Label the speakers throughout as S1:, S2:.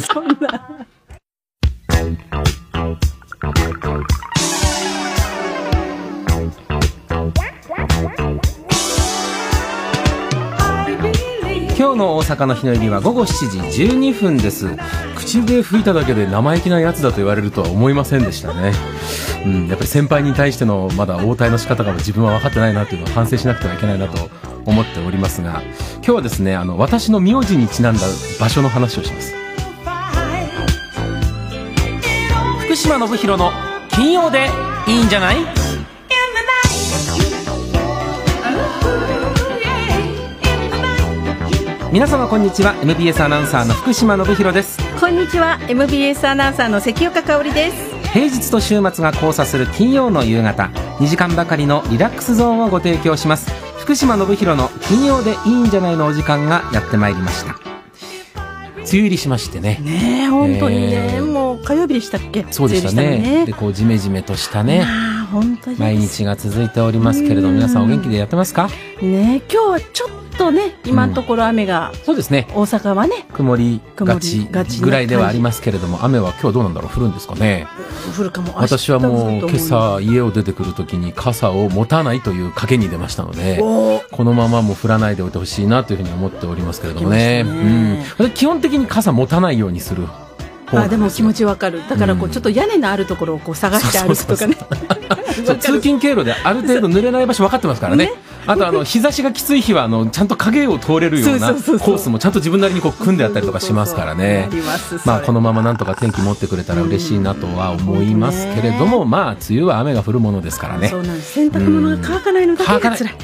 S1: そんな。
S2: 今日の大阪の日の入りは午後7時12分です口で吹いただけで生意気なやつだと言われるとは思いませんでしたねうん、やっぱり先輩に対してのまだ応対の仕方が自分は分かってないなというのは反省しなくてはいけないなと思っておりますが今日はですねあの私の名字にちなんだ場所の話をします福島信弘の金曜でいいんじゃない皆様こんにちは MBS アナウンサーの福島信弘です
S1: こんにちは MBS アナウンサーの関岡香織です
S2: 平日と週末が交差する金曜の夕方2時間ばかりのリラックスゾーンをご提供します福島信弘の金曜でいいんじゃないのお時間がやってまいりました梅雨入りしましてね
S1: ねえ本当にね、
S2: えー
S1: もう火曜日でしたっけ
S2: そうでしたね
S1: 梅雨入り
S2: で
S1: し
S2: こうジメジメとした
S1: たね
S2: ね
S1: まあ本当に
S2: 毎日が続いておりますけれど
S1: うん
S2: 皆さんお元気でやってますか
S1: ねえ今日はちょっとね今のところ雨が、
S2: そうですね
S1: 大阪はね
S2: 曇りがち
S1: 曇りがちな
S2: ぐらいではありますけれども雨は今日どうなんだろう降るんですかね
S1: 降るかも明日
S2: 私はもう
S1: 降
S2: 今
S1: ると思
S2: 朝家を出てくるときに傘を持たないという賭けに出ましたので
S1: おー
S2: このままもう降らないでおいてほしいなというふうに思っておりますけれどもね。
S1: 書きまし
S2: うん。基本的に傘持たないようにする方
S1: あでも気持
S2: ち
S1: ちわかるだからこ
S2: う
S1: うんちょっと屋根のあるところをこう探して歩 くとかね
S2: そうそう通勤経路である程度濡れない場所分かってますからね。あとあの日差しがきつい日はあのちゃんと影を通れるようなコ
S1: そうそうそうそう
S2: ースもちゃんと自分なりにこう組んであったりとかしますからね
S1: そうそうそうあります。それ
S2: まあこのままなんとか天気持ってくれたら嬉しいなとは思いますけれども、まあ梅雨は雨が降るものですからね
S1: そ。うなんです洗濯物が乾かないのだけが辛い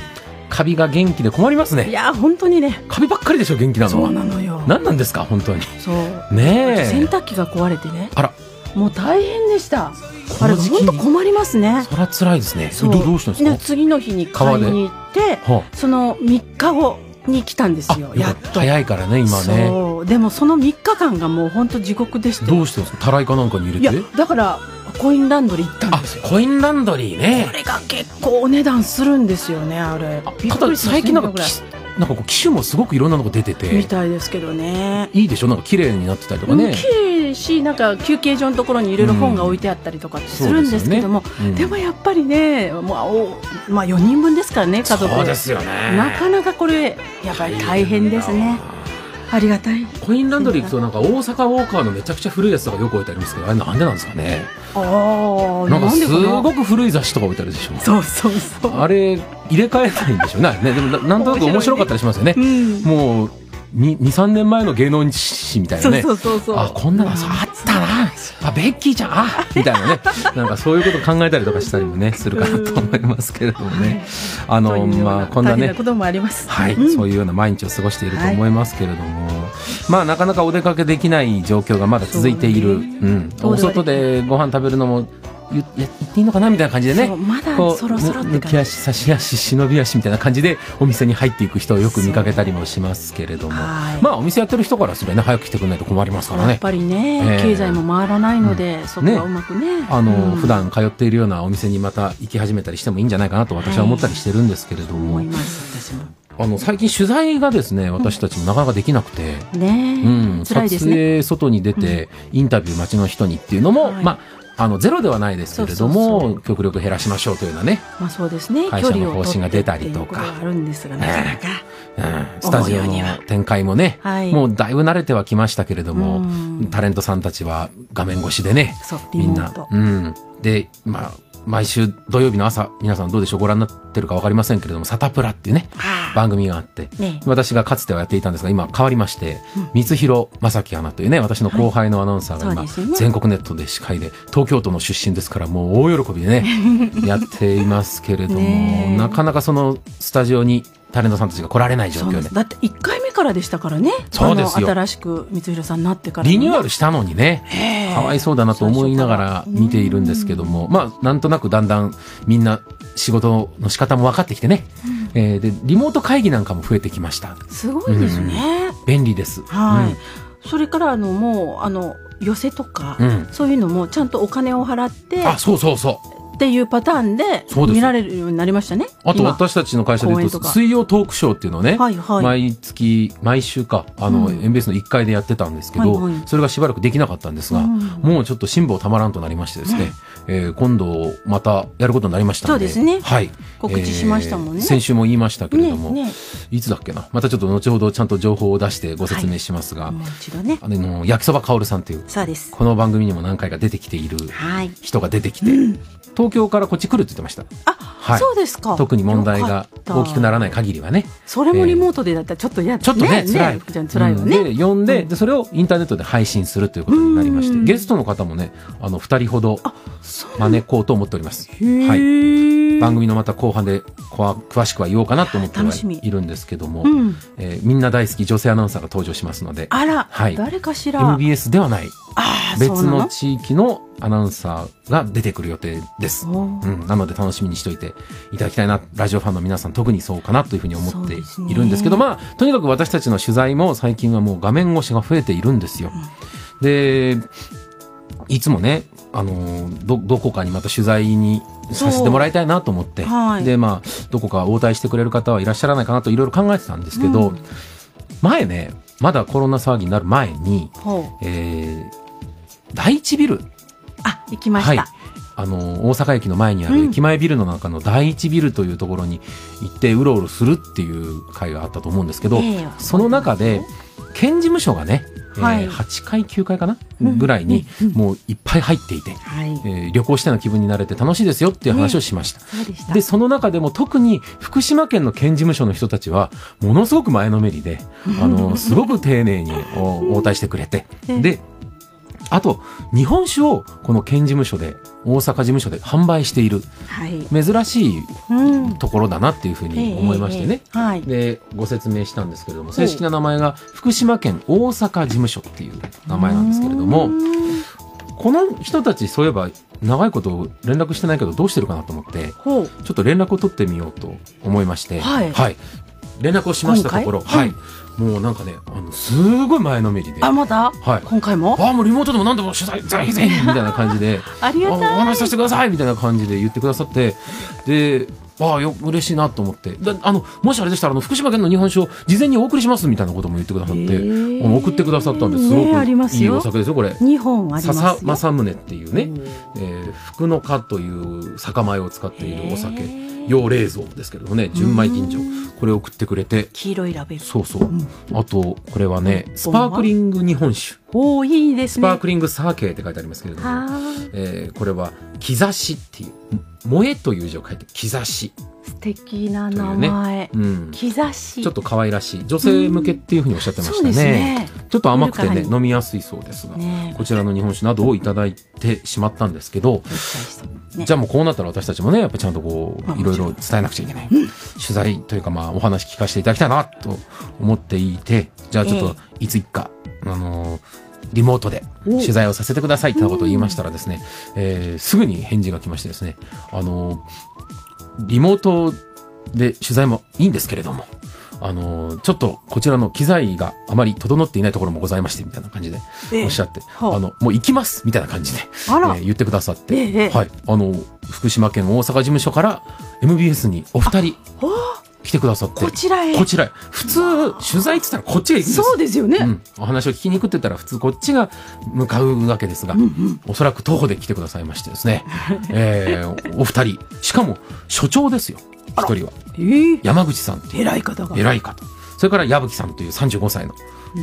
S2: カビが元気で困ります
S1: い
S2: ね。
S1: や本当にね
S2: カビばっかりでしょ元気なの。
S1: そうなのよ
S2: 何なんですか本当に。
S1: そう洗
S2: ねえ
S1: 濯機が壊れてね
S2: あら
S1: もう大変でした
S2: こ
S1: あ
S2: の
S1: れ
S2: 時期に
S1: 本当困りますね
S2: そら辛いですね
S1: そ
S2: どどうしたんですか、
S1: で次の日に買いに行って
S2: は
S1: その3日後に来たんです
S2: あ、
S1: よ
S2: よ
S1: や
S2: か
S1: っ
S2: った
S1: と
S2: 早いからね今ね
S1: そうでもその3日間がもう本当地獄でした
S2: ど
S1: よ
S2: うしてんですかたらいかなんかに入
S1: い
S2: れ
S1: や
S2: て
S1: だからコインランドリー行ったん
S2: あ
S1: ですよ
S2: コインランドリーね
S1: これが結構お値段するんですよねあれ
S2: あ
S1: びったく
S2: だ
S1: りしました
S2: 最近なん
S1: 1000ぐ
S2: から
S1: い
S2: きなんかこう機種もすごくいろんなのが出て
S1: み
S2: て
S1: たいですけどね
S2: いいでしょなんか綺麗になってたりとか
S1: うん
S2: ね
S1: 綺麗しなんか休憩所のところにいろいろ本が置いてあったりとかってするんですけども、
S2: そうですよねうん
S1: でもやっぱりね、まあおまあ、4人分ですからね家族
S2: そうですよね
S1: なかなかこれやっぱり大変ですねありがたい
S2: コインランドリー行くとなんか大阪ウォーカーのめちゃくちゃ古いやつとかよく置いてありますけどあれなんでなんですかね
S1: あー
S2: なんか
S1: なんですかな
S2: ごく古い雑誌とか置いてあるでしょ
S1: そうそうそう
S2: あれ入れ替えないんでしょうねあれねでもななんとなく面白かったりしますよね
S1: うん
S2: もう23年前の芸能誌みたいな
S1: そう
S2: ね
S1: そうそうそう
S2: あこんなのさあったなあベッキーちゃんあみたいなねなんかそういうこと考えたりとかしたりもねするかなと思いますけれどもねあ
S1: と
S2: の
S1: いうような
S2: まあこんな
S1: 大変
S2: ね
S1: なこともあります
S2: はい、
S1: うん
S2: そういうような毎日を過ごしていると思いますけれども、まあなかなかお出かけできない状況がまだ続いている、
S1: そうね
S2: うん、
S1: どう
S2: お
S1: ぞ
S2: 外でご飯食べるのも言言っていいのかなみたいな感じで
S1: そう
S2: ね
S1: まだ
S2: こう
S1: そろそろって
S2: ぬ抜き
S1: 感
S2: 足差し足忍び足みたいな感じでお店に入っていく人をよく見かけたりもしますけれども
S1: はい
S2: まあお店やってる人からすればね早く来てくれないと困りますから
S1: やっ
S2: ね。
S1: ぱりね、
S2: ええ
S1: 経済も回らないので、そこはうまくね
S2: あの、
S1: うん
S2: 普段通っているようなお店にまた行き始めたりしてもいいんじゃないかなと私は思ったりしてるんですけれども、
S1: 思います私も
S2: あの最近取材がですね私たちもなかなかできなくて、
S1: ねえ、
S2: うん、
S1: 辛いです
S2: 撮
S1: ね
S2: 影外に出て、インタビュー街の人にっていうのも、
S1: はい
S2: まあ、あのゼロではないですけれど
S1: そう
S2: も
S1: そう
S2: 極力減らしましょうというようなね、
S1: まあそうですね
S2: 会社の方針が出たり
S1: 距離
S2: と
S1: を取
S2: か
S1: ってっていうことがあるんですがなかなか、
S2: うん、スタジオ
S1: 思うよう
S2: の
S1: には
S2: 展開もね、
S1: はい
S2: もうだいぶ慣れてはきましたけれども、
S1: うん
S2: タレントさんたちは画面越しでね
S1: そうリ
S2: みん
S1: モー
S2: な
S1: ト、
S2: うん、で、まあ、毎週土曜日の朝皆さんどうでしょうご覧になってるか分かりませんけれども「サタプラ」っていうね
S1: ああ
S2: 番組があって、
S1: ね
S2: 私がかつてはやっていたんですが今変わりまして、光弘正樹アナというね私の後輩のアナウンサーが今、
S1: そうですよね
S2: 全国ネットで司会で東京都の出身ですからもう大喜びでね やっていますけれど
S1: ね
S2: も
S1: え
S2: なかなかそのスタジオにタレントさんたちが来られない状
S1: そう
S2: 況
S1: なん
S2: で
S1: ですだって1回目からでしたからね
S2: そうですよ
S1: あの新しく光弘さんになってからね、
S2: リニューアルしたのにね
S1: ええ
S2: かわいそうだなと思いながら見ているんですけども、まあなんとなくだんだんみんな仕事の仕方も分かってきてね、えーでリモート会議なんかも増えてきました
S1: すごいですね、
S2: 便利です。
S1: はい、
S2: うん
S1: それからあのもうあの寄せとか、
S2: うん
S1: そういうのもちゃんとお金を払って
S2: あそうそうそう
S1: っていうパターンで
S2: そうです
S1: 見られるようになりましたね。
S2: あと
S1: 今
S2: 私たちの会社で言う
S1: 公演
S2: と、
S1: とか
S2: 水曜トークショーっていうのをね、
S1: はいはい
S2: 毎月、毎週か、あの、
S1: うん
S2: エンベースの1階でやってたんですけど、
S1: はいはい
S2: それがしばらくできなかったんですが、
S1: うん
S2: もうちょっと辛抱たまらんとなりましてですね、えー今度またやることになりましたので、
S1: そうですね
S2: はい。
S1: 告知しましたもんね
S2: えー先週も言いましたけれ
S1: ね
S2: ども、
S1: ね
S2: いつだっけな、またちょっと後ほどちゃんと情報を出してご説明しますが、
S1: もう一度ね。
S2: あの、焼きそばかおるさんという、
S1: そうです。
S2: この番組にも何回か出てきている
S1: はい。
S2: 人が出てきて、東京からこっち来るって言ってました。
S1: あ、
S2: はい
S1: そうですか。
S2: 特に問題が大きくな
S1: ら
S2: らない限りはね。
S1: それもリモートでだったらちょっと嫌だ
S2: ちょっとね、辛い。
S1: 福ちゃん辛いよね。
S2: うんで、読んで、で、それをインターネットで配信するということになりまして、ゲストの方もね、あの、二人ほど
S1: そう
S2: 招こうと思っております。
S1: へ
S2: はい。
S1: ー
S2: 番組のまた後半で、こわ詳しくは言おうかなと思っては
S1: 楽しみ
S2: いるんですけども、
S1: うん
S2: えーみんな大好き女性アナウンサーが登場しますので、
S1: あら、
S2: はい
S1: 誰かしら。
S2: MBS ではない、
S1: ああ、
S2: 別
S1: そうな
S2: の地域のアナウンサーが出てくる予定です。
S1: の。お
S2: う
S1: ー
S2: ん、なので楽しみにしておいていただきたいな、ラジオファンの皆さん特にそうかなというふうに思っているんですけど、
S1: そ
S2: まあ、とにかく私たちの取材も最近はもう画面越しが増えているんですよ。で、いつもね、あのー、ど、どこかにまた取材にさせてもらいたいなと思って、
S1: そうはい
S2: で、まあ、どこか応対してくれる方はいらっしゃらないかなといろいろ考えてたんですけど、
S1: うん
S2: 前ね、まだコロナ騒ぎになる前に、
S1: ほう。
S2: えー、第一ビル
S1: あ、行きました。
S2: はい、あの大阪駅の前にある
S1: うん
S2: 駅前ビルの中の第一ビルというところに行ってうろうろするっていう会があったと思うんですけど、
S1: ええ
S2: その中で県事務所がね、えー
S1: はい
S2: 8階9階かな、
S1: うん
S2: ぐらいにもういっぱい入っていて、
S1: はい。
S2: えー旅行したような気分になれて楽しいですよっていう話をしました。
S1: そうでした。
S2: で、その中でも特に福島県の県事務所の人たちは、ものすごく前のめりで、あの、すごく丁寧にお応対してくれて、
S1: うん
S2: で、あと、日本酒をこの県事務所で、大阪事務所で販売している、
S1: はい。
S2: 珍しい
S1: うん。
S2: ところだなっていうふうに思いましてね。
S1: ええ。ええはい。
S2: で、ご説明したんですけれども、正式な名前が福島県大阪事務所っていう名前なんですけれども
S1: う、ん
S2: この人たちそういえば長いこと連絡してないけどどうしてるかなと思って、
S1: ほう。
S2: ちょっと連絡を取ってみようと思いまして、
S1: はい
S2: 連絡をしましたところ、
S1: 今回
S2: はい、もうなんかね、あの、すごい前のめりで、
S1: あ、
S2: はい。
S1: まだ今回も
S2: あもうリモートでも何でも取材、ぜひぜひみたいな感じで、
S1: あり
S2: あ
S1: が
S2: お
S1: たい。
S2: 話しさせてくださいみたいな感じで言ってくださって、で、ああ、よ、嬉しいなと思って。であの、もしあれでしたら、あの、福島県の日本酒を事前にお送りしますみたいなことも言ってくださっ
S1: へ
S2: て、
S1: ー
S2: あの送ってくださったんです。すごく
S1: ねあります
S2: いい
S1: よ
S2: お酒ですよ、これ。
S1: 二本ありますよ。
S2: 笹正宗っていうね、
S1: うん
S2: えー福の花という酒米を使っているお酒
S1: へー
S2: 用冷蔵ですけれどもね純米吟醸これを送ってくれて
S1: 黄色いラベル。
S2: そうそう、あとこれはねスパークリング日本酒
S1: おーいいです
S2: ス
S1: ね。
S2: パークリングサーケーって書いてありますけれども、
S1: はーい
S2: えーこれは「兆し」っていう「萌え」という字を書いて「兆し
S1: 素敵な名前」。
S2: うん、ち
S1: 兆し。
S2: ょっと可愛らしい女性向けっていうふうにおっしゃってま
S1: そ
S2: し
S1: う
S2: た
S1: です
S2: ね
S1: ね。
S2: ちょっと甘くて
S1: 見る
S2: ね
S1: からに
S2: 飲みやすいそうですが、
S1: ね
S2: こちらの日本酒などをいただいてしまったんですけど、
S1: 期待してね
S2: じゃあもうこうなったら私たちもね、やっぱちゃんとこ
S1: まあ
S2: う、いろいろ伝えなくちゃいけない。取材というかまあお話聞かせていただきたいなと思っていて、じゃあちょっといついっか、あのーリモートで取材をさせてくださいってなことを言いましたらですね、えーすぐに返事が来ましてですね、あのーリモートで取材もいいんですけれども、あのーちょっとこちらの機材があまり整っていないところもございまして、みたいな感じで
S1: ええ
S2: おっしゃって、
S1: はあ
S2: あの、もう行きますみたいな感じで、
S1: あら
S2: えー言ってくださって、
S1: ええ
S2: はい、あの、福島県大阪事務所から MBS にお二人
S1: おー
S2: 来てくださって、
S1: こちらへ
S2: こちらへ。普通、取材って言ったらこっちが行くんです
S1: そうですよね。
S2: うん、お話を聞きに行くって言ったら普通こっちが向かうわけですが、おそらく徒歩で来てくださいましてです ね、えーおお二人しかも所長ですよ一人は
S1: ええ
S2: 山口さんっていう
S1: 偉い方が。
S2: 偉い方それから矢吹さんという35歳の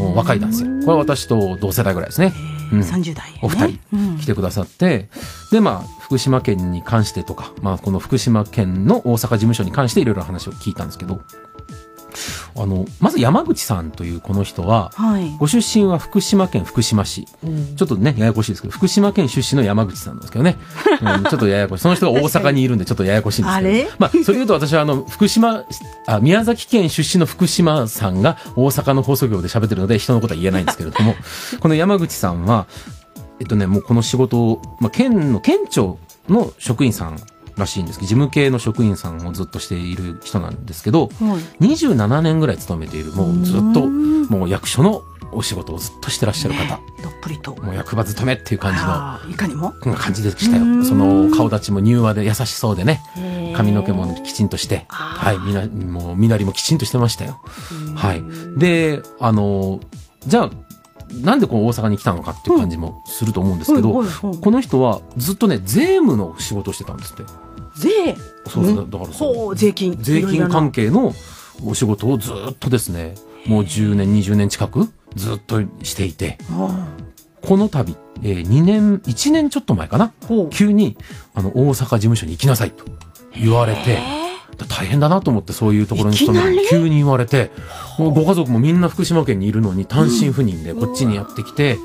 S2: お若い男性これは私と同世代ぐらいですね、うん
S1: 三十代、ね。
S2: お二人
S1: うん
S2: 来てくださって、でまあ福島県に関してとか、まあ、この福島県の大阪事務所に関していろいろ話を聞いたんですけどあのまず山口さんというこの人は
S1: はい。
S2: ご出身は福島県福島市。ちょっとね、ややこしいですけど、福島県出身の山口さんなんですけど ね。うん、ちょっとややこしい。その人が大阪にいるんで、ちょっとややこしいんですけど。
S1: あれ
S2: まあ、それ言うと私は、あの、福島、あ、宮崎県出身の福島さんが大阪の放送業で喋ってるので、人のことは言えないんですけれど も、この山口さんは、えっとね、もうこの仕事を、まあ、県の、県庁の職員さんらしいんですけど、事務系の職員さんをずっとしている人なんですけど、
S1: はい
S2: 27年ぐらい勤めている、もうずっと、もう役所のお仕事をずっとしてらっしゃる方、
S1: ねえどっぷりと。
S2: もう役場勤めっていう感じの
S1: あーいかにも。
S2: うん感じでした
S1: う
S2: よ。
S1: ん
S2: その顔立ちも柔和で優しそうでね
S1: へー。
S2: 髪の毛もきちんとして。
S1: あ
S2: はい。みな、もう、みなりもきちんとしてましたよ。はい。で、あの、じゃあ、なんでこう大阪に来たのかっていう感じもすると思うんですけど、
S1: はいはいはい
S2: この人はずっとね、税務の仕事をしてたんですって。
S1: 税。
S2: そうですね
S1: ん
S2: だからそう
S1: ほう、税金。
S2: 税
S1: いろい
S2: 金
S1: ろな
S2: 関係のお仕事をずっとですね、もう10年、20年近くずっとしていて、
S1: あ
S2: この度、え2年、1年ちょっと前かな、
S1: ーほう。
S2: 急にあの大阪事務所に行きなさいと言われて大変だなと思ってそういうところに勤めるの
S1: いきな
S2: 急に言われてもうご家族もみんな福島県にいるのに単身赴任でこっちにやってきて、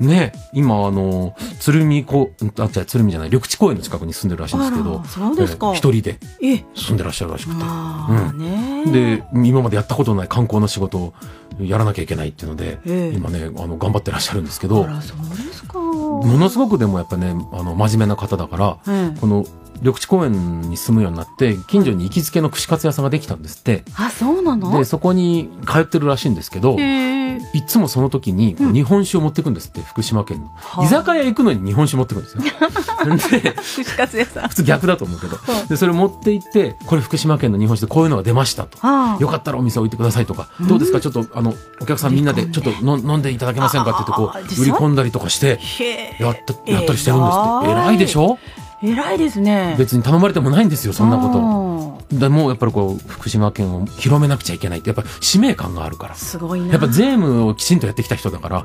S2: ね今あの鶴見こあじゃあ鶴見じゃない緑地公園の近くに住んでるらしいんですけ
S1: あ
S2: ど
S1: らそうですか
S2: えー一人で
S1: え。
S2: 住んでらっしゃるらしくて。
S1: まあね。
S2: で、今までやったことのない観光の仕事をやらなきゃいけないっていうので、
S1: ええ
S2: 今ねあの頑張ってらっしゃるんですけ
S1: あ
S2: ど
S1: ら、そうですか。
S2: ものすごくでもやっぱねあの真面目な方だから、
S1: ええ
S2: この緑地公園に住むようになって近所に行きつけの串カツ屋さんができたんですって
S1: あ、そうなの
S2: で。そこに通ってるらしいんですけど
S1: へえ。
S2: いつもその時に
S1: うん
S2: 日本酒を持ってくんですって福島県
S1: あ
S2: の居酒屋行くのに日本酒持ってくんです よで
S1: 串カツ屋さん。
S2: 普通逆だと思うけど
S1: はい
S2: でそれ持って行ってこれ福島県の日本酒でこういうのが出ましたと
S1: あー
S2: よかったらお店置いてくださいとか、どうですかちょっとあのお客さんみんなでちょっとの飲んでいただけませんかって言ってこ
S1: あー実
S2: う売
S1: 際
S2: り込んだりとかして
S1: へえ。
S2: やったやったりしてるんですって
S1: 偉い
S2: 偉いでしょ
S1: 偉いですね。
S2: 別に頼まれてもないんですよそんなこと。
S1: と。
S2: でもうやっぱりこう福島県を広めなくちゃいけないってやっぱ使命感があるから
S1: すごいな。
S2: やっぱ税務をきちんとやってきた人だから、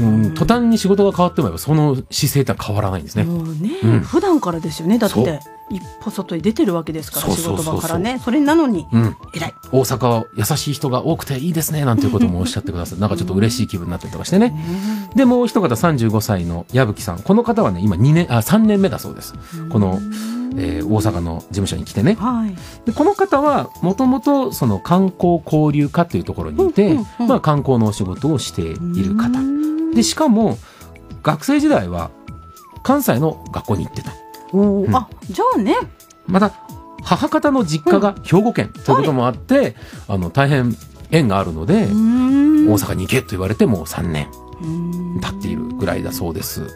S2: うん、途端に仕事が変わってもやっぱその姿勢ってのは変わらないんですね。
S1: もうね、
S2: うん
S1: 普段からですよねだっ
S2: そう
S1: て一歩外に出てるわけですから
S2: そう
S1: 仕
S2: そうそう
S1: 事
S2: そう
S1: 場からねそれなのに
S2: うん、
S1: 偉い
S2: 大阪は優しい人が多くていいですねなんていうこともおっしゃってくださってなんかちょっと嬉しい気分になったりとかしてね。でもう一方35歳の矢吹さんこの方はね今2年あ3年目だそうですこの、えー大阪の事務所に来てね。
S1: はい
S2: でこの方はもともとその観光交流課というところにいて、
S1: うんうんうん
S2: まあ、観光のお仕事をしている方
S1: うん
S2: でしかも学生時代は関西の学校に行ってた
S1: おー
S2: うん
S1: あじゃあね
S2: また母方の実家が兵庫県ということもあって、あの大変縁があるので、
S1: うーん
S2: 大阪に行けと言われてもう3年
S1: うん
S2: 経っているぐらいだそうです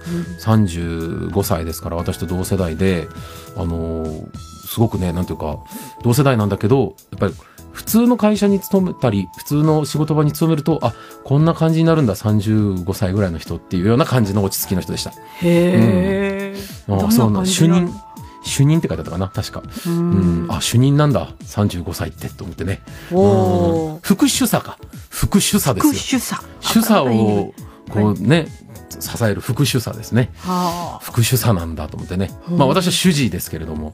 S2: 35歳ですから私と同世代であのーすごくねなんていうか同世代なんだけどやっぱり普通の会社に勤めたり普通の仕事場に勤めるとあこんな感じになるんだ35歳ぐらいの人っていうような感じの落ち着きの人でした
S1: へえ
S2: ああそうなん主任主任って書いてあったかな確か
S1: うん
S2: うんあ主任なんだ35歳ってと思ってね
S1: お
S2: うん
S1: ー
S2: 副主査か副主査ですよ
S1: 副主査
S2: 主査
S1: はい
S2: をこうね支える副主査ですね
S1: はあ
S2: 副主査なんだと思ってね、まあ、私は主治医ですけれども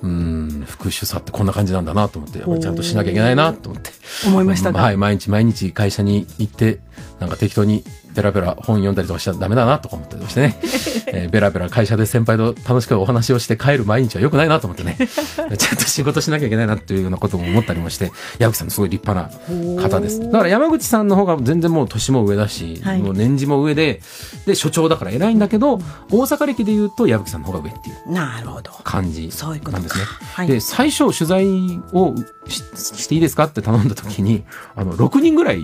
S2: うん副主査ってこんな感じなんだなと思ってやっぱりちゃんとしなきゃいけないなと思って
S1: 思いました
S2: うんは
S1: が
S2: い、毎日毎日会社に行ってなんか適当にベラベラ本読んだりとかしちゃダメだなとか思ったりとかして ね、えーベラベラ会社で先輩と楽しくお話をして帰る毎日は良くないなと思っ てねちゃんと仕事しなきゃいけないなっていうようなことも思ったりもして矢吹さんすごい立派な方です
S1: おー
S2: だから山口さんの方が全然もう年も上だし、
S1: はい
S2: もう年次も上でで所長だから偉いんだけど大阪歴で言うと矢吹さんの方が上っていう
S1: なるほど
S2: 感じ
S1: そういうことか
S2: なんですね。
S1: はい
S2: で最初取材をししていいですかって頼んだ時にあの6人ぐらい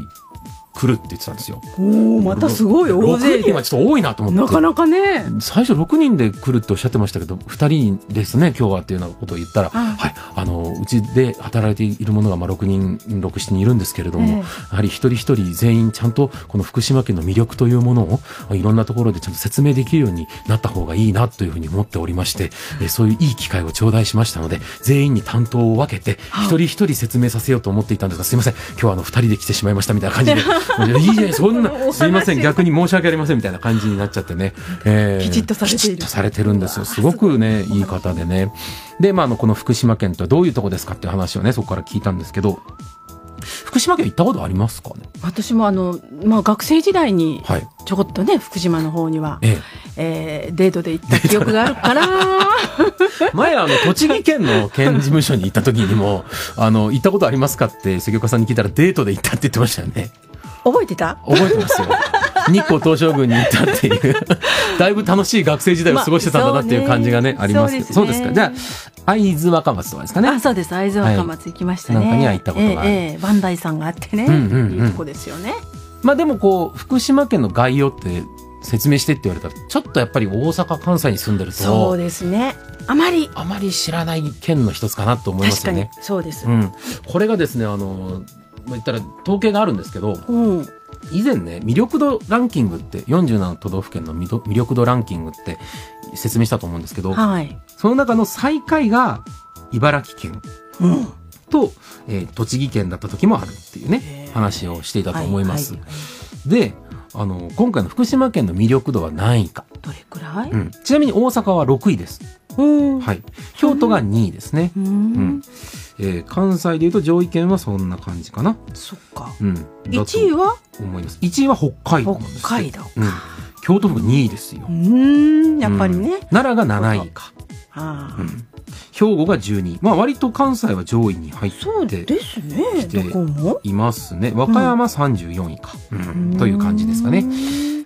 S2: 来るって言ってたんですよ。
S1: おおまたすごい大勢
S2: 6人
S1: で
S2: はちょっと多いなと思って。
S1: なかなかね
S2: 最初6人で来るっておっしゃってましたけど2人ですね今日はっていうようなことを言ったら、
S1: はい
S2: はい、あのうちで働いているものがまあ6人67人いるんですけれども、
S1: ええ
S2: やはり一人一人全員ちゃんとこの福島県の魅力というものをいろんなところでちゃんと説明できるようになった方がいいなというふうに思っておりまして、えーそういういい機会を頂戴しましたので全員に担当を分けて
S1: はい
S2: 一人一人説明させようと思っていたんですがすいません今日はあの2人で来てしまいましたみたいな感 じでいやいいじゃないそん
S1: お話
S2: なすいません逆に申し訳ありませんみたいな感じになっちゃってね。えー
S1: きちっとされている
S2: きちっとされてるんですよ。すごくね、いい方でね。で、まあ、あの、この福島県とはどういうとこですかっていう話をね、そこから聞いたんですけど、福島県行ったことありますかね
S1: 私もあの、まあ、学生時代に
S2: はい。
S1: ちょこっとね福島の方には、
S2: え
S1: えーデートで行った記憶があるから
S2: え。前、あの、栃木県の県事務所に行った時に も、あの、行ったことありますかって、関岡さんに聞いたらデートで行ったって言ってましたよね。
S1: 覚えてた
S2: 覚えてますよ。日光東照宮に行ったって いう、だいぶ楽しい学生時代を過ごしてたんだなっていう感じがね、
S1: まあ
S2: ありますけど。
S1: そ
S2: そうう
S1: で
S2: ですす
S1: ね
S2: か。じゃあ、会津若松とかですかね。
S1: あそうです会津若松行きましたね、
S2: はいなんかには行ったことがある
S1: ええええバンダイさんがあってね、
S2: うんうんうん
S1: いいとこですよね
S2: まあでもこう、福島県の概要って説明してって言われたら、ちょっとやっぱり大阪、関西に住んでる
S1: そ
S2: と、
S1: うですね。あまり、
S2: あまり知らない県の一つかなと思いま
S1: 確
S2: す
S1: か
S2: よ
S1: に
S2: ね。、
S1: そうです
S2: う。ん。これがですね、あの、まあ言ったら統計があるんですけど、
S1: うん。
S2: 以前ね、魅力度ランキングって、47都道府県の魅力魅力度ランキングって説明したと思うんですけど、
S1: はい。
S2: その中の最下位が茨城県
S1: うん。
S2: と、えー栃木県だった時もあるっていうね
S1: へー、
S2: 話をしていたと思います。
S1: はは
S2: で、あの、今回の福島県の魅力度は何位か。
S1: どれくらい
S2: うんちなみに大阪は6位です。
S1: うん。
S2: はい。京都が2位ですね。
S1: う
S2: うんん。。えー関西で言うと上位県はそんな感じかな。
S1: そっか。
S2: うん。だと
S1: 1位は
S2: 思います。1位は北海道なんです
S1: 北海道か
S2: うん。京都府が2位ですよ
S1: う。ーん、やっぱりね。
S2: 奈良が7位か。
S1: あ
S2: う
S1: あ。
S2: ん。兵庫が12位。まあ割と関西は上位に入っ
S1: そう
S2: て
S1: ですね。
S2: して
S1: どこも。
S2: いますね。和歌山34位か。うんという感じですかね。
S1: ね。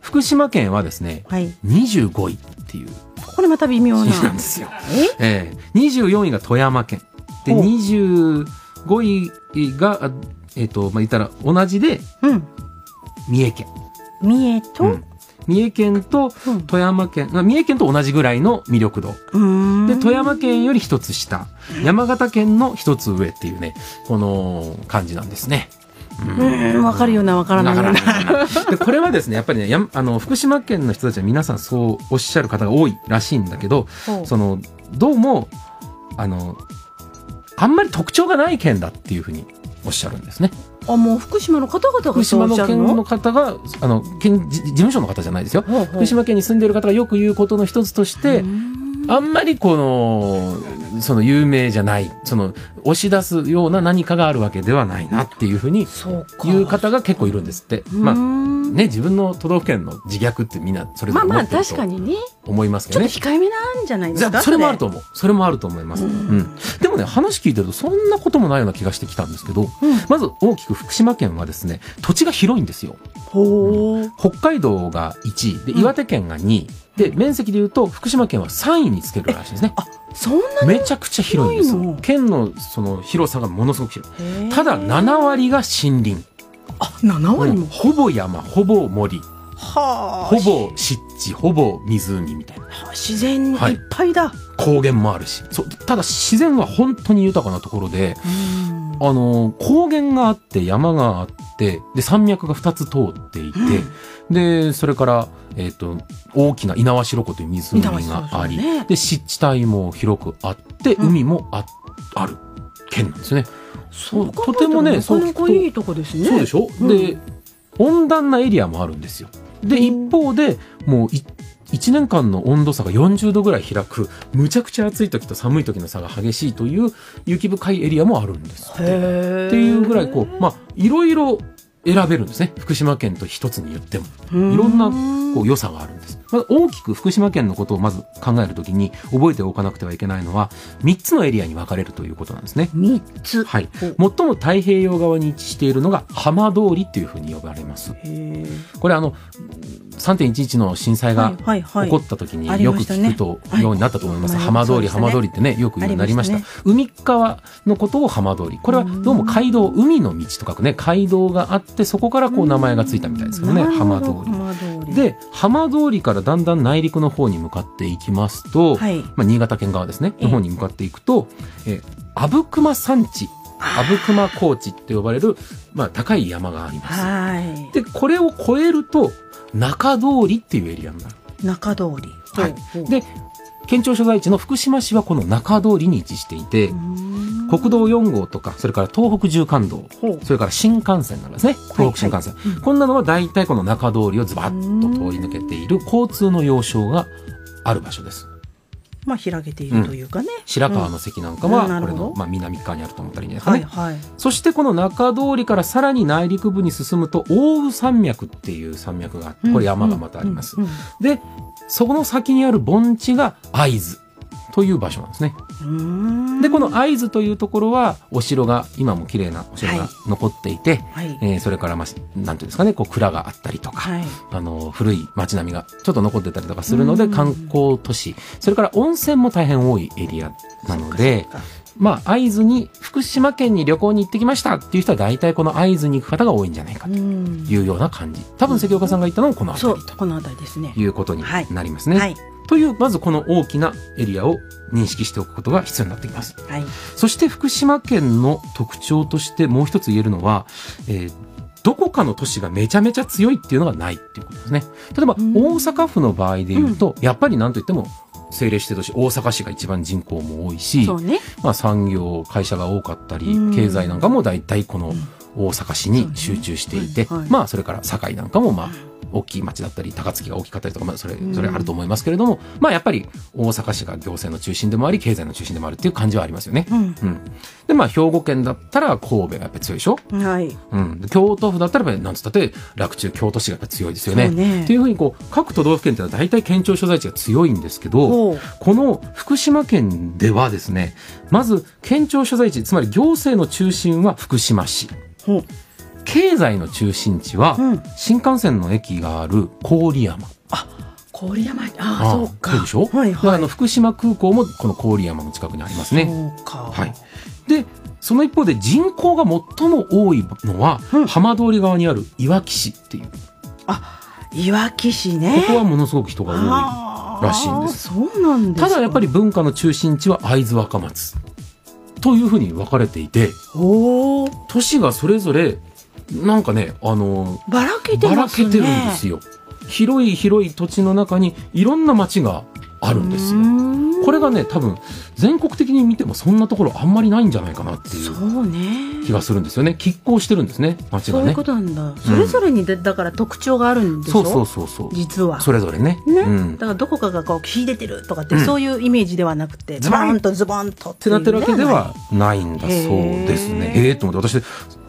S2: 福島県はですね、
S1: はい。
S2: 25位っていう
S1: これまた微妙な。
S2: なんですよ。
S1: え
S2: ええ24位が富山県。で、
S1: ほう
S2: 25位が、あえっ、と、まあ、言ったら同じで
S1: うん。
S2: 三重県。
S1: 三重
S2: う
S1: と
S2: ん、三重県と
S1: うん
S2: 富山県、まあ三重県と同じぐらいの魅力度。
S1: うー
S2: で、
S1: ん
S2: 富山県より一つ下、山形県の一つ上っていうね、この感じなんですね。
S1: うーん、わかるような、わからないよう
S2: だ
S1: な。
S2: からでこれはですね、やっぱりね、やんあの、福島県の人たちは皆さんそうおっしゃる方が多いらしいんだけど、
S1: ほう
S2: その、どうも、あの、あんまり特徴がない県だっていうふうにおっしゃるんですね。
S1: あ、もう福島の方々
S2: 福
S1: がそ
S2: 島
S1: うおっし
S2: の
S1: ゃる
S2: 県の
S1: の
S2: 方が、あの、県じ事務所の方じゃないですよ。
S1: ほうほう
S2: 福島県に住んでる方がよく言うことの一つとして
S1: うー、ん
S2: あんまりこの、その有名じゃない、その押し出すような何かがあるわけではないなっていうふうに
S1: そうか。
S2: 言う方が結構いるんですって。ま
S1: うー
S2: あ
S1: ん
S2: ね、自分の都道府県の自虐ってみんなそれぞ
S1: まあ
S2: れ
S1: ま
S2: 思
S1: あ、
S2: ってる
S1: 確
S2: と
S1: かにね。
S2: 思いますけ
S1: ちょ
S2: ど
S1: っと
S2: ね。
S1: 控えめなんじゃないで
S2: じゃ
S1: すか
S2: あそれもあると思う。それもあると思います。うん。でもね、話聞いてるとそんなこともないような気がしてきたんですけど、
S1: うん
S2: まず大きく福島県はですね、土地が広いんですよ。
S1: ほう。
S2: 北海道が1位、
S1: う
S2: で、
S1: ん
S2: 岩手県が2位、で、面積で言うと福島県は3位につけるらしいですね。
S1: そんな
S2: めちゃくちゃ広いんです
S1: 広い
S2: よ
S1: の。
S2: 県のその広さがものすごく広い。
S1: に
S2: ただ
S1: へ
S2: 7
S1: ー
S2: 割が森林。
S1: あ、7割も。
S2: ほぼ山、ほぼ森、
S1: はあ。
S2: ほぼ湿地、ほぼ湖みたいな。
S1: はあ自然いっぱいだ。
S2: 高原もあるし。そう。ただ自然は本当に豊かなところで、
S1: うん
S2: あのー高原があって山があってで山脈が2つ通っていて、でそれから、えっと大きな猪苗代湖という湖
S1: 猪苗代湖
S2: があり、
S1: ね
S2: で湿地帯も広くあって
S1: うん
S2: 海もあ,、ある県なんですね。
S1: そう考えたら
S2: とてもね
S1: なかなかいいとこですね。
S2: そうでしょ、
S1: うん
S2: で温暖なエリアもあるんですよ。で
S1: うん
S2: 一方でもうい1年間の温度差が40度ぐらい開くむちゃくちゃ暑い時と寒い時の差が激しいという雪深いエリアもあるんですって。
S1: へー
S2: っていうぐらいこう、まあ、いろいろ選べるんですね。福島県と一つに言っても。いろんなこう良さがあるんです。まず大きく福島県のことをまず考えるときに覚えておかなくてはいけないのは、3つのエリアに分かれるということなんですね。
S1: 三つ。
S2: はい。最
S1: お
S2: も太平洋側に位置しているのが浜通りっていうふうに呼ばれます。
S1: へー
S2: これあの、3.11の震災が
S1: はいはいは
S2: 起
S1: い
S2: こった時に
S1: あり
S2: よ
S1: ま
S2: く
S1: した
S2: 聞
S1: ね
S2: くと
S1: はい
S2: ようになったと思います。
S1: はい
S2: 浜通り、
S1: そうですね
S2: 浜通りってね、よく言うようになりました。
S1: ありま
S2: 海側のことを浜通り。これはどうも街道、海の道と書くね、街道があって、そこからこう名前がついたみたいですけどね、
S1: なるほ
S2: 浜通
S1: ど
S2: り。
S1: 浜通り。、
S2: で、浜通りからだんだん内陸の方に向かっていきますと、
S1: はい。
S2: まあ、新潟県側ですね、
S1: ええ
S2: の方に向かっていくと、えー、阿武隈山地、阿武隈高地って呼ばれる、まあ、高い山があります。
S1: は
S2: で、これを越えると、中通りっていうエリアになる。
S1: い。中通り。
S2: はい
S1: ほう。ほう
S2: で、県庁所在地の福島市はこの中通りに位置していて
S1: う、ん
S2: 国道4号とか、それから東北縦貫道、
S1: ほう
S2: それから新幹線なんですね。東北新幹線。こんなのは大体この中通りをズバッと通り抜けている交通の要衝がある場所です。
S1: まあ、広げているというかね。
S2: 白川の関なんか
S1: うんな
S2: は、
S1: る
S2: こ
S1: ほ
S2: れ
S1: ど
S2: の、まあ、南側にあると思ったらいいんじゃないですか
S1: は
S2: ね。
S1: いはい。
S2: そしてこの中通りからさらに内陸部に進むと、大宇山脈っていう山脈があって、これ山がまたあります
S1: うん。うん
S2: で、そこの先にある盆地が会津という場所なんですね。
S1: うん
S2: で、この会津というところは、お城が、今も綺麗なお城
S1: は
S2: が
S1: い
S2: 残っていて、
S1: はい。
S2: えーそれから、まあ、なんていうんですかね、こう、蔵があったりとか、
S1: はい。
S2: あの、古い街並みがちょっと残ってたりとかするの
S1: う
S2: で、
S1: ん
S2: 観光都市、それから温泉も大変多いエリアなので
S1: そっか、
S2: まあ、会津に、福島県に旅行に行ってきましたっていう人は大体この会津に行く方が多いんじゃないか
S1: う
S2: と
S1: ん
S2: いうような感じ。多分関岡さんが言ったのはこの
S1: そ
S2: 辺
S1: う
S2: りと
S1: この辺りですね
S2: いうことに
S3: はい
S2: なりますね。
S3: はい
S2: という、まずこの大きなエリアを認識しておくことが必要になってきます。
S3: はい
S2: そして福島県の特徴としてもう一つ言えるのは、えーどこかの都市がめちゃめちゃ強いっていうのがないっていうことですね。例えば大
S1: うん
S2: 阪府の場合で言うと、やっぱりなんといっても政令指定都市大阪市が一番人口も多いし、
S1: そうね
S2: まあ、産業会社が多かったり、
S1: うん
S2: 経済なんかも大体この
S1: ん
S2: 大阪市に集中していて、
S1: そうねはい
S2: まあそれから堺なんかもまあ大きい町だったり高槻が大きかったりとか、まあ、それ
S1: うん
S2: それあると思いますけれども、まあやっぱり大阪市が行政の中心でもあり経済の中心でもあるっていう感じはありますよね。
S1: うん
S2: うん、でまあ兵庫県だったら神戸がやっぱり強いでしょ、
S3: はい
S2: うん、で京都府だったらやっぱりなんつったって洛中京都市がやっぱり強いですよね。
S1: そうね
S2: っていうふうにこう各都道府県ってのは大体県庁所在地が強いんですけど、
S1: ほう
S2: この福島県ではですね、まず県庁所在地、つまり行政の中心は福島市。
S1: ほう
S2: 経済の中心地は
S1: うん、
S2: 新幹線の駅がある郡山。
S1: 郡山ああそうか
S2: でしょ、
S1: はい
S2: だから
S1: は
S2: あの福島空港もこの郡山の近くにあります
S1: い
S2: ね。
S1: そうか
S2: はい。で、その一方で人口が最も多いのは、
S1: うん
S2: 浜通り側にあるいわき市っていう。こ
S3: いわき市ね
S2: こはものすごく人が多い。
S1: あ
S2: らしいんです
S1: あーそうなんです
S2: た
S1: か
S2: だやっぱり文化の中心地は会津若松。というふうに分かれていて、
S1: おお
S2: 都市がそれぞれなんかねあの
S1: ばらけて
S2: ばら
S1: ます
S2: け
S1: ね
S2: てるんですよ広い広い土地の中にいろんな町があるんですよ
S1: うーん
S2: これがね多分全国的に見てもそんなところあんまりないんじゃないかなってい
S1: そううね
S2: 気がするんですよね拮抗してるんですね町が
S1: そういう
S2: ね
S1: ことなんだ、それぞれにでだから特徴があるんでしょ
S2: そうそうそうそう
S1: 実は
S2: それぞれね
S1: ね
S2: うん、っ
S1: だからどこかがこう秀でてるとかって、
S2: うん
S1: そういうイメージではなくて
S2: ズ
S1: ズ
S2: バン
S1: バンとズバンとって
S2: なってるわけで
S1: いうの
S2: はないんだそうですね
S1: へー
S2: ええと思って私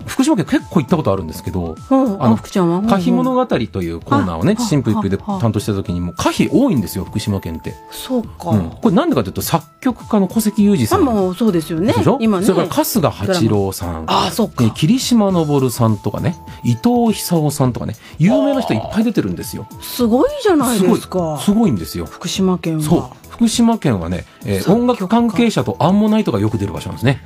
S2: 福島県結構行ったことあるんですけど
S1: ないうん
S2: あ
S1: あ
S2: の
S1: の福ちゃんは
S2: 歌碑物
S1: が
S2: 語というコーナーをね、
S1: ああ
S2: 新婦一婦で
S1: ああ
S2: 担当した時にも、歌碑多いんですよ、福島県って。
S1: そうか、
S2: うんこれなんでかというと、作曲家の小関裕二さ
S1: あ
S2: ん。
S1: もうそうですよね
S2: でしょ
S1: 今ね
S2: それから春日八郎さん。
S1: ああそうか
S2: ね霧島昇さんとかね、伊藤久夫さんとかね、有名な人いっぱい出てるんですよ。
S1: すごいじゃない
S2: すご
S1: で
S2: い
S1: すか、
S2: すごいんですよ。
S1: 福島県は
S2: そう。福島県はね、えー
S1: 作曲家
S2: 音楽関係者とアンモナイトがよく出る場所なんで すね。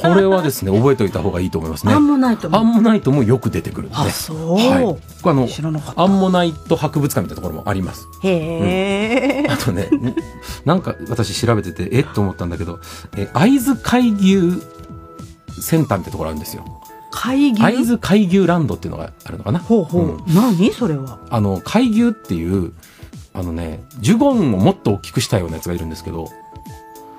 S2: これはですね、覚えておいた方がいいと思いますね。
S1: なんもないと思
S2: ア
S1: う
S2: ンモナイトもよく出てくるんですね。
S1: あそう
S2: はい。あの、
S1: 知らなかった
S2: アンモナイト博物館みたいなところもあります。
S1: へえ、
S2: あとね、んなんか私調べてて、えっと思ったんだけど、え、会津海牛センターみたいなところあるんですよ。
S1: 会議
S2: 会津海牛ランドっていうのがあるのかな。
S1: ほうほう、
S2: うん
S1: 何それは
S2: あの、海牛っていう、あのね、ジュゴンをもっと大きくしたようなやつがいるんですけど、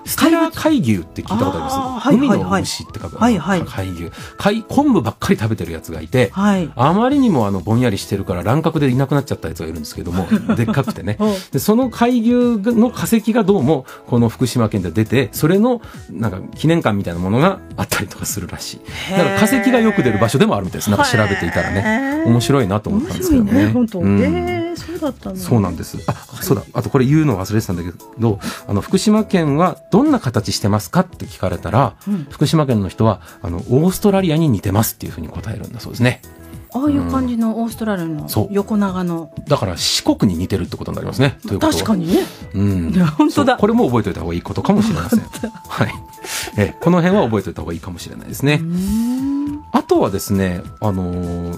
S2: ステラ海牛って聞いたことあります、
S1: あーはいはいはい
S2: 海の虫って書く、
S1: はいはい
S2: 海牛海。昆布ばっかり食べてるやつがいて、
S1: はい
S2: あまりにもあのぼんやりしてるから乱獲でいなくなっちゃったやつがいるんですけど も、でっかくてね。
S1: ほう
S2: で、その海牛の化石がどうも、この福島県で出て、それの、なんか、記念館みたいなものがあったりとかするらしい。だから化石がよく出る場所でもあるみたいです。なんか調べていたらね。
S1: へー
S2: 面白いなと思っ
S1: 面
S2: たんです
S1: 白
S2: け
S1: い
S2: どね。
S1: ね本当、
S2: うん
S1: えーそうだったの
S2: そうなんです。あ、そうだ。あとこれ言うの忘れてたんだけど、あの、福島県はどんな形してますかって聞かれたら、
S1: うん
S2: 福島県の人は、あの、オーストラリアに似てますっていうふうに答えるんだそうですね。
S1: ああいう感じのオーストラリアの
S2: そう
S1: 横長の、
S2: だから四国に似てるってことになりますね。ということは
S1: 確かにね
S2: うん
S1: いや本当だ
S2: そうこれも覚えておいた方がいいことかもしれませ ん。はい。えーこの辺は覚えておいた方がいいかもしれないですね。あとはですね、あのー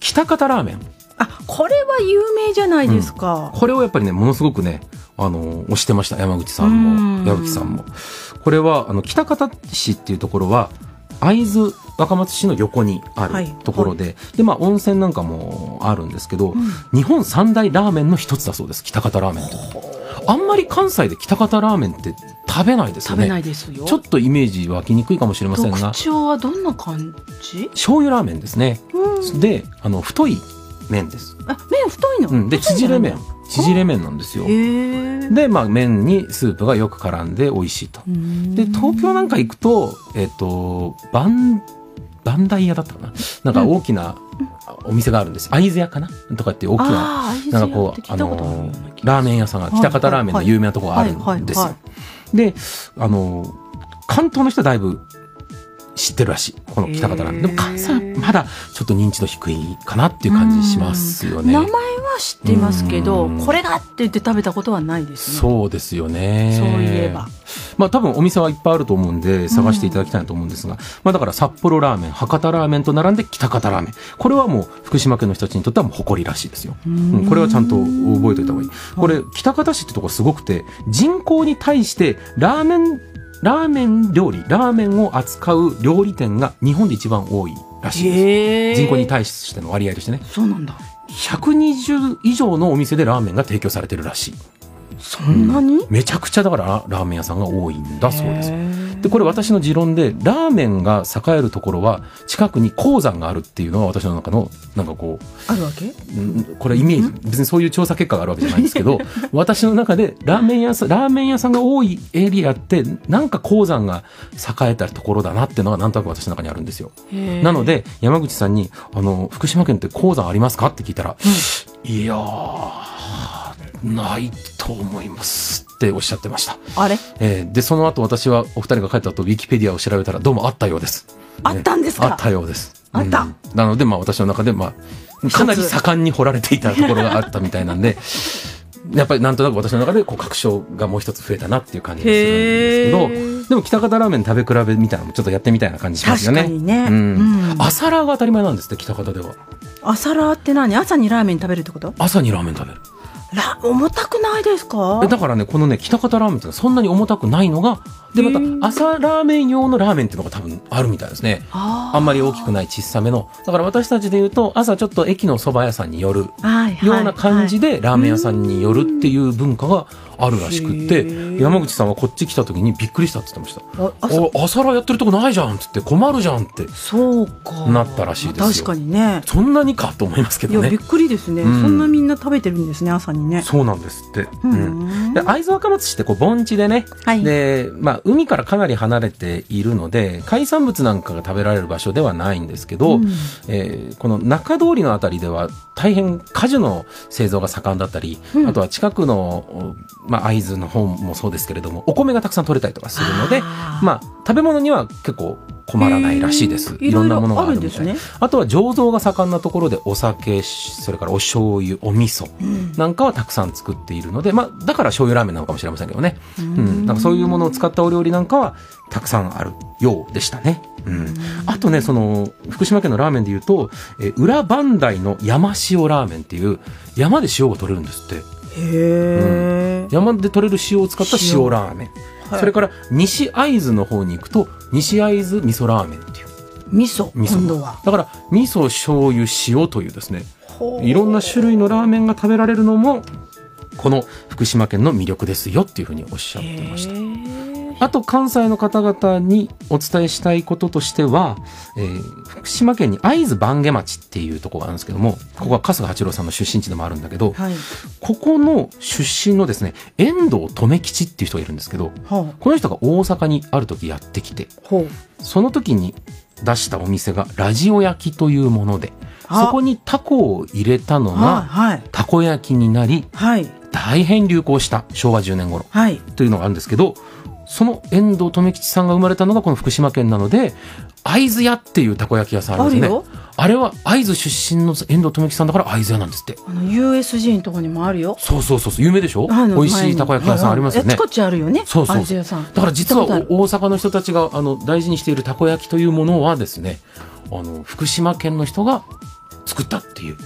S2: 北方ラーメン。
S1: あこれは有名じゃないですか、
S2: これをやっぱりね、ものすごくね、あのー推してました。山口さん
S1: う
S2: も、
S1: ん
S2: 矢吹さんも。これは、あの、北方市っていうところは、会津若松市の横にあ
S1: は
S2: る
S1: い
S2: ところで、で、まあ、温泉なんかもあるんですけど、
S1: ん
S2: 日本三大ラーメンの一つだそうです。北方ラーメンって。あんまり関西で北方ラーメンって食べないですよ
S1: 食べな
S2: ね。
S1: いですよ
S2: ちょっとイメージ湧きにくいかもしれませんが
S1: 特、徴はどんな感じ、
S2: 醤油ラーメンですね。
S1: うん、
S2: で、あの、太い麺です。
S1: あ麺太いの、
S2: うん。で、縮れ麺
S1: へ。
S2: 縮れ麺なんですよ。
S1: え
S2: で、まあ、麺にスープがよく絡んで美味しいと。で、東京なんか行くと、えっ、と、バン、バンダイ屋だったかななんか大きなお店があるんです。会津屋かなとかっていう大きな、
S1: あー
S2: なんかこう、
S1: 聞
S2: あ
S1: いたことあるよ
S2: の
S1: うな気が
S2: ー、ラーメン屋さんが、北方ラーメンの有名なとこがあるんですよ
S1: は。
S2: で、あのー、関東の人はだいぶ知ってるらしい。この喜多方ラーメン。でも
S3: へー
S2: 関西はまだちょっと認知度低いかなっていう感じしますよね
S1: 名。前は知っていますけど
S2: うん
S1: これだって言って食べたことはないですね
S2: そうですよね。
S1: そういえば。
S2: まあ多分お店はいっぱいあると思うんで探していただきたいなと思うんですが、まあだから札幌ラーメン、博多ラーメンと並んで喜多方ラーメン。これはもう福島県の人たちにとってはもう誇りらしいですよ。うん、これはちゃんと覚えておいた方がいい。これ、喜多方市ってとこすごくて、人口に対してラーメン、ラーメン料理、ラーメンを扱う料理店が日本で一番多いらしいです。
S1: へえ
S2: 人口に対しての割合としてね。
S1: そうなんだ
S2: 120以上のお店でラーメンが提供されてるらしい。
S1: そんなに
S2: めちゃくちゃだからララーメン屋さんが多いんだそうです
S1: へ。ー
S2: で、これ私の持論で、ラーメンが栄えるところは、近くに鉱山があるっていうのは私の中の、なんかこ
S3: あるわけ
S2: う、んこれイメージ、別にそういう調査結果があるわけじゃないんですけ ど、私の中で、ラーメン屋さん、ラーメン屋さんが多いエリアって、なんか鉱山が栄えたところだなっていうのが、なんとなく私の中にあるんですよ。
S1: へー
S2: なので、山口さんに、あの、福島県って鉱山ありますかって聞いたら、いやー、ないと思いますっておっしゃってました。
S1: あれ
S2: えーで、その後私はお二人が帰った後、ウィキペディアを調べたら、どうもあったようです。
S1: あったんですか
S2: あったようです。
S1: あった
S2: うんなので、まあ私の中で、まあ、かなり盛んに掘られていたところがあったみたい なんで、やっぱりなんとなく私の中で、こう、確証がもう一つ増えたなっていう感じがするん
S1: へ
S2: ですけど、
S1: ー
S2: でも、北方ラーメン食べ比べみたいなのもちょっとやってみたいな感じしますよね。
S3: 確かにね
S2: うん
S3: うん
S2: 朝ラーが当たり前なんですって、北方では。
S1: 朝ラーって何朝にラーメン食べるってこと
S2: 朝にラーメン食べる。
S1: ラ重たくないですか
S2: えだからね、このね、北方ラーメンっていうのはそんなに重たくないのが、で、ま
S1: へ
S2: た
S1: ー
S2: 朝ラーメン用のラーメンっていうのが多分あるみたいですね。
S1: あー
S2: あんまり大きくない小さめの。だから私たちで言うと、朝ちょっと駅の蕎麦屋さんに寄るよ
S1: はいはいう
S2: な感じでラーメン屋さんに寄るっていう文化があるらしくって、
S3: へー
S2: 山口さんはこっち来た時にびっくりしたって言ってました。
S3: ああ
S2: お朝ラーやってるとこないじゃんって言って困るじゃんって。
S3: そうか
S2: なったらしいですよ
S3: 確かにね
S2: そんなにかと思いますけ
S3: いや
S2: ど
S3: びっ
S2: ね。
S3: くりですね、
S2: うん
S3: そんなみんな食べてるんですね朝にね
S2: そうなんですって。
S3: う
S2: うん
S3: ん
S2: で会津若松市ってこう盆地でね、
S3: はい
S2: で、まあ、海からかなり離れているので海産物なんかが食べられる場所ではないんですけど、
S3: うん
S2: えーこの中通りのあたりでは大変果樹の製造が盛んだったり、
S3: うん
S2: あとは近くの、おまあ、会津の方もそうですけれどもお米がたくさん取れたりとかするので
S3: あー
S2: まあ、食べ物には結構困らないらしいです
S1: へ。ー
S2: いろんなものがあるみ
S1: い
S2: た
S1: ろ
S2: い
S1: いろあるん
S2: な
S1: です。
S2: あとは醸造が盛んなところでお酒、それからお醤油、お味噌なんかはたくさん作っているので、まあ、だから醤油ラーメンなのかもしれませんけどね。うん。なんかそういうものを使ったお料理なんかはたくさんあるようでしたね。うん。あとね、その、福島県のラーメンで言うと、えー裏磐梯の山塩ラーメンっていう、山で塩を取れるんですって。
S3: へえ、
S2: 山で取れる塩を使った塩ラーメン、
S3: 塩はい
S2: それから西会津の方に行くと西会津味噌ラーメンっていう
S3: 味噌
S2: 味噌
S3: 今度は
S2: だから味噌醤油塩というですね
S3: ほう
S2: いろんな種類のラーメンが食べられるのもこの福島県の魅力ですよっていうふうにおっしゃってましたあと関西の方々にお伝えしたいこととしては、えー福島県に会津番下町っていうところがあるんですけどもここは春日八郎さんの出身地でもあるんだけど、
S3: はい
S2: ここの出身のですね遠藤留吉っていう人がいるんですけど
S3: ほう
S2: この人が大阪にある時やってきて
S3: ほう
S2: その時に出したお店がラジオ焼きというもので
S3: あ
S2: そこにタコを入れたの
S3: は
S2: が
S3: い
S2: たこ焼きになり
S3: はいはい
S2: 大変流行した昭和10年頃
S3: はい
S2: というのがあるんですけどその遠藤留吉さんが生まれたのがこの福島県なので会津屋っていうたこ焼き屋さんあるんで
S3: あ
S2: すね
S3: るよ
S2: あれは会津出身の遠藤留吉さんだから会津屋なんですって
S1: あの USG のとこにもあるよ
S2: そうそうそうそう有名でしょ
S3: あの
S2: 美味しいたこ焼き屋さんありますよね
S3: あちこちあるよね
S2: そうそう
S1: あつやさん
S2: だから実は
S1: 行ったこ
S2: お大阪の人たちがあの大事にしているたこ焼きというものはですねあの福島県の人が作ったっていう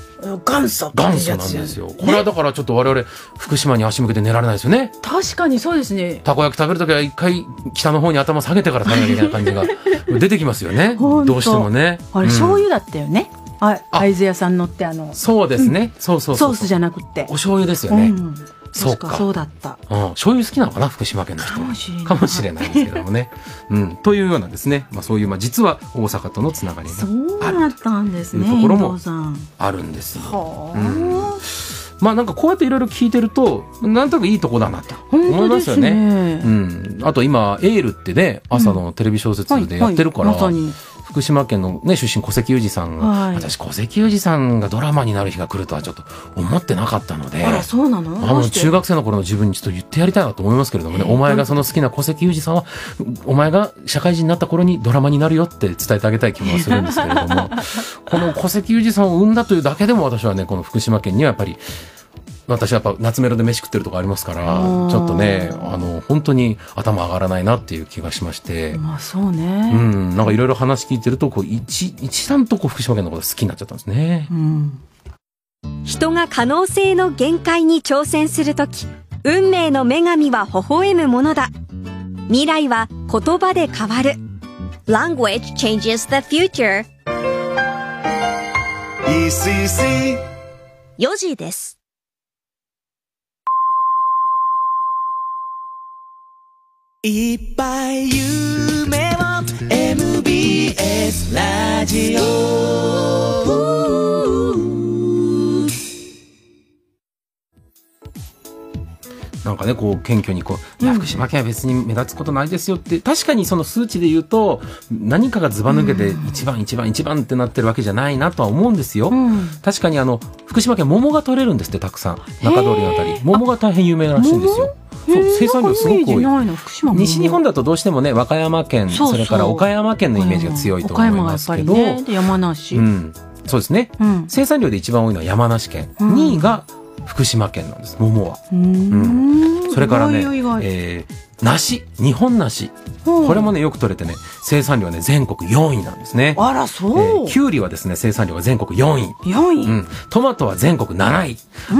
S3: 元祖
S2: 元祖なんですよ、これはだからちょっと我々福島に足向けて寝られないですよね
S1: 確かにそうですね
S2: たこ焼き食べるときは一回北の方に頭下げてから食べなきゃいけない感じ が出てきますよねど
S1: ほんと
S2: うしてもね
S1: あれ
S2: うん
S1: 醤油だったよね、あ
S2: あ
S1: 会津屋さんのってあの
S2: そうですね、そうそう
S1: ソ
S2: そ
S1: ー
S2: う
S1: スじゃなくって
S2: お醤油ですよね、
S3: うん
S2: そう
S1: 確
S2: か
S1: かそうだった
S2: うん、醤油好きなのかな福島県の人は
S1: かもしれない
S2: かもしれないですけどもね、 うん、というようなですね、まあ、そういう、まあ、実は大阪とのつながりが
S3: そうだったんですね
S2: というところも
S3: 遠藤さん
S2: あるんですよ
S3: はあ、
S2: まあなんかこうやっていろいろ聞いてるとなんとなくいいとこだなと思い
S1: 本当
S2: ま
S1: です
S2: よ
S1: す
S2: ね。
S1: ね
S2: うん、あと今エールってね朝のテレビ小説でやってるから、
S1: はいはいまさに
S2: 福島県の、ね、出身、戸籍裕二さんが、
S3: はい
S2: 私、戸籍裕二さんがドラマになる日が来るとはちょっと思ってなかったので、
S3: あら、そうなの
S2: あ
S3: どう
S2: の
S3: して
S2: 中学生の頃の自分にちょっと言ってやりたいなと思いますけれどもね、お前がその好きな戸籍裕二さんは、お前が社会人になった頃にドラマになるよって伝えてあげたい気もするんですけれども、この戸籍裕二さんを生んだというだけでも私はね、この福島県にはやっぱり、私はやっぱ夏メロで飯食ってるとこありますから、ち
S3: ー
S2: ょっとね、あの、本当に頭上がらないなっていう気がしまして、
S3: まあ、そう
S2: う
S3: ね。
S2: ん、なんかいろいろ話聞いてると、こう、一、一段とこう福島県のこと好きになっちゃったんですね。
S3: うん。
S4: 人が可能性の限界に挑戦するとき、運命の女神は微笑むものだ。未来は言葉で変わる。Language changes the future.
S5: ECC
S4: 4時です。
S5: いっぱい夢を MBS ラジオ
S2: なんかね、こう、謙虚にこう、いや、福島県は別に目立つことないですよって、確かにその数値で言うと、何かがずば抜けて、一番一番一番ってなってるわけじゃないなとは思うんですよ。
S3: うん。
S2: 確かにあの、福島県桃が取れるんですって、たくさん。中通りのあたり。桃が大変有名らしいんですよ。そう、生産量すごく多い。
S3: ないの、福島も。
S2: 西日本だとどうしてもね、和歌山県、
S3: そうそう
S2: それから岡山県のイメージが強いと思いますけど、
S3: 岡山がやっぱりね、で山梨。
S2: う
S3: うん。
S2: ん。そうですね。生産量で一番多いのは山梨県。
S3: うん
S2: 2位が福島県なんです、桃は。
S3: うん
S2: それからね
S3: 意外よ意、外
S2: えー、梨、日本梨。
S3: うん
S2: これもね、よく取れてね、生産量はね、全国4位なんですね。
S3: あら、
S2: え
S3: そう
S2: ー、。きゅうりはですね、生産量が全国4位。
S3: 4
S2: う
S3: 位。
S2: ん、トマトは全国7位、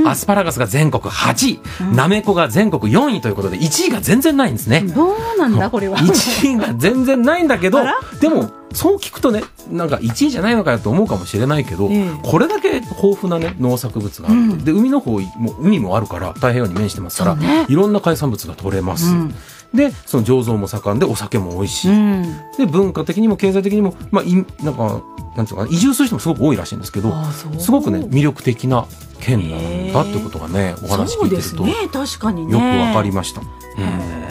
S2: アスパラガスが全国8位、なめこが全国4位ということで、1位が全然ないんですね。
S3: どうなんだ、これは。
S2: 1位が全然ないんだけど
S3: あら、
S2: でも、そう聞くとね、なんか1位じゃないのかよと思うかもしれないけど、
S3: ええ
S2: これだけ豊富なね、農作物があって、
S3: うん
S2: で、海の方、もう海もあるから、太平洋に面してますから、
S3: そうね
S2: いろんな海産物が取れます。
S3: うん
S2: で、その醸造も盛んで、お酒も美味しい。
S3: うん。
S2: で、文化的にも経済的にも、まあ、いなんか、なんていうのかな、移住する人もすごく多いらしいんですけど、
S3: あそう
S2: すごくね、魅力的な県なんだってことがね、お話聞いてると。
S3: そうですね、確かにね。
S2: よくわかりました。うん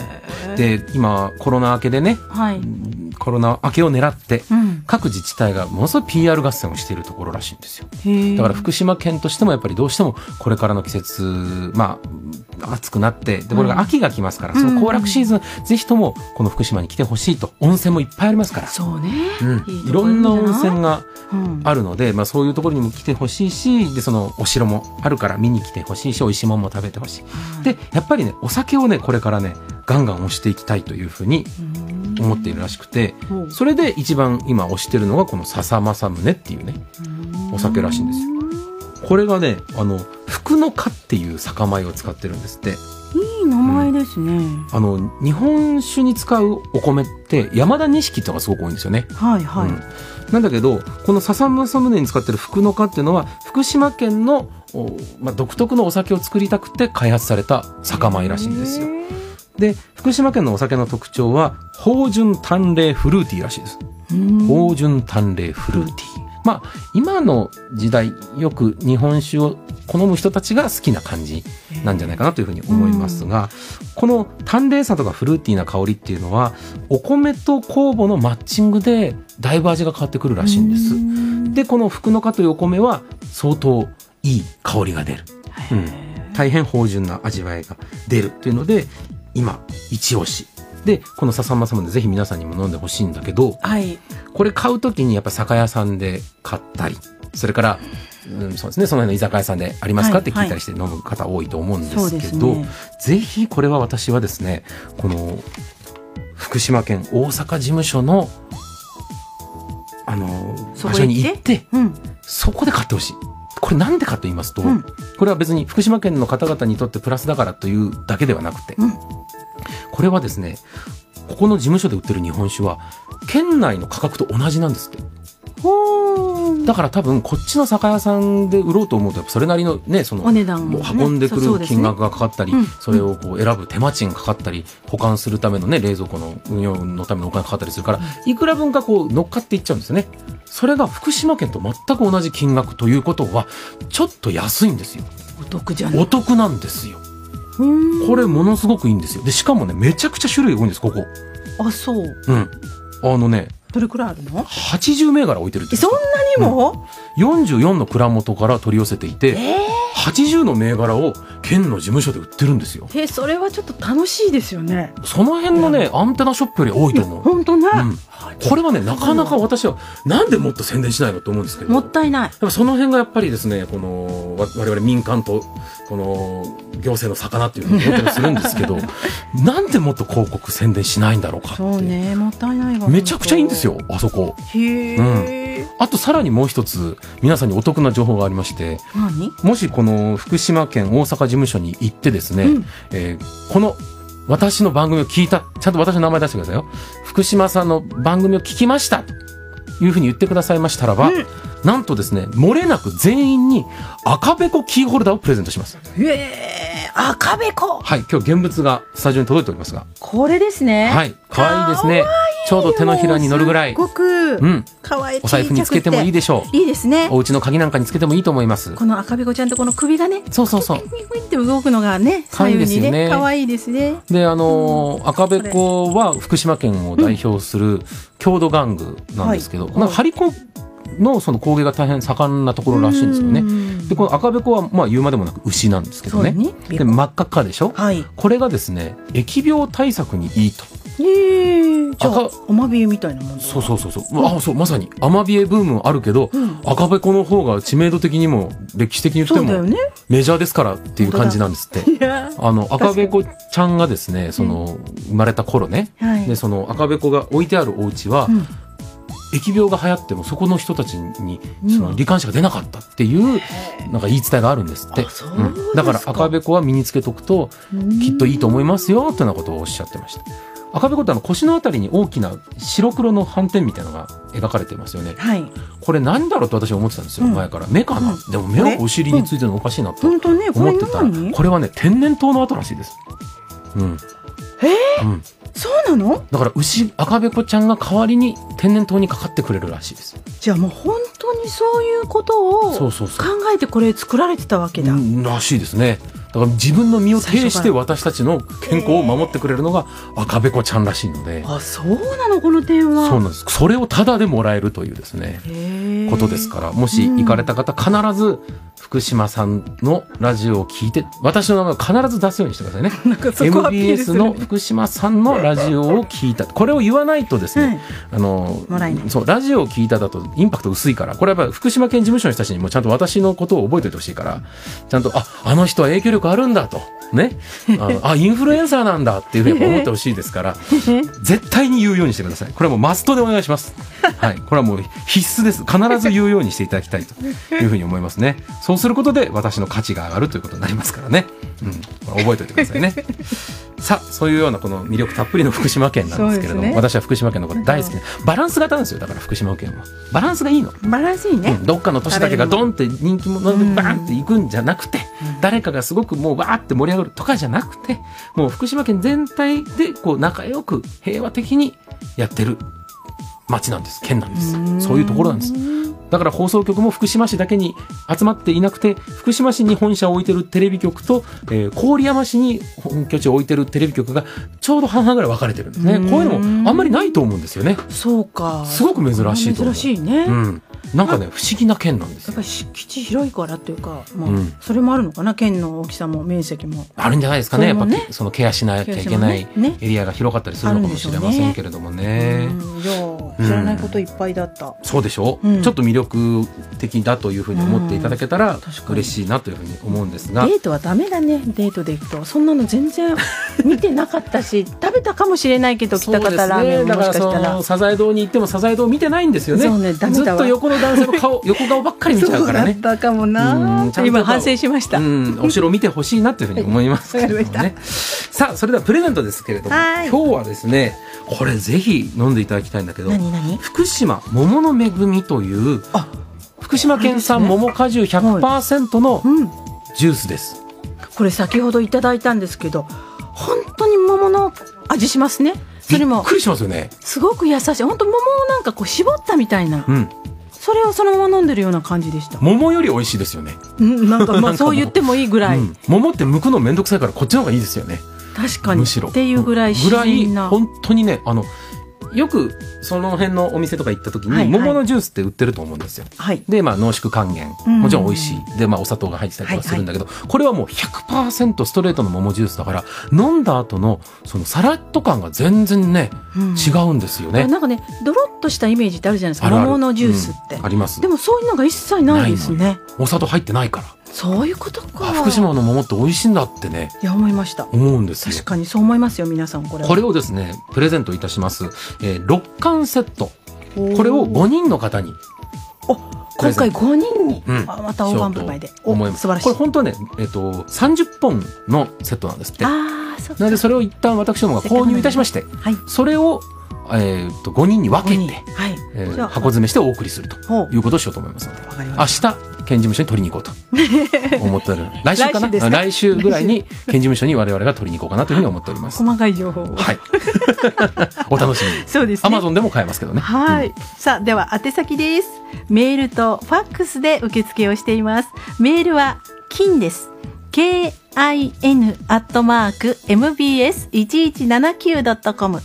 S2: で、今、コロナ明けでね、
S3: はい。
S2: コロナ明けを狙って、
S3: うん。
S2: 各自治体がものすごい PR 合戦をしているところらしいんですよ。
S3: へえ
S2: だから福島県としてもやっぱりどうしてもこれからの季節、まあ、暑くなって、で、これが秋が来ますから、その行楽シーズン、ぜひともこの福島に来てほしいと、温泉もいっぱいありますから。
S3: そうね。
S2: うん
S3: いい
S2: い
S3: と
S2: ろ
S3: こいい
S2: ん
S3: んじ
S2: な
S3: ゃない
S2: 温泉が
S3: うん。
S2: あるので、まあそういうところにも来てほしいし、で、そのお城もあるから見に来てほしいし、美味しいものも食べてほしい。で、やっぱりね、お酒をね、これからね、ガンガン押していきたいというふうに思っているらしくて、
S3: うん
S2: それで一番今推してるのがこの笹正宗っていうね、お酒らしいんですよ。これがね、あの、福の花っていう酒米を使ってるんですって。
S3: いい名前ですね。
S2: あの、日本酒に使うお米って山田錦ってのがすごく多いんですよね。
S3: はいはい。
S2: うんなんだけどこの笹正宗に使ってる福の花っていうのは福島県の、おまあ、独特のお酒を作りたくて開発された酒米らしいんですよで福島県のお酒の特徴は芳醇淡麗フルーティーらしいです
S3: うん
S2: 芳醇淡麗フルーティーまあ今の時代よく日本酒を好む人たちが好きな感じなんじゃないかなというふうに思いますが、この淡麗さとかフルーティーな香りっていうのはお米と酵母のマッチングでだいぶ味が変わってくるらしいんです。でこの福の花というお米は相当いい香りが出る、うん、大変芳醇な味わいが出るというので今一押しでこの笹間様でぜひ皆さんにも飲んでほしいんだけど
S3: はい。
S2: これ買うときにやっぱ酒屋さんで買ったりそれから、うん、そうですねその辺の居酒屋さんでありますか、
S3: はい
S2: って聞いたりして飲む方多いと思うんで
S3: そう
S2: す
S3: で
S2: け
S3: す
S2: ど、
S3: ね
S2: ぜひこれは私はですねこの福島県大阪事務所のあの
S3: そ
S2: 場
S3: こ
S2: 所
S3: へ行って
S2: に行って
S3: うん。
S2: そこで買ってほしい。これなんでかと言いますと、
S3: うん
S2: これは別に福島県の方々にとってプラスだからというだけではなくて、
S3: うん
S2: これはですね、ここの事務所で売ってる日本酒は、県内の価格と同じなんですって。
S3: ほー。
S2: だから多分こっちの酒屋さんで売ろうと思うと、やっぱそれなりのね、その、
S3: お値段
S2: も
S3: も
S2: う
S3: ね
S2: 運んでく
S3: そうそう
S2: る
S3: です
S2: 金
S3: ね
S2: 額がかかったり、
S3: うん
S2: それをこう選ぶ手間賃かかったり、保管するためのね、冷蔵庫の運用のためのお金かかったりするから、いくら分かこう乗っかっていっちゃうんですよね。それが福島県と全く同じ金額ということは、ちょっと安いんですよ。
S3: お得じゃない。
S2: お得なんですよ。
S3: うん
S2: これものすごくいいんですよ。で、しかもね、めちゃくちゃ種類が多いんです、ここ。
S3: あ、そう。
S2: うん。あのね、
S1: どれくらいあるの
S2: 80銘柄置いてるって
S1: えそんなにも、
S2: 44の蔵元から取り寄せていて、80の銘柄を県の事務所で売ってるんですよ
S6: えそれはちょっと楽しいですよね
S2: その辺のねアンテナショップより多いと思う、
S1: 本当ね、
S2: うん、これはねなかなか私はなんでもっと宣伝しないのと思うんですけど
S1: もったいない。
S2: やっぱその辺がやっぱりですね、この、わ我々民間と、この、行政の魚っていうふうに思ったりするんですけ ど、なんでもっと広告宣伝しないんだろうかって。
S1: そうね、もったいないわ。
S2: めちゃくちゃいいんですよ、あそこ。
S1: 本当。へえ、
S2: あとさらにもう一つ、皆さんにお得な情報がありまして、
S1: 何
S2: もしこの福島県大阪事務所に行ってですね、えーこの私の番組を聞いた、ちゃんと私の名前出してくださいよ。福島さんの番組を聞きましたというふうに言ってくださいましたらば、なんとですね、漏れなく全員に赤べこキーホルダーをプレゼントします。
S1: へえ、赤べこ。
S2: はい、今日現物がスタジオに届いておりますが、
S1: これですね。
S2: はい、可愛いですね。ちょうど手のひらに乗るぐらい
S1: すっ、ごく
S2: うん、
S1: 可愛い
S2: お財布につけてもいい
S1: で
S2: でしょう。
S1: いいですね
S2: お家の鍵なんかにつけてもいいと思います。
S1: この赤べこちゃんとこの首がね
S2: そうそうそう。
S1: ウィンウィンって動くのがね
S2: 可愛い
S1: 左
S2: で
S1: 右
S2: す
S1: に
S2: よね
S1: ね可愛いですね
S2: であのー赤べこは福島県を代表する郷土玩具なんですけど、まあ、張り子のその工芸が大変盛んなところらしいんですよね。でこの赤べこはまあ言うまでもなく牛なんですけどね
S1: そうね
S2: で真っ赤っかでしょ、
S1: はい
S2: これがですね疫病対策にいいと
S1: えー、じゃあ
S2: 赤
S1: おまびえみたいなもんだ
S2: そうそうそうそう、あそうまさにアマビエブームはあるけど、赤べこの方が知名度的にも歴史的にして
S1: そうだよ
S2: も
S1: ね
S2: メジャーですからっていう感じなんですって。
S1: いや
S2: あの赤べこちゃんがですねその生まれた頃ね、
S1: はい
S2: でその赤べこが置いてあるお家は、
S1: ん
S2: 疫病が流行ってもそこの人たちにその罹患者が出なかったっていうなんか言い伝えがあるんですって、
S1: そう
S2: う
S1: です
S2: んだから赤べこは身につけとくときっといいと思いますよってなことをおっしゃってました赤べこってあの腰のあたりに大きな白黒の斑点みたいなのが描かれてますよね
S1: はい
S2: これ何だろうと私は思ってたんですよ、前から目かな、でも目はお尻についてるのおかしいなと
S1: 本当ねこ
S2: 思
S1: れ
S2: ってたら
S1: 何
S2: これはね天然痘の跡らしいです。うん、
S1: そうなの
S2: だから牛赤べこちゃんが代わりに天然痘にかかってくれるらしいです。
S1: じゃあもう本当にそういうことを
S2: そう
S1: 考
S2: そうそう
S1: えてこれ作られてたわけだ
S2: うんらしいですね。だから自分の身を挺し
S1: 最初
S2: て
S1: か
S2: 私たちの健康を守ってくれるのが赤べこちゃんらしいので、
S1: あそうなのこの点は
S2: そうなんです。それをタダでもらえるというですね。
S1: へえ
S2: ことですから、もし行かれた方、必ず福島さんのラジオを聞いて、私の名前を必ず出すようにしてくだ さいね。
S1: そこアピール
S2: MBS
S1: するね
S2: の福島さんのラジオを聞いた。これを言わないとですね、あの
S1: もらえな、い
S2: そう、ラジオを聞いただとインパクト薄いから、これはやっぱり福島県事務所の人たちにもちゃんと私のことを覚えておいてほしいから、ちゃんと、あ、あの人は影響力あるんだと。 ね。あのあ、インフルエンサーなんだっていうふうにやっぱ思ってほしいですから、絶対に言うようにしてください。これはもうマストでお願いし ます。はい。これはもう必須です。必ず言うようにしていただきたいというふうに思いますね。そうすることで私の価値が上がるということになりますからね。うん。これ覚えておいてくださいね。さあ、そういうようなこの魅力たっぷりの福島県なんですけれども、
S1: そうですね
S2: 私は福島県のこと大好きで、バランス型なんですよ。だから福島県は。バランスがいいの。
S1: バランスいいね、
S2: うんどっかの都市だけがドンって人気者でバーンって行くんじゃなくて、誰かがすごくもうわーって盛り上がるとかじゃなくて、もう福島県全体でこう仲良く平和的にやってる町なんです、県なんです。そういうところなんです。だから放送局も福島市だけに集まっていなくて、福島市に本社を置いてるテレビ局と、えー郡山市に本拠地を置いてるテレビ局がちょうど半々ぐらい分かれてるんですね。こういうのもあんまりないと思うんですよね。
S1: そうか
S2: すごく珍しいと思う。
S1: 珍しいね、
S2: うん。なんかね、不思議な県なんです
S1: やっ
S2: よ
S1: ぱ。り基地広いからっていうか、まあ
S2: うん
S1: それもあるのかな県の大きさも面積も
S2: あるんじゃないですかね。
S1: そ
S2: や
S1: れ
S2: っ
S1: も
S2: ぱ
S1: ね
S2: そのケアしなきゃいけない
S1: ケアしなねね
S2: エリアが広かったりするのかもしれませんけれどもね。
S1: うんいやー
S2: うん
S1: 知らないこといっぱいだった、
S2: そうでしょ、う
S1: うん
S2: ちょっと魅力的だというふうに思っていただけたら
S1: かに
S2: 嬉しいなというふうに思うんですが、
S1: デートはダメだねデートで行くとそんなの全 然見てなかったし食べたかもしれないけど
S2: そう
S1: 北
S2: で
S1: 方
S2: す
S1: ラーメン
S2: ね。だ
S1: も
S2: から
S1: もしかし
S2: そ
S1: たら
S2: のサザエ堂に行ってもサザエ堂見てないんですよね。
S1: そうねダメ
S2: ずっ
S1: だわ
S2: と横の男性の 顔、横顔ばっかり見ちゃうからね。
S1: たかも
S2: うんちゃんと
S1: 今反省しました、
S2: うん、お城見てほしいなというふうに思いますけれども
S1: はいわ
S2: ね。さあ、それではプレゼントですけれども、今
S1: はい
S2: 日はですね、これぜひ飲んでいただきたいんだけど、
S1: 何何
S2: 福島桃の恵みという福島県産桃果汁100%の
S1: うん
S2: ジュースです。
S1: これ先ほどいただいたんですけど本当に桃の味しますねそれ
S2: びっ
S1: も
S2: くりしますよね。
S1: すごく優しい本当桃をなんかこう絞ったみたいな
S2: うん、
S1: それをそのまま飲んでるような感じでした
S2: 桃より美味しいですよね。
S1: うんなんか
S2: なんか
S1: まあ
S2: もう
S1: そう言ってもいいぐらい、
S2: うん桃って剥くのめんどくさいからこっちの方がいいですよね。
S1: 確かに
S2: むしろ
S1: っていうぐらい
S2: ぐら
S1: 自
S2: い
S1: 然な
S2: 本当にねあのよくその辺のお店とか行った時に、
S3: はいはい
S2: 桃のジュースって売ってると思うんですよ。
S3: はい。
S2: で、まあ、濃縮還元
S3: うん
S2: もちろん美味しいで、まあ、お砂糖が入ってたりとかするんだけど、これはもう100%ストレートの桃ジュースだから飲んだ後のそのサラッと感が全然ね
S3: うん
S2: 違うんですよね。
S3: なんかね、ドロッとしたイメージってあるじゃないです
S2: あ
S3: か。
S2: るある
S3: 桃のジュースって。
S2: うんあります
S3: でもそういうのが一切ないですね。
S2: お砂糖入ってないから
S3: そういうことか。
S2: あ福島の桃って美味しいんだってね
S3: いや、思いました。
S2: 思うんですよ
S3: 確。かにそう思いますよ、皆さん、これは。
S2: これをですねプレゼントいたします、えー、6巻セット
S3: おー
S2: これを5人の方に
S3: 今回5人に、
S2: うん
S3: あまた大盤振る舞いで。
S2: と思い
S3: お
S2: ます
S3: 素晴らしい。
S2: これ本当はね、えっと30本のセットなんですってな
S3: ああ、そう
S2: のでそれを一旦私どもが購入いたしまして
S3: はい。
S2: それを、えー、と5人に分け
S3: 5人。
S2: て、
S3: はい。
S2: えー
S3: じゃあ
S2: 箱詰めしてお送りすると
S3: ほう。
S2: いうことをしようと思いますので
S3: わかり
S2: 明
S3: まし
S2: 日県事務所に取りに行こうと思ってお る来週かな
S3: 来週ですか
S2: 来週ぐらいに県事務所に我々が取りに行こうかなというふうに思っておりま
S3: た。
S2: す
S3: 細かい情報を。
S2: はいお楽しみに
S3: そうですね。
S2: アマゾンでも買えますけどね
S3: はい、さあでは宛先ですメールとファックスで受付をしていますメールは金です kin アットマーク mbs 一一七九ドットコム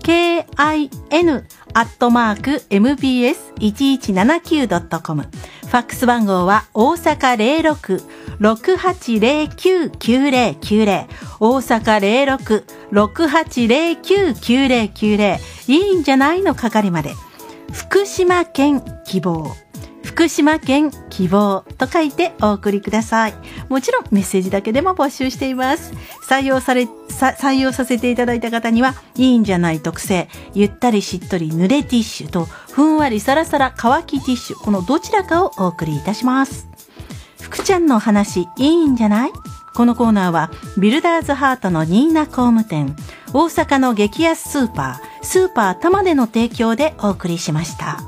S3: kin アットマーク mbs 一一七九ドットコムファックス番号は大阪零六六八零九九零九零大阪零六六八零九九零九零いいんじゃないの係まで福島県希望福島県希望と書いてお送りくださいもちろんメッセージだけでも募集しています採用されさ採用させていただいた方にはいいんじゃない特製ゆったりしっとり濡れティッシュとふんわりさらさら乾きティッシュこのどちらかをお送りいたします福ちゃんの話いいんじゃないこのコーナーはビルダーズハートのニーナ工務店大阪の激安スーパースーパー玉での提供でお送りしました。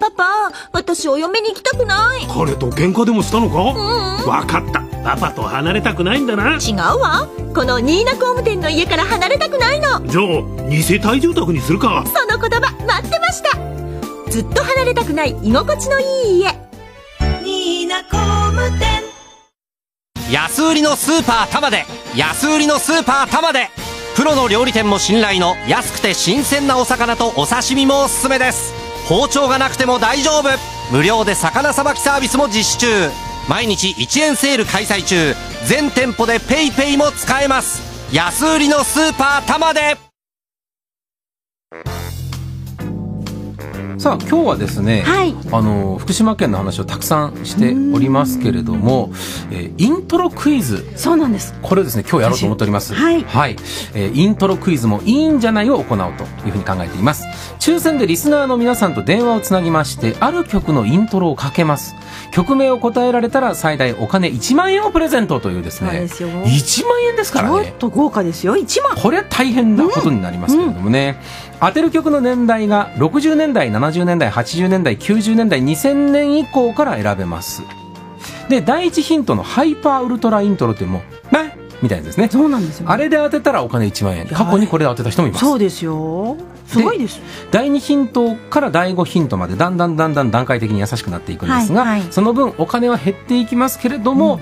S7: パパ、私お嫁に行きたくない。
S8: 彼と喧嘩でもしたのかわかったパパと離れたくないんだなじ
S7: 違うわ。このニーナ工務店の家から離れたくないの。
S8: ゃあ二世帯住宅にするか
S7: その言葉、待ってました。ずっと離れたくない居心地のいい家。ニーナ工務店。
S9: 安売りのスーパー玉で安売りのスーパー玉でプロの料理店も信頼の安くて新鮮なお魚とお刺身もおすすめです包丁がなくても大丈夫無料で魚さばきサービスも実施中毎日1円セール開催中全店舗で PayPay ペイペイも使えます安売りのスーパー玉で
S2: さあ今日はですね、
S3: はい
S2: あの福島県の話をたくさんしておりますけれども、えーイントロクイズ
S3: そうなんです。
S2: これをですね今日やろうと思っております
S3: はい
S2: えーイントロクイズもいいんじゃないを行おうというふうに考えています抽選でリスナーの皆さんと電話をつなぎましてある曲のイントロをかけます曲名を答えられたら最大お金1万円をプレゼントというです
S3: そう
S2: ね
S3: ですよ
S2: 1万円です
S3: ち
S2: から
S3: ょっ
S2: ね
S3: と豪華ですよ。一万。
S2: これは大変なことになりますけれどもね、当てる曲の年代が60年代70年代80年代90年代2000年以降から選べますで第一ヒントのハイパーウルトライントロっていうもうねみたいなやつですね
S3: そうなんですよ。
S2: あれで当てたらお金1万円
S3: や
S2: 過去にこれで当てた人もいます
S3: そうですよ。すごいです。
S2: 第2ヒントから第5ヒントまでだんだんだんだん段階的に優しくなっていくんですが、
S3: はいはい
S2: その分お金は減っていきますけれども、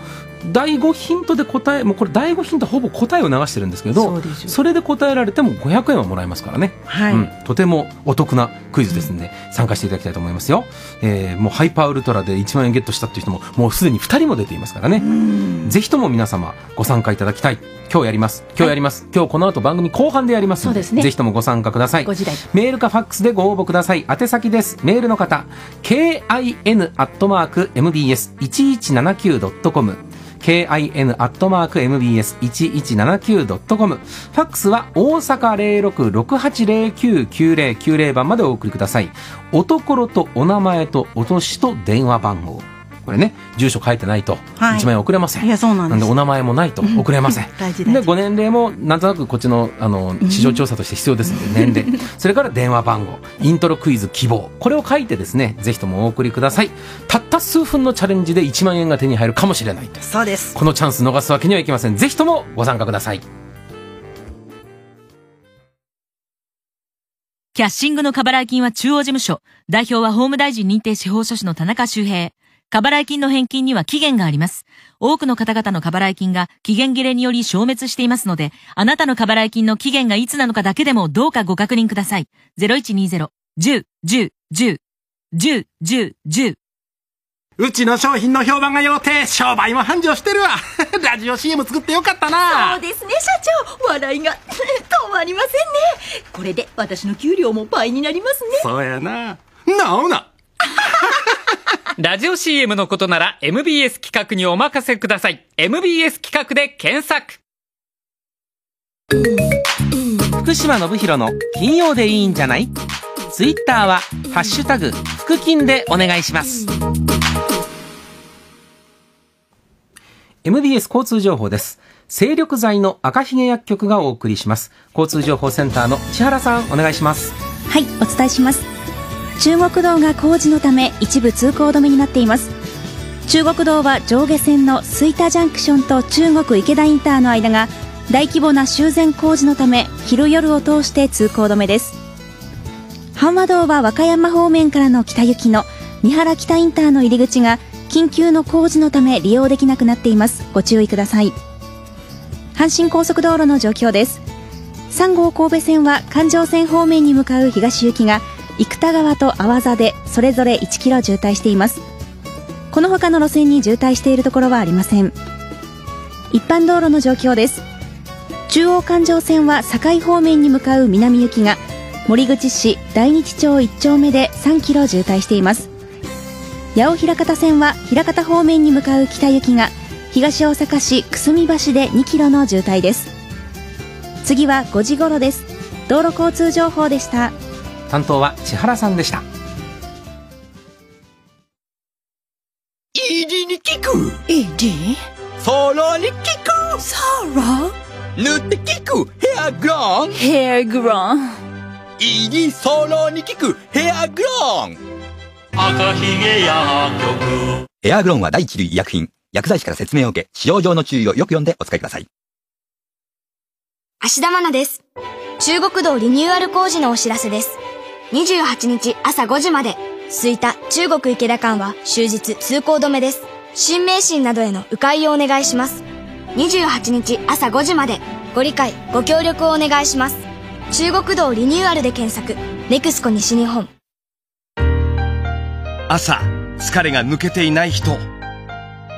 S2: 第5ヒントで答えもうこれ第5ヒントほぼ答えを流してるんですけ
S3: そ
S2: ど
S3: うですよ
S2: れで答えられても500円はもらえますからね、
S3: はい。
S2: うん、とてもお得なクイズですので、参加していただきたいと思いますよ、えーもうハイパーウルトラで1万円ゲットしたっていう人ももうすでに2人も出ていますからね、ぜひとも皆様ご参加いただきたい今日やります今日やります、今日この後番組後半でやりますので
S3: そうですね
S2: ぜひともご参加ください
S3: ご時代
S2: メールかファックスでご応募ください宛先ですメールの方 kin.mbs1179.com kin.mbs1179.com ファックスは大阪0668099090番までお送りくださいおところとお名前とお年と電話番号これね住所書いてないと
S3: はい
S2: 1万円送れません、
S3: いやそうなんです
S2: なんでお名前もないと送れません
S3: 大事大
S2: で
S3: 事
S2: ご年齢もなんとなくこっちのあの市場調査として必要ですので、年 齢それから電話番号イントロクイズ希望これを書いてですねぜひともお送りくださいたった数分のチャレンジで1万円が手に入るかもしれない
S3: そうです。
S2: このチャンス逃すわけにはいきませんぜひともご参加ください
S10: キャッシングの過払い金は中央事務所。代表は法務大臣認定司法書士の田中修平。過払い金の返金には期限があります。多くの方々の過払い金が期限切れにより消滅していますので、あなたの過払い金の期限がいつなのかだけでもどうかご確認ください。0120-10-10-10-10-10-10 10 10
S11: うちの商品の評判が良くて、商売も繁盛してるわ。 ラジオ CM 作ってよかった
S7: そう
S11: な。
S7: ですね社長笑いが 止まりませんねこれで私の給料も倍になりますね
S11: そうやな。なおな。
S12: ラジオ CM のことなら MBS 企画にお任せください。MBS 企画で検索。
S13: 福島信弘の金曜でいいんじゃないツイッターは「ハッシュタグ福金」でお願いします
S2: MBS 交通情報です。精力剤の赤ひげ薬局がお送りします。交通情報センターの千原さん、お願いします。
S14: はい、お伝えします。中国道が工事のため一部通行止めになっています。中国道は上下線の吹田ジャンクションと中国池田インターの間が大規模な修繕工事のため昼夜を通して通行止めです。阪和道は和歌山方面からの北行きの三原北インターの入り口が緊急の工事のため利用できなくなっています。ご注意ください。阪神高速道路の状況です。3号神戸線は環状線方面に向かう東行きが生田川と阿波座でそれぞれ1キロ渋滞していますこの他の路線に渋滞しているところはありません一般道路の状況です中央環状線は堺方面に向かう南行きが森口市大日町1丁目で3キロ渋滞しています八尾枚方線は枚方方面に向かう北行きが東大阪市久住橋で2キロの渋滞です次は5時頃です道路交通情報でした
S2: 担当は千原さんでした。
S15: ED に聞く ED? ソロに聞くソロ塗って聞くヘアグローンヘアグローン ED ソロに聞くヘアグローン
S16: 赤ひげや
S17: エアグロンは第一類医薬品。薬剤師から説明を受け、使用上の注意をよく読んでお使いください。
S18: 芦田愛菜です。中国道リニューアル工事のお知らせです。28日朝5時まで、吹田中国池田間は終日通行止めです。新名神などへの迂回をお願いします。28日朝5時まで、ご理解、ご協力をお願いします。中国道リニューアルで検索、ネクスコ西日本。
S19: 朝疲れが抜けていない人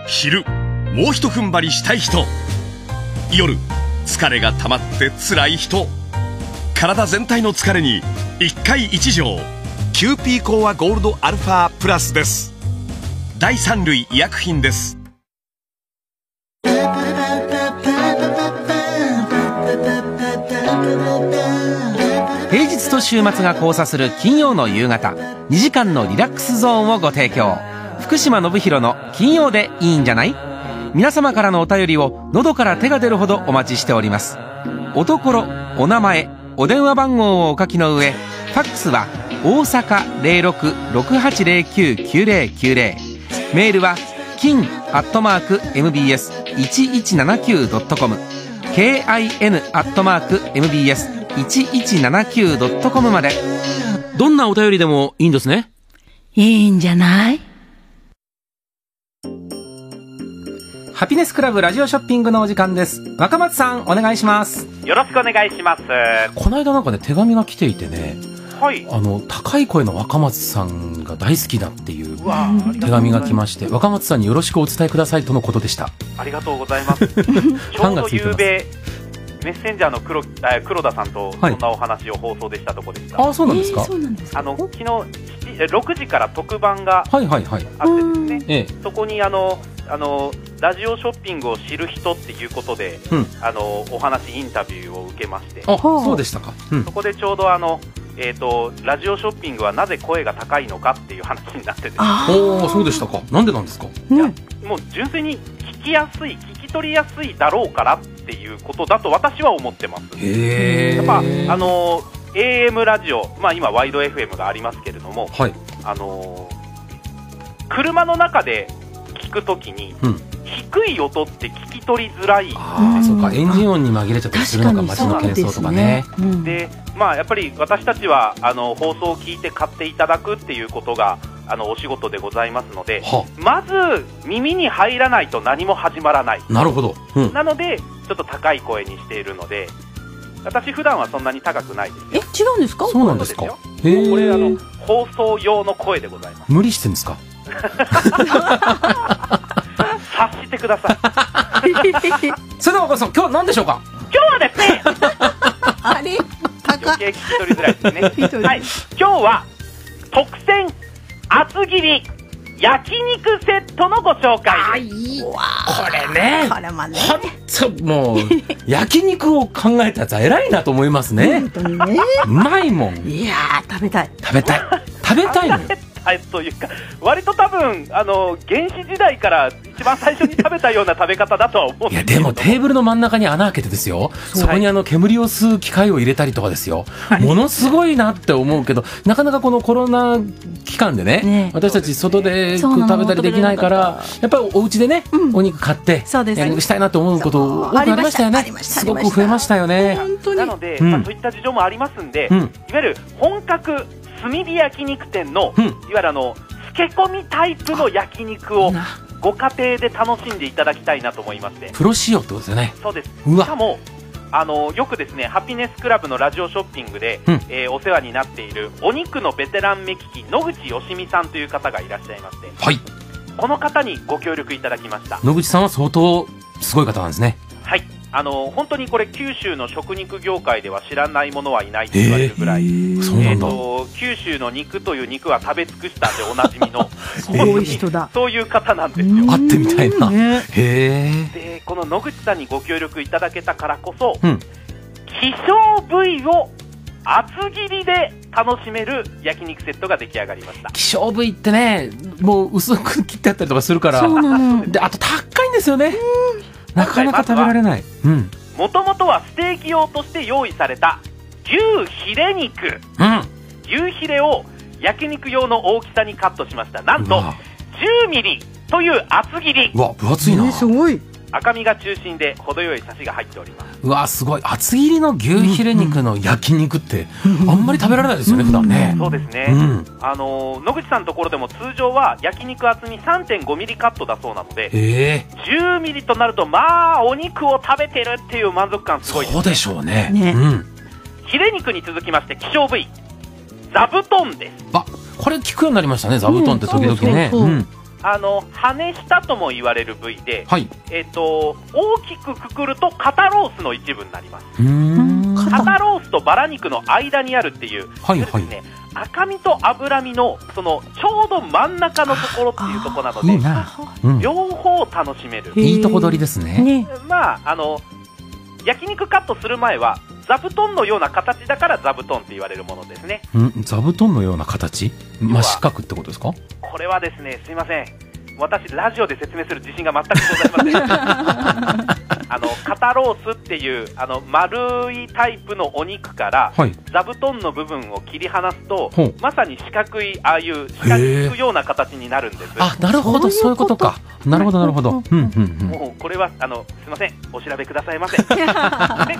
S19: 昼もうひと踏ん張りしたい人夜疲れが溜まって辛い人体全体の疲れに1回1錠キューピーコアゴールドアルファプラスです第3類医薬品です
S13: 平日と週末が交差する金曜の夕方2時間のリラックスゾーンをご提供福島信弘の金曜でいいんじゃない皆様からのお便りを喉から手が出るほどお待ちしておりますおところお名前お電話番号をお書きの上ファックスは大阪0668099090メールは金アットマーク MBS1179.com kin アットマーク mbs 一一七九ドットコムまで。
S2: どんなお便りでもいいんですね。
S3: いいんじゃない
S2: ハピネスクラブラジオショッピングのお時間です。若松さん、お願いします。
S20: よろしくお願いします。
S2: この間なんかね、手紙が来ていてね、
S20: はい。
S2: あの、高い声の若松さんが大好きだっていう
S20: うわーありがとうございます
S2: 手紙が来まして、若松さんによろしくお伝えくださいとのことでした。
S20: ありがとうございます。ち
S2: ファ
S20: ょ
S2: ン
S20: う
S2: が
S20: ど
S2: ついて
S20: 夕
S2: ます。
S20: べ、メッセンジャーの黒あ黒田さんとそ
S2: はい
S20: んなお話を放送でしたとこでした。
S2: あそうなんですかえーそう
S20: なんですあの昨日7え6時から特番が
S2: はいはいはい。
S20: あってですね、
S2: ええ
S20: そこにあのあのラジオショッピングを知る人っていうことで、
S2: うん
S20: あのお話インタビューを受けまして、
S2: あ、そうでしたか。うん
S20: そ。こでちょうどあの、えー、とラジオショッピングはなぜ声が高いのかっていう話になってて、
S2: おー、そうでしたか。なんでなんですか
S20: もう純粋に聞きやすい、聞き取りやすいだろうからっていうことだと私は思ってます。
S2: へ
S20: やっぱあのー AM ラジオ、まあ、今、ワイド FM がありますけれども、
S2: はい。
S20: あのー車の中で聞くときに、
S2: うん
S20: 低い音って聞き取りづらい
S2: あー、そうか。エンジン音に紛れちゃったりするのが街の喧騒とかね。
S20: でまあ、やっぱり私たちはあの放送を聞いて買っていただくっていうことがあのお仕事でございますので、
S2: は
S20: まず耳に入らないと何も始まらない、
S2: なるほど。うん。
S20: なのでちょっと高い声にしているので私普段はそんなに高くないです
S1: え違うんですか
S2: そうなんですか。へ
S20: これあの
S2: え。
S20: 放送用の声でございま
S2: 無理してんですか。
S20: す察してください
S2: それでは岡田さん、今日は何でしょうか。
S20: 今日はで すね
S3: あれ
S20: 余計聞き取りづら いですねはい今日は特選厚切り焼肉セットのご紹介あいいわ
S2: これね
S20: これもね
S2: そうも う焼肉を考えたやつは偉いなと思いますね。
S3: 本当にね
S2: うまいもん。
S3: いやー食べたい
S2: 食べたい。食べたいのよ。
S20: はい、というか割と多分あの原始時代から一番最初に食べたような食べ方だとは思うんです
S2: で
S20: けど
S2: もテーブルの真ん中に穴開けてですよ、そこにあの煙を吸う機械を入れたりとかですよ、ものすごいなって思うけど、なかなかこのコロナ期間でね、私たち外で
S3: そうなの
S2: 食べたりできないから、やっぱりお家でね、お肉買って、
S3: そうです
S2: 焼肉したいなと思うこと、多く
S3: あ
S2: な
S3: り
S2: り
S3: ま
S2: ま
S3: し
S2: したたよ
S3: あ
S2: ね
S3: りま、した
S2: すごく増えましたよね。
S20: なので、
S2: うん
S20: まあ、そういった事情もありますんで、
S2: うん
S20: いわゆる本格炭火焼肉店の、
S2: うん
S20: いわゆるあの漬け込みタイプの焼肉をご家庭で楽しんでいただきたいなと思いまして
S2: プロ仕様ってことですよね。
S20: そうです
S2: うわ
S20: しかもあのよくですねハピネスクラブのラジオショッピングで、
S2: うん
S20: えーお世話になっているお肉のベテラン目利き野口よしみさんという方がいらっしゃいまして、
S2: はい
S20: この方にご協力いただきました
S2: 野口さんは相当すごい方なんですね。
S20: はい、あの本当にこれ九州の食肉業界では知らないものはいないと言われるぐらい、え
S2: そうなんだ
S20: ーと九州の肉という肉は食べ尽くしたでおなじみ の
S2: すごい人
S3: だ
S20: そういう方なんですよ
S2: 会ってみたいな。へえ。
S20: でこの野口さんにご協力いただけたからこそ、
S2: うん
S20: 希少部位を厚切りで楽しめる焼肉セットが出来上がりました
S2: 希少部位ってねもう薄く切ってあったりとかするから
S20: そうな
S2: であと高いんですよねなかなか食べられない、うん
S20: もともとはステーキ用として用意された牛ヒレ肉
S2: うん
S20: 牛ヒレを焼肉用の大きさにカットしましたなんと10ミリという厚切り
S2: うわ分厚いな、
S20: ね
S3: すごい
S20: 赤身が中心で程よいサシが入っております
S2: うわすごい厚切りの牛ヒレ肉の焼肉ってあんまり食べられないですよね、普段ね
S20: そうですね、
S2: うん
S20: あのー野口さんのところでも通常は焼肉厚み3.5ミリカットだそうなので
S2: ええ
S20: 10ミリとなるとまあお肉を食べてるっていう満足感すごいです
S2: そうでしょうね
S20: ね
S2: うん、
S20: ヒレ肉に続きまして希少部位座布団です
S2: これ聞くようになりましたね座布団って時々ね、
S20: うん
S2: う
S20: そうんあの羽下とも言われる部位で、
S2: はい
S20: えっと大きくくくると肩ロースの一部になります
S2: うん
S20: 肩ロースとバラ肉の間にあるっていう
S2: はいはい
S20: 赤身と脂身のそのちょうど真ん中のところっていうところなので
S2: いいな、うん、
S20: 両方楽しめる
S2: いいとこ取りですね
S20: まああの焼肉カットする前は座布団のような形だから座布団って言われるものですね
S2: うん座布団のような形真四角ってことですか
S20: これはですねすいません私ラジオで説明する自信が全くござい ませんあの肩ロースっていうあの丸いタイプのお肉から、
S2: はい
S20: 座布団の部分を切り離すと
S2: ほう
S20: まさに四角いああいう四角くような形になるんです
S2: あなるほどそういうことかなるほどなるほどうんうんうん
S20: もうこれはあのすいませんお調べくださいませで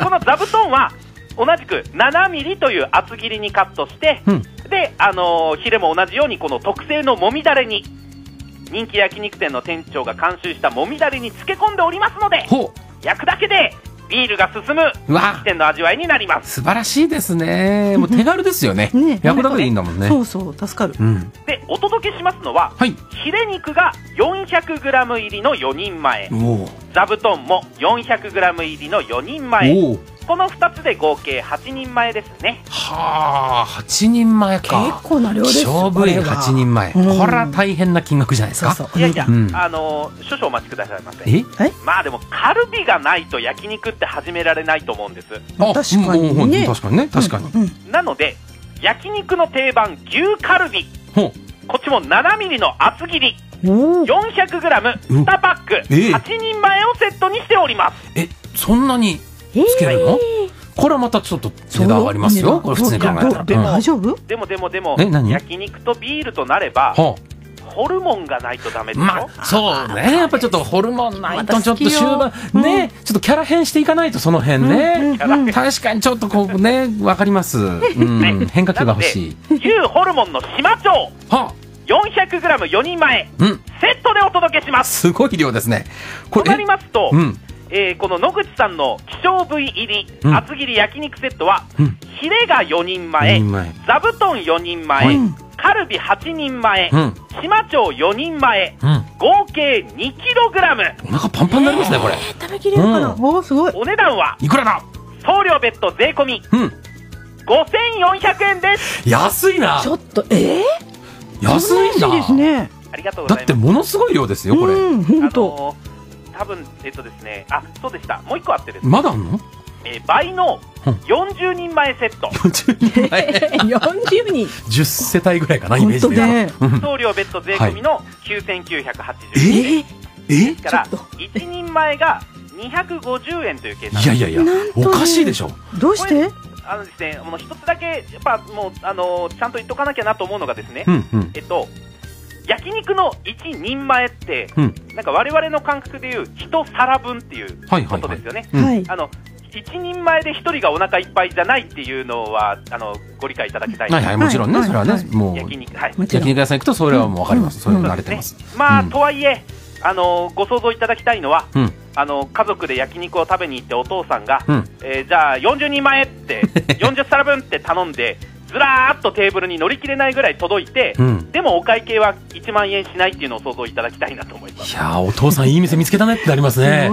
S20: この座布団は同じく7ミリという厚切りにカットして、であのーヒレも同じようにこの特製のもみだれに人気焼肉店の店長が監修したもみだれに漬け込んでおりますので焼くだけでビールが進む
S2: うわ
S20: 店の味わいになります
S2: 素晴らしいですね。もう手軽ですよね。焼くだけでいいんだもんね。
S3: そうそう助かる
S2: うん。
S20: でお届けしますのは、ヒレ肉が 400g 入りの4人前
S2: おお。
S20: 座布団も 400g 入りの4人前
S2: おう
S20: この2つで合計8人前ですね
S2: はあ、八人前か。
S20: 結構な量ですよ
S2: 勝負
S20: こ
S2: 員
S20: れは
S2: 八人前。こ
S20: うん
S2: れは大変な金額じゃないですか。
S20: いやいや、
S2: うん
S20: あのー少々お待ちくださいませ
S2: え？
S20: まあでもカルビがないと焼肉って始められないと思うんです
S2: あ確かにねうんうん確かにね確かに
S20: なので焼肉の定番牛カルビ
S2: ほ
S20: こっちも7ミリの厚切り 400g2 パック
S2: ええ
S20: 8人前をセットにしております
S2: そんなにつけるの？これはまたちょっと値段上がります
S20: そう
S2: よ。これ普通に考えたら。
S20: でも
S2: うん
S20: 大
S3: 丈夫？
S20: でもでもでも
S2: え何
S20: 焼肉とビールとなれば
S2: は
S20: ホルモンがないとダメでしょ、
S2: まあそうね。やっぱちょっとホルモンないとちょっと終盤ね、ちょっとキャラ変していかないとその辺ね。確かにちょっとこうねわかります。うん変化球が欲しい。
S20: 牛ホルモンの島町 400g4 人前、
S2: うん
S20: セットでお届けします
S2: すごい量ですね。
S20: となりますと、
S2: うん。
S20: えーこの野口さんの希少部位入り
S2: うん
S20: 厚切り焼肉セットは、
S2: うん
S20: ヒレが4人前
S2: 四人前
S20: 座布団4人前、
S2: はい
S20: カルビ8人前、
S2: うん
S20: 島町4人前、
S2: うん
S20: 合計 2kg
S2: お腹パンパンになりますね、これ。
S20: 食べ
S2: きれるかなうん
S20: おすごいお値段はい
S2: くらだ
S20: 送料別途税込み、
S2: うん
S20: 5400円です
S2: 安いなちょっ
S20: とえ
S2: 安いんだ。
S20: ねありがとうご
S2: だ
S20: ざ
S2: っ
S20: い
S2: て
S20: ます
S2: ものすごい量ですよ、これ。
S20: あのー多分えっとですねあそうでしたもう一個あってですね
S2: まだあんの
S20: えー倍の40人前セット
S2: ?40
S20: 人
S2: ?10 世帯ぐらいかな、イメージで言うと。うん
S20: 送料別途税込みの9980円、
S2: ええ
S20: ですから1人前が250円という計算
S2: いやいやいや
S20: なん、
S2: お
S20: と
S2: かしいでしょ。
S20: どうしてあのですね、もう一つだけ、やっぱもう、あのちゃんと言っとかなきゃなと思うのがですね、
S2: うんうん
S20: えっと、焼肉の一人前って、
S2: うん
S20: なんか我々の感覚でいう一皿分っていう
S2: はいはいはい
S20: ことですよね。
S2: はい
S20: あの一人前で一人がお腹いっぱいじゃないっていうのはあのご理解いただきたい。
S2: はいはい、もちろんね、それはね、もう、
S20: 焼肉はい
S2: 焼肉屋さん行くと、それはもうわかります。それは慣れてます。
S20: まあ、とはいえ、あのご想像いただきたいのは、
S2: うん
S20: あの家族で焼肉を食べに行ってお父さんが、
S2: うん
S20: えーじゃあ40人前 って、40皿分って頼んで、ずらーっとテーブルに乗り切れないぐらい届いて、
S2: うん
S20: でもお会計は1万円しないっていうのを想像いただきたいなと思います。
S2: いやーお父さんいい店見つけたねってなりますね。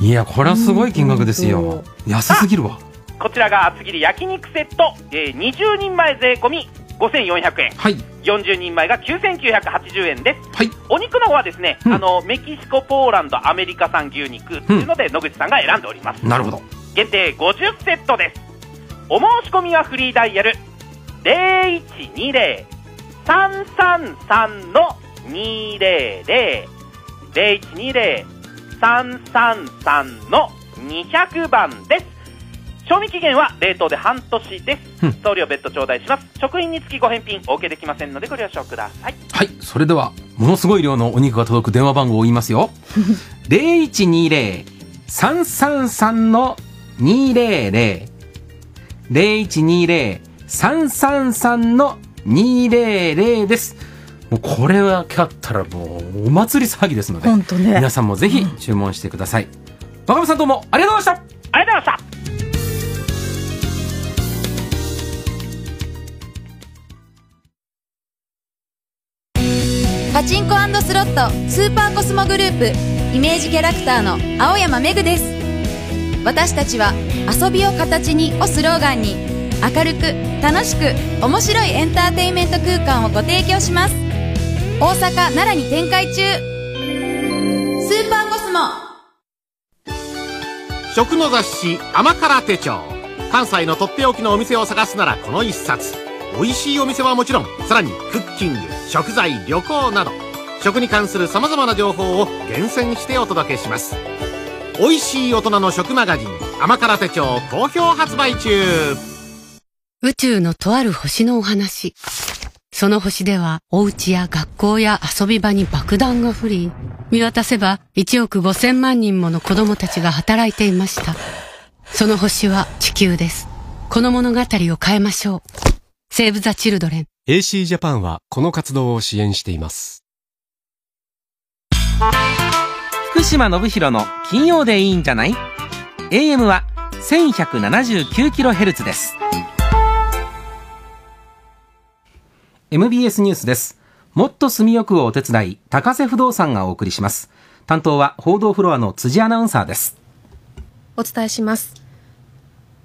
S2: いや、これはすごい金額ですよ。安すぎるわ。
S20: こちらが厚切り焼肉セット、えー20人前税込み5400円、
S2: はい、
S20: 40人前が9980円です、
S2: はい、
S20: お肉の方はですね、あのメキシコ、ポーランド、アメリカ産牛肉っていうので、野口さんが選んでおります
S2: なるほど。
S20: 限定50セットですお申し込みはフリーダイヤル0120-333の200 0120-333の200番です賞味期限は冷凍で半年です送料別途頂戴します食品につきご返品お受けできませんのでご了承ください
S2: はい、それでは、ものすごい量のお肉が届く電話番号を言います よ。
S13: 0120-333の200。0120-333の200です。
S2: もうこれは買ったらもうお祭り騒ぎですので、
S13: ほんとね
S2: 皆さんもぜひ注文してください。若林さんどうもありがとうございました
S20: ありがとうございました
S15: パチンコスロットスーパーコスモグループイメージキャラクターの青山めぐです私たちは「遊びを形に」をスローガンに明るく楽しく面白いエンターテインメント空間をご提供します大阪奈良に展開中スーパーコスモ
S21: 食の雑誌「甘辛手帳」関西のとっておきのお店を探すならこの一冊美味しいお店はもちろんさらにクッキング食材旅行など食に関する様々な情報を厳選してお届けします美味しい大人の食マガジン「甘辛手帳」好評発売中
S22: 宇宙のとある星のお話。その星では、お家や学校や遊び場に爆弾が降り、見渡せば1億5千万人もの子供たちが働いていました。その星は地球です。この物語を変えましょう。セーブ・ザ・チルドレン。
S23: AC ジャパンはこの活動を支援しています。
S13: 福島信弘の金曜でいいんじゃない ?AM は 1179kHz です。
S2: MBS ニュースです。もっと住みよくをお手伝い、高瀬不動産がお送りします。担当は報道フロアの辻アナウンサーです。
S24: お伝えします。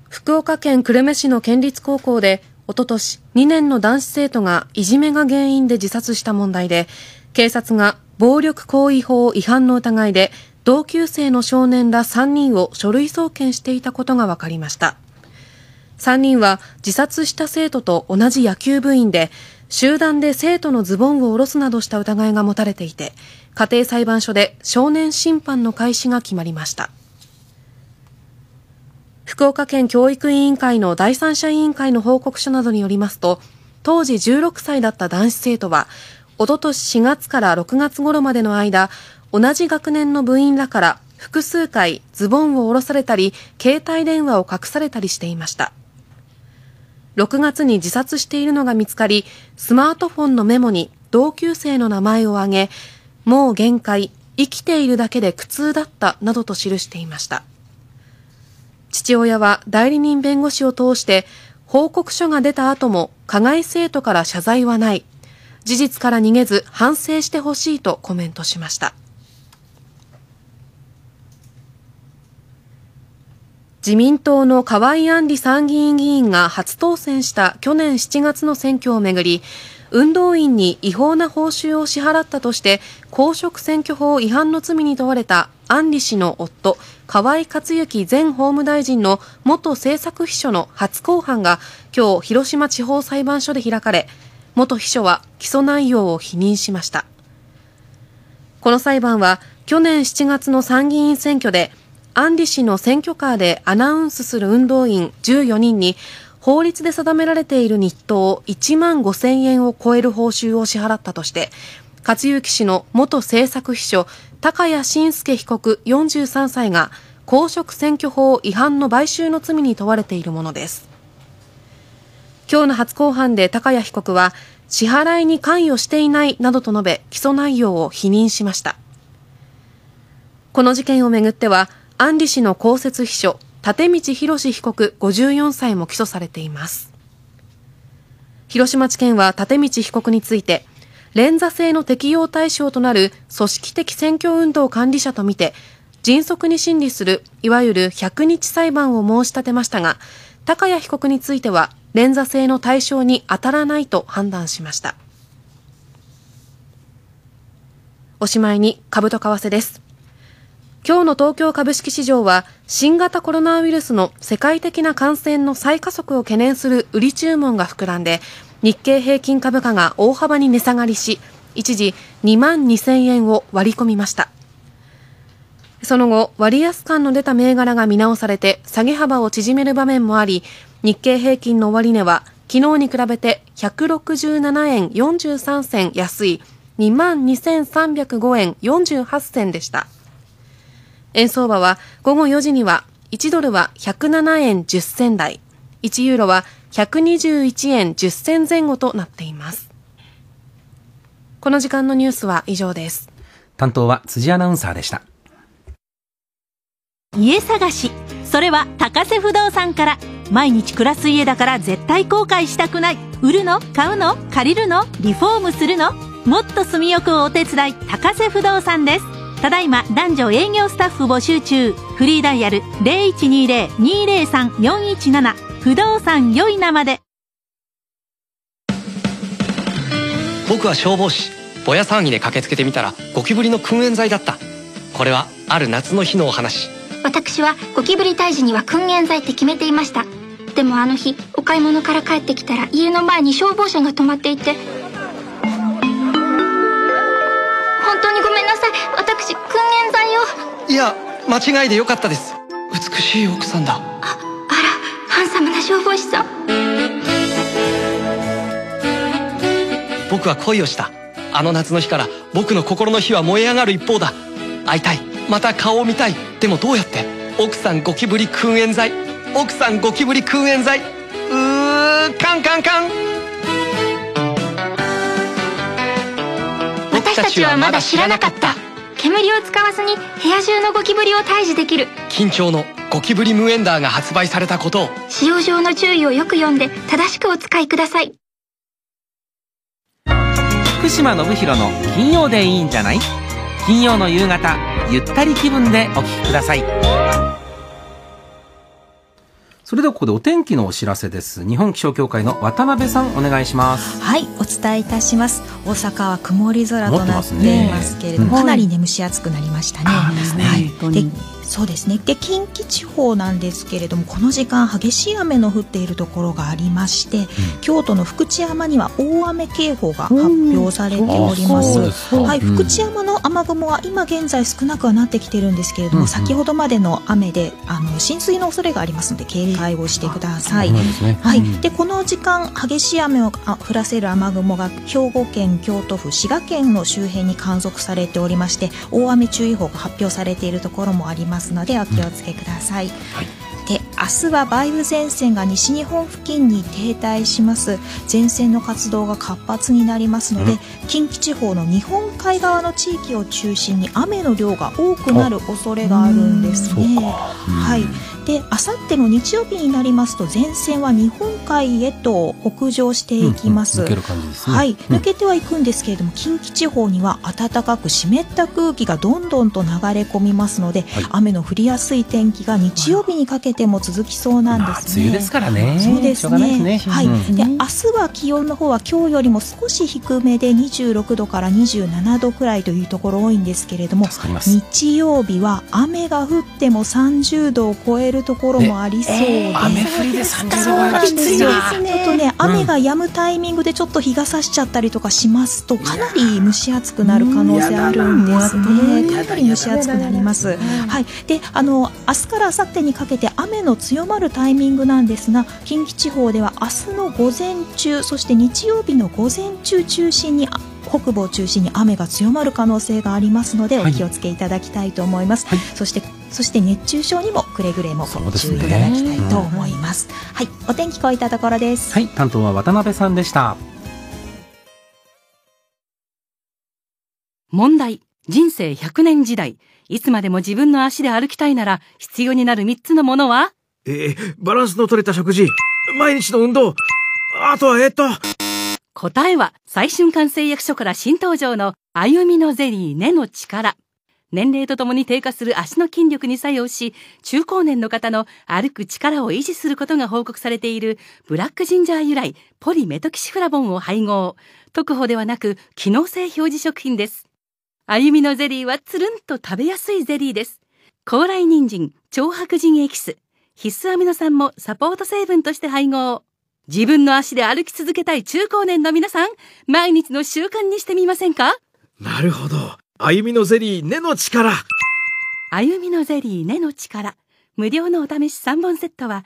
S24: 福岡県久留米市の県立高校で、おととし2年の男子生徒がいじめが原因で自殺した問題で、警察が暴力行為法違反の疑いで、同級生の少年ら3人を書類送検していたことが分かりました。3人は自殺した生徒と同じ野球部員で、集団で生徒のズボンを下ろすなどした疑いが持たれていて、家庭裁判所で少年審判の開始が決まりました。福岡県教育委員会の第三者委員会の報告書などによりますと、当時16歳だった男子生徒は、おととし4月から6月頃までの間、同じ学年の部員らから複数回ズボンを下ろされたり、携帯電話を隠されたりしていました。6月に自殺しているのが見つかり、スマートフォンのメモに同級生の名前を挙げ、もう限界、生きているだけで苦痛だったなどと記していました。父親は代理人弁護士を通して、報告書が出た後も加害生徒から謝罪はない。事実から逃げず反省してほしいとコメントしました。自民党の河井案里参議院議員が初当選した去年7月の選挙をめぐり、運動員に違法な報酬を支払ったとして、公職選挙法違反の罪に問われた案里氏の夫、河井克行前法務大臣の元政策秘書の初公判が今日広島地方裁判所で開かれ、元秘書は起訴内容を否認しました。この裁判は去年7月の参議院選挙で、アンリ氏の選挙カーでアナウンスする運動員14人に、法律で定められている日当1万5000円を超える報酬を支払ったとして、克行氏の元政策秘書、高谷信介被告43歳が、公職選挙法違反の買収の罪に問われているものです。今日の初公判で高谷被告は、支払いに関与していないなどと述べ、起訴内容を否認しました。この事件をめぐっては、安里氏の公設秘書、立道博被告54歳も起訴されています。広島地検は立道被告について、連座制の適用対象となる組織的選挙運動管理者とみて、迅速に審理する、いわゆる100日裁判を申し立てましたが、高谷被告については、連座制の対象に当たらないと判断しました。おしまいに、株と為替です。今日の東京株式市場は新型コロナウイルスの世界的な感染の再加速を懸念する売り注文が膨らんで日経平均株価が大幅に値下がりし一時2万2000円を割り込みましたその後割安感の出た銘柄が見直されて下げ幅を縮める場面もあり日経平均の終値は昨日に比べて167円43銭安い2万2305円48銭でした円相場は午後4時には1ドルは107円10銭台、1ユーロは121円10銭前後となっています。この時間のニュースは以上です。
S13: 担当は辻アナウンサーでした。
S3: 家探しそれは高瀬不動産から毎日暮らす家だから絶対後悔したくない売るの買うの借りるのリフォームするのもっと住みよくお手伝い高瀬不動産ですただいま男女営業スタッフ募集中フリーダイヤル0120-203-417不動産良いなまで
S15: 僕は消防士ぼや騒ぎで駆けつけてみたらゴキブリの訓練剤だったこれはある夏の日のお話
S25: 私はゴキブリ退治には訓練剤って決めていましたでもあの日お買い物から帰ってきたら家の前に消防車が止まっていて本当にごめんなさい私訓練剤を
S15: いや間違いでよかったです美しい奥さんだ
S25: ハンサムな消防士さん
S15: 僕は恋をしたあの夏の日から僕の心の火は燃え上がる一方だ会いたいまた顔を見たいでもどうやって奥さんゴキブリ訓練剤奥さんゴキブリ訓練剤うーカンカンカン
S25: 私たちはまだ知らなかった煙を使わずに部屋中のゴキブリを退治できる
S15: 緊張のゴキブリムエンダーが発売されたことを
S25: 使用上の注意をよく読んで正しくお使いください
S13: 福島信弘の金曜でいいんじゃない金曜の夕方ゆったり気分でお聞きくださいそれではここでお天気のお知らせです日本気象協会の渡辺さんお願いします
S26: はい、お伝えいたします。大阪は曇り空となって
S13: 持って
S26: い
S13: ま
S26: ますす
S13: ね
S26: けれども、
S13: うん
S26: かなりね蒸し暑くなりましたね。はい、で、そうですね。で、近畿地方なんですけれども、この時間激しい雨の降っているところがありまして、京都の福知山には大雨警報が発表されておりま
S7: うんあそう
S26: す。
S7: ですか
S26: はい、
S7: うん
S26: 福知山の雨雲は今現在少なくはなってきてるんですけれど
S7: う
S26: も、
S7: んうん
S26: 先ほどまでの雨であの浸水の恐れがありますので警戒をしてください。
S7: そうなんですね
S26: はい、
S7: うん
S26: でこの時間激しい雨をあ降らせる雨雲が兵庫県京都府滋賀県の周辺に観測されておりまして大雨注意報が発表されているところもありますのでお気をつけください、で明日は梅雨前線が西日本付近に停滞します前線の活動が活発になりますので、
S27: うん
S26: 近畿地方の日本海側の地域を中心に雨の量が多くなる恐れがあるんですね。はい、であさっての日曜日になりますと前線は日本海へと北上していきます。
S7: うんうん抜ける感じですね
S26: はい、
S7: うん
S26: 抜けてはいくんですけれども近畿地方には暖かく湿った空気がどんどんと流れ込みますので、雨の降りやすい天気が日曜日にかけても続きそうなんですね。
S2: 梅雨ですからね
S26: そうです
S2: しょうがないです
S26: ね。
S2: ね
S26: はい、
S2: うん
S26: で明日は気温の方は今日よりも少し低めで26度から27度くらいというところ多いんですけれども
S2: かります
S26: 日曜日は雨が降っても30度を超えるところもありそうです、
S2: ねえー雨降りで30
S26: そ
S2: 度
S26: う
S2: は
S26: なんです
S2: き
S26: よ
S2: ついな
S26: ちょっとね
S2: うん
S26: 雨が止むタイミングでちょっと日が差しちゃったりとかしますとかなり蒸し暑くなる可能性あるんですねかなり蒸し暑くなりますはいであの明日から明後日にかけて雨の強まるタイミングなんですが近畿地方では明日の午前中そして日曜日の午前中中心にあ北部を中心に雨が強まる可能性がありますのでお気をつけいただきたいと思います、そしてそして熱中症にもくれぐれもご注意いただきたいと思いますはいお天気こういったところです
S2: はい担当は渡辺さんでした
S28: 問題。人生100年時代。いつまでも自分の足で歩きたいなら、必要になる3つのものは
S15: えー、バランスの取れた食事、毎日の運動、あとは、えっと、
S28: 答えは、最春館製薬所から新登場の、歩みのゼリー、根の力。年齢とともに低下する足の筋力に作用し、中高年の方の歩く力を維持することが報告されている、ブラックジンジャー由来、ポリメトキシフラボンを配合。特保ではなく、機能性表示食品です。歩みのゼリーはつるんと食べやすいゼリーです。高麗人参、長白人エキス、必須アミノ酸もサポート成分として配合。自分の足で歩き続けたい中高年の皆さん、毎日の習慣にしてみませんか
S15: なるほど。歩みのゼリー、根の力。
S28: 歩みのゼリー根の力。無料のお試し3本セットは、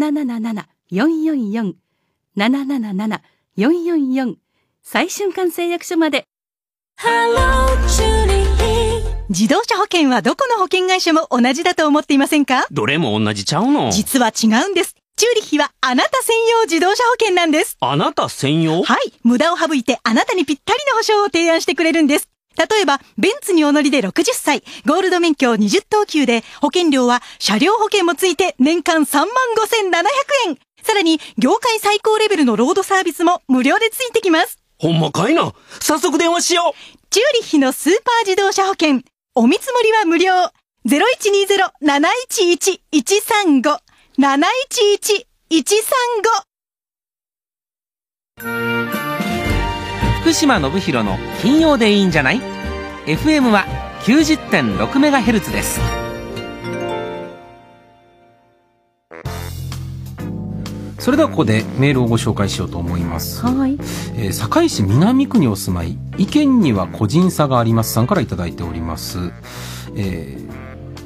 S28: 0120-777-444、777-444、最春館製薬所まで。
S29: 自動車保険はどこの保険会社も同じだと思っていませんか
S30: どれも同じちゃうの
S29: 実は違うんです。チューリッヒはあなた専用自動車保険なんです。
S30: あなた専用
S29: はい。無駄を省いてあなたにぴったりの保証を提案してくれるんです。例えば、ベンツにお乗りで60歳、ゴールド免許20等級で、保険料は車両保険もついて年間3万5700円。さらに、業界最高レベルのロードサービスも無料でついてきます。
S30: ほんまかいな早速電話しよう
S29: チューリッヒのスーパー自動車保険。お見積もりは無料。0120-711-135。711-135。
S2: 福島信弘の金曜でいいんじゃない FM は 90.6MHz ですそれではここでメールをご紹介しようと思います、
S31: はい
S2: えー堺市南区にお住まい意見には個人差がありますさんから頂いております、えー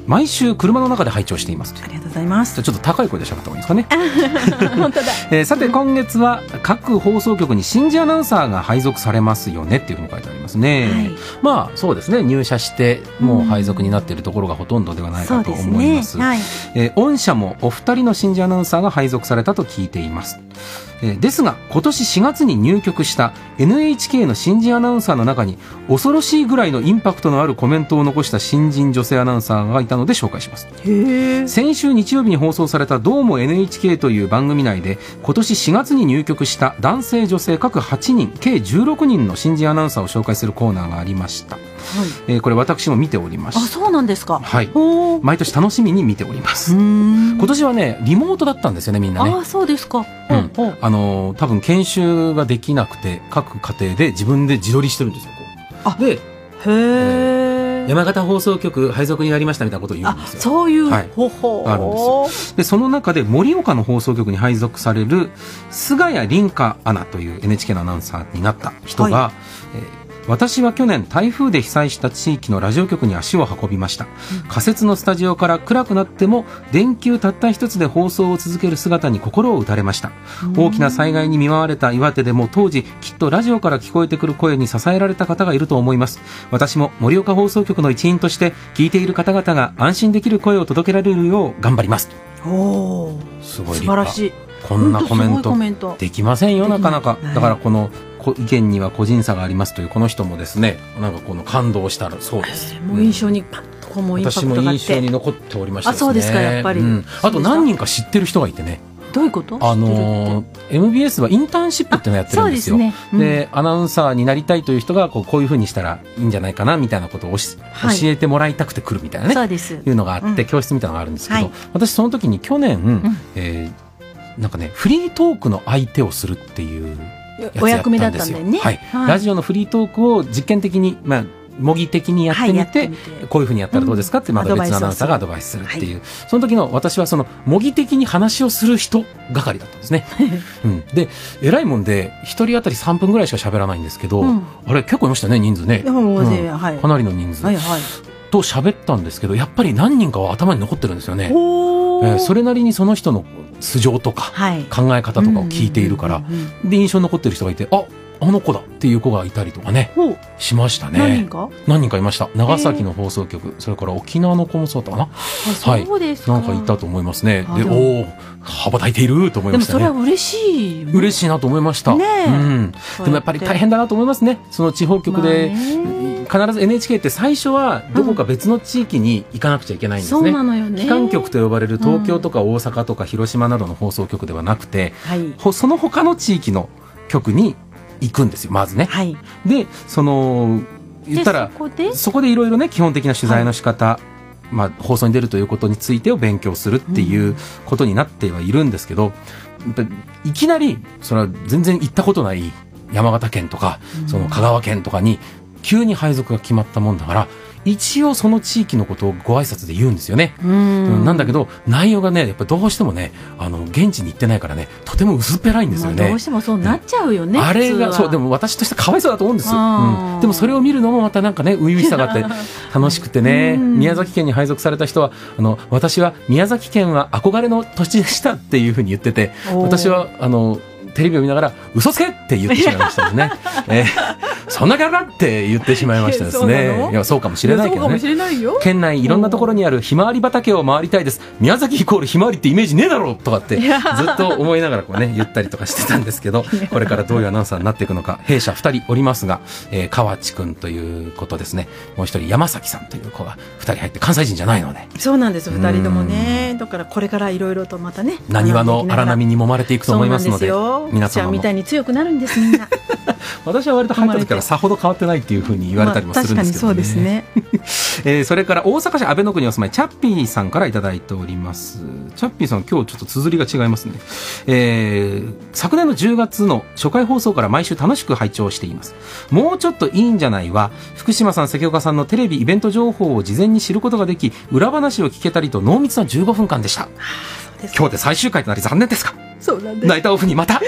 S2: 毎週車の中で拝聴していますありがとうございますちょっと高い声で喋った方がいいですか ねえーさて今月は各放送局に新人アナウンサーが配属されますよねっていうふうに書いてありますね、まあそうですね入社してもう配属になっているところがほとんどではない
S7: そ
S2: か
S7: う
S2: と
S7: です
S2: 思い
S7: ね
S2: ます
S7: はい
S2: えー御社もお二人の新人アナウンサーが配属されたと聞いています、えーですが今年4月に入局した NHK の新人アナウンサーの中に恐ろしいぐらいのインパクトのあるコメントを残した新人女性アナウンサーがいたので紹介します先週日曜日に放送された「どうも NHK」という番組内で今年4月に入局した男性女性各8人計16人の新人アナウンサーを紹介するコーナーがありました、えーこれ私も見ておりました
S1: あそうなんですか
S2: はい、毎年楽しみに見ております今年はねリモートだったんですよねみんなね
S1: ああそうですか
S2: うんあのー多分研修ができなくて各家庭で自分で自撮りしてるんですよあで
S1: へえ
S2: 山形放送局配属になりましたみたいなことを言うんですよ
S1: そういう
S2: はい
S1: 方法、
S2: あるんですよでその中で盛岡の放送局に配属される菅谷凛香アナという NHK のアナウンサーになった人が、えー私は去年台風で被災した地域のラジオ局に足を運びました、仮設のスタジオから暗くなっても電球たった一つで放送を続ける姿に心を打たれました
S5: うん
S2: 大きな災害に見舞われた岩手でも当時きっとラジオから聞こえてくる声に支えられた方がいると思います私も盛岡放送局の一員として聞いている方々が安心できる声を届けられるよう頑張ります
S1: おー
S2: すごい立
S1: 素晴ら
S2: 派
S1: しい
S2: こんなコメン
S1: ほんとすごいコメン
S2: ト
S1: ト
S2: できませんよ
S1: できな
S2: ないかなか
S1: はい
S2: だからこのこ意見には個人差がありますというこの人もですねなんかこの感動したらそうです、
S1: もう印象にパッとこうもうインパク
S2: 私
S1: ト
S2: も
S1: があっ
S2: 印象に
S1: て
S2: 残っておりました
S1: あそうですかやっぱり
S2: んあと何人か知ってる人がいてね
S1: どういうこと
S2: あのー MBS はインターンシップっていうのをやってるんですよ
S1: あそうですねうん
S2: でアナウンサーになりたいという人がこうこういうふうにしたらいいんじゃないかなみたいなことをおし
S1: はい
S2: 教えてもらいたくて来るみたいなね
S1: そうです
S2: いうのがあって、教室みたいなのがあるんですけど、
S1: はい
S2: 私その時に去年、えーなんかねフリートークの相手をするっていうやつ
S1: お
S2: やった
S1: 役
S2: ん
S1: 目だっ
S2: で
S1: たん
S2: す
S1: だ
S2: よ
S1: よね
S2: はい
S1: はい
S2: ラジオのフリートークを実験的に、まあ、模擬的にやってみて,、こういうふうにやったらどうですかってまた別のアナウンサーがアドバイスするっていう、その時の私はその模擬的に話をする人係だったんですね、うん、でえらいもんで一人当たり3分ぐらいしか喋らないんですけど、
S1: うん
S2: あれ結構いましたね人数ね、
S1: いやもうね
S2: うん
S1: はい
S2: かなりの人数、
S1: はいはい
S2: と喋ったんですけどやっぱり何人かは頭に残ってるんですよね、え
S1: おー
S2: ーそれなりにその人の素性とか、考え方とかを聞いているから、で印象に残ってる人がいてああの子だっていう子がいたりとかね
S1: ほう
S2: しましたね
S1: 何人か
S2: 何人かいました長崎の放送局、それから沖縄の子もそうだったかな
S1: そうですか
S2: はい、なんかいたと思いますね
S1: あ
S2: で
S1: でも
S2: おお羽ばたいていると思い
S1: で
S2: ま
S1: も
S2: した
S1: そ
S2: ね
S1: れは嬉しいよね
S2: 嬉しいなと思いました、
S1: ねえ
S2: うん、
S1: そうやって
S2: でもやっぱり大変だなと思いますねその地方局で、必ず NHK って最初はどこか別の地域に行かなくちゃいけないんですね,、
S1: そうなのよね
S2: 機関局と呼ばれる東京とか大阪とか広島などの放送局ではなくて、ほその他の地域の局に行くんですよまずね、でその言ったら
S1: でそこで
S2: そこでいろいろね基本的な取材の仕方、まあ、放送に出るということについてを勉強するっていうことになってはいるんですけど、やっぱりいきなりそれは全然行ったことない山形県とか、その香川県とかに急に配属が決まったもんだから一応その地域のことをご挨拶で言うんですよね。
S1: うん
S2: なんだけど内容がねやっぱどうしてもねあの現地に行ってないからねとても薄っぺらいんですよ
S1: ど
S2: ね
S1: う。してもそうなっちゃうよね
S2: あれがそうで
S1: も
S2: も私としてかわいそうだと思うんです、
S1: あー
S2: うんでもそれを見るのもまたなんかね初々しさがあって楽しくてね
S1: うん
S2: 宮崎県に配属された人はあの私は宮崎県は憧れの土地でしたっていうふうに言ってて
S1: おー
S2: 私はあのテレビを見ながら嘘つけって言ってしまいました ね、えーそんなからって言ってしまいましたです
S1: えそうな
S2: ね
S1: の
S2: いやそうかもしれないけど
S1: そうかも
S2: ね
S1: しれないよ
S2: 県内いろんなところにあるひまわり畑を回りたいです宮崎イコールひまわりってイメージねえだろうとかって
S1: い
S2: ず
S1: や
S2: っと思いながらこうね言ったりとかしてたんです けどこれからどういうアナウンサーになっていくのか弊社2人おりますが、えー河内くんということですねもう一人山崎さんという子が2人入って関西人じゃないので
S1: そうなんです二人ともねだからこれからいろいろとまたね
S2: なにわの荒波に揉まれていくと思いますので
S1: そうなんですよ
S2: 皆
S1: ちゃ
S2: 様
S1: んみ
S2: も
S1: たいに強くなるんですみんな
S2: 私は割と入った時からさほど変わってないっていうふうに言われたりもするんですけど、ね
S1: まあ確かにそうですね
S2: えーそれから大阪市阿倍野区にお住まいチャッピーさんからいただいておりますチャッピーさん今日ちょっと綴りが違いますね、えー昨年の10月の初回放送から毎週楽しく拝聴していますもうちょっといいんじゃないは福島さん関岡さんのテレビイベント情報を事前に知ることができ裏話を聞けたりと濃密な15分間でした今日で最終回となり残念ですが
S1: そうなんです
S2: ナイターオフにまた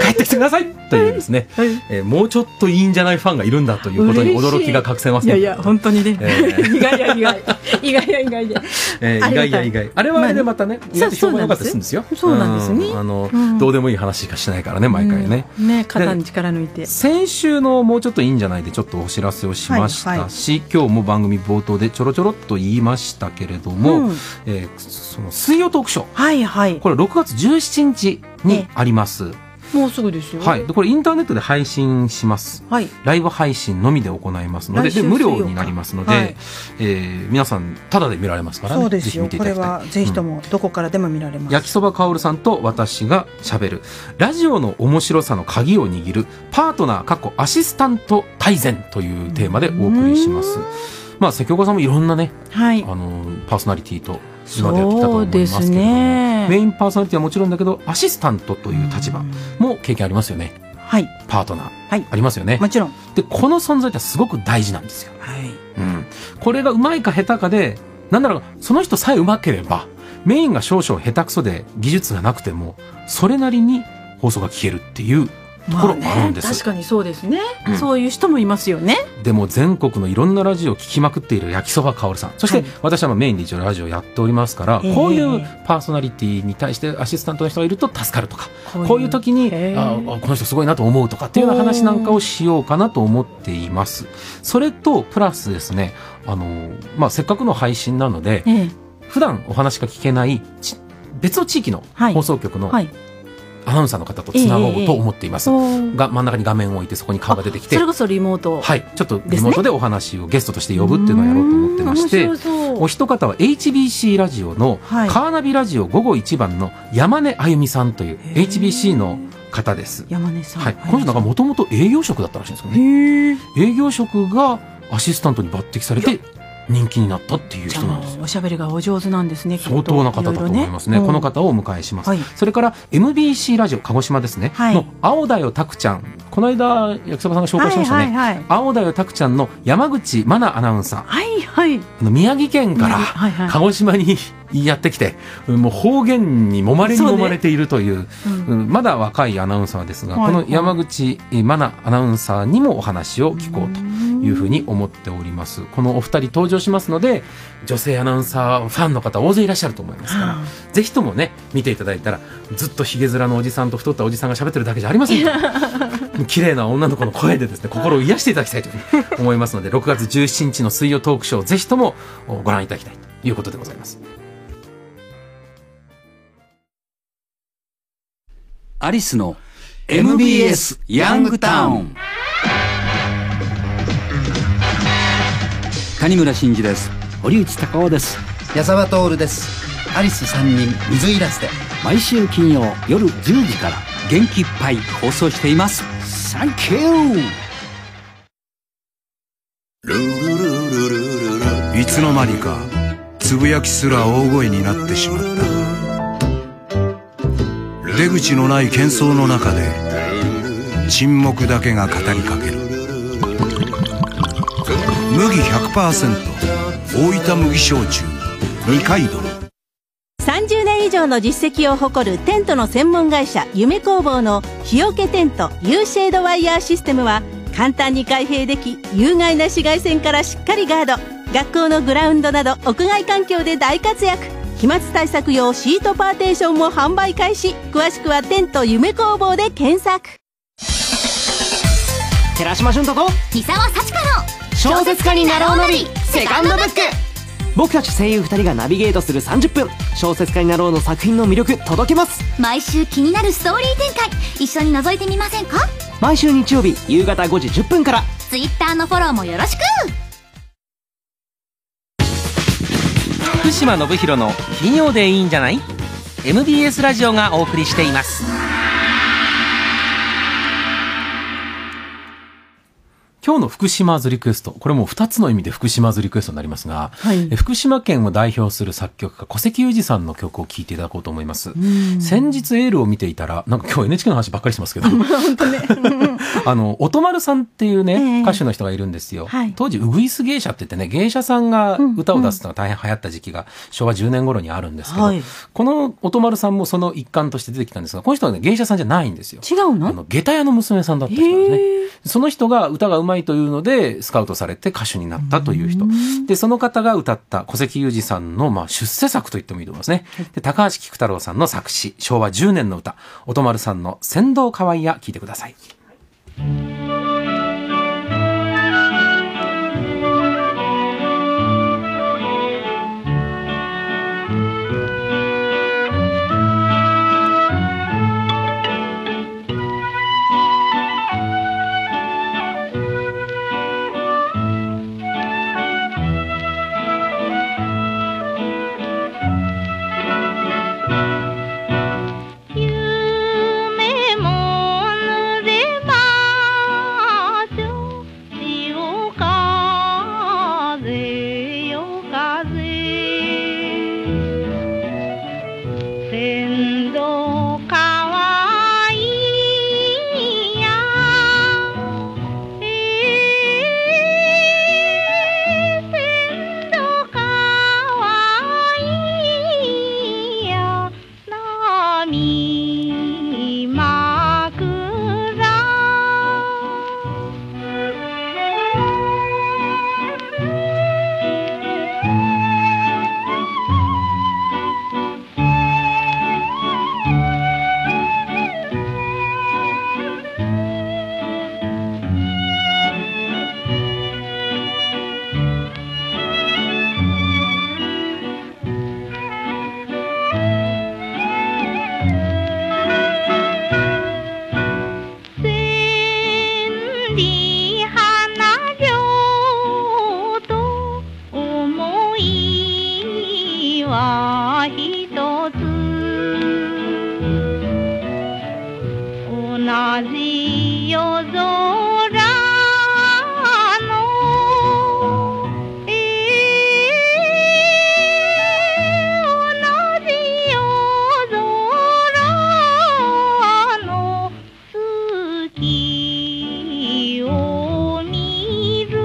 S2: 帰ってきてくださいというですね、えーもうちょっといいんじゃないファンがいるんだということに驚きが隠せません
S1: いやいや本当にね、
S2: えー
S1: 意外や意外意外や意外で
S2: えー
S1: あ
S2: 意
S1: りがたい
S2: 外や意外あれはあれでまたね、意外と評判良かったりするんですよ
S1: そうなんですね
S2: うんあの、
S1: うん
S2: どうでもいい話しかしないからね毎回ね、
S1: ね肩に力抜いて
S2: 先週のもうちょっといいんじゃないでちょっとお知らせをしまし
S1: はいは
S2: た
S1: い
S2: し、今日も番組冒頭でちょろちょろっと言いましたけれども、
S1: うん
S2: えーその水曜トークショー、
S1: はいはい
S2: これ6月17日にあります、
S1: もうすぐですよ
S2: はい、でこれインターネットで配信します、
S1: はい
S2: ライブ配信のみで行いますので
S1: 来
S2: で
S1: 週
S2: 無料
S1: 水曜か
S2: になりますので、
S1: はい
S2: えー皆さんタダで見られますからね
S1: そうですよ
S2: ぜひ見てい
S1: こ
S2: た
S1: れ
S2: だきたい
S1: はぜひともどこからでも見られます、
S2: 焼きそばかおるさんと私がしゃべるラジオの面白さの鍵を握るパートナーかっこアシスタント大全というテーマでお送りしますまあ関岡さんもいろんなね、
S1: はい
S2: あのパーソナリティと今までやってきたと思います
S1: そう
S2: け
S1: です
S2: ども
S1: ね
S2: メインパーソナリティはもちろんだけどアシスタントという立場も経験ありますよね
S1: はい
S2: パートナー、
S1: はい、
S2: ありますよね
S1: もちろん
S2: でこの存在ってすごく大事なんですよ
S1: はい
S2: うん、これがうまいか下手かでなんだろうその人さえうまければメインが少々下手くそで技術がなくてもそれなりに放送が聞けるっていう
S1: ま
S2: ころもあるんです、
S1: 確かにそうですね、
S2: うん
S1: そういう人もいますよね
S2: でも全国のいろんなラジオを聞きまくっている焼きそばかおるさんそして私はまあメインで一応ラジオやっておりますから、
S1: ええ
S2: こういうパーソナリティに対してアシスタントの人がいると助かるとかこういう時にああこの人すごいなと思うとかっていうような話なんかをしようかなと思っていますそれとプラスですねあの、まあ、せっかくの配信なので、普段お話が聞けないち別の地域の放送局の
S1: はい
S2: アナウンサーの方とつなごうと思っています、
S1: ええええええ
S2: が真ん中に画面を置いてそこに顔が出てきて
S1: それこそリモート
S2: はい、ちょっとリモートでお話をゲストとして呼ぶっていうのをやろうと思ってまして
S1: うーん面白そう
S2: お一方は HBC ラジオのカ
S1: はい
S2: ーナビラジオ午後一番の山根あゆみさんという HBC の方です。
S1: 山根さん、
S2: はい、この人なんかもともと営業職だったらしいんですよ
S1: ね
S2: 営業職がアシスタントに抜擢されて人気になったっていう人なんです
S1: おしゃべりがお上手なんですねきっと
S2: 相当な方だと思いますね
S1: ろろ
S2: この方をお迎えします、
S1: はい
S2: それから MBC ラジオ鹿児島ですね、の青だよたくちゃんこの間焼きそばさんが紹介しましたね、
S1: はいはいはい
S2: 青だよたくちゃんの山口真奈アナウンサー、
S1: はいはい
S2: あの宮城県から
S1: はいはい
S2: 鹿児島にやってきてもう方言に揉まれに
S1: そう
S2: 揉
S1: ね
S2: まれているという
S1: うん
S2: うんまだ若いアナウンサーですが、
S1: は
S2: こ
S1: い
S2: の山口真奈アナウンサーにもお話を聞こうというふうに思っておりますこのお二人登場しますので女性アナウンサーファンの方大勢いらっしゃると思いますから、ぜひともね見ていただいたらずっとひげ面のおじさんと太ったおじさんが喋ってるだけじゃありませんから 綺麗な女の子の声でですね心を癒していただきたいというふうに思いますの で6月17日の水曜トークショーをぜひともご覧いただきたいということでございます
S15: アリスの MBS ヤングタウン谷村新司です堀内孝雄です矢沢徹ですアリス三人水入らずで毎週金曜夜10時から元気いっぱい放送していますサンキュー
S19: いつの間にかつぶやきすら大声になってしまった出口のない喧騒の中で沈黙だけが語りかける麦100%大分麦焼酎二階堂
S3: 30年以上の実績を誇るテントの専門会社夢工房の日よけテント U シェードワイヤーシステムは簡単に開閉でき有害な紫外線からしっかりガード学校のグラウンドなど屋外環境で大活躍飛沫対策用シートパーテーションも販売開始詳しくはテント夢工房で検索
S32: 寺島俊斗と
S33: 三沢幸かの
S32: 小説家になろうのり
S33: セカンドブック
S32: 僕たち声優2人がナビゲートする30分小説家になろうの作品の魅力届けます
S33: 毎週気になるストーリー展開一緒に覗いてみませんか
S32: 毎週日曜日夕方5時10分から
S33: ツイッターのフォローもよろしく
S13: 福島信弘の金曜でいいんじゃない MBS ラジオがお送りしています
S2: 今日の福島ズリクエストこれもう2つの意味で福島ズリクエストになりますが、
S1: はい
S2: え福島県を代表する作曲家古関裕二さんの曲を聴いていただこうと思います
S1: うん
S2: 先日エールを見ていたらなんか今日 NHK の話ばっかりしてますけど あの音丸さんっていうね、
S1: ええ
S2: 歌手の人がいるんですよ、
S1: はい
S2: 当時ウグイス芸者って言ってね芸者さんが歌を出すのが大変流行った時期が昭和10年頃にあるんですけど、
S1: はい
S2: この音丸さんもその一環として出てきたんですがこの人はね芸者さんじゃないんですよ
S1: 違うの
S2: あの下駄屋の娘さんだった人なんですね、その人が歌がうまいというのでスカウトされて歌手になったという人でその方が歌った古関裕二さんのまあ出世作と言ってもいいと思いますねで高橋菊太郎さんの作詞昭和10年の歌音丸さんの「船頭かわいや」聞いてください
S34: 夢ものでも風夜空の同じ夜空の月を見る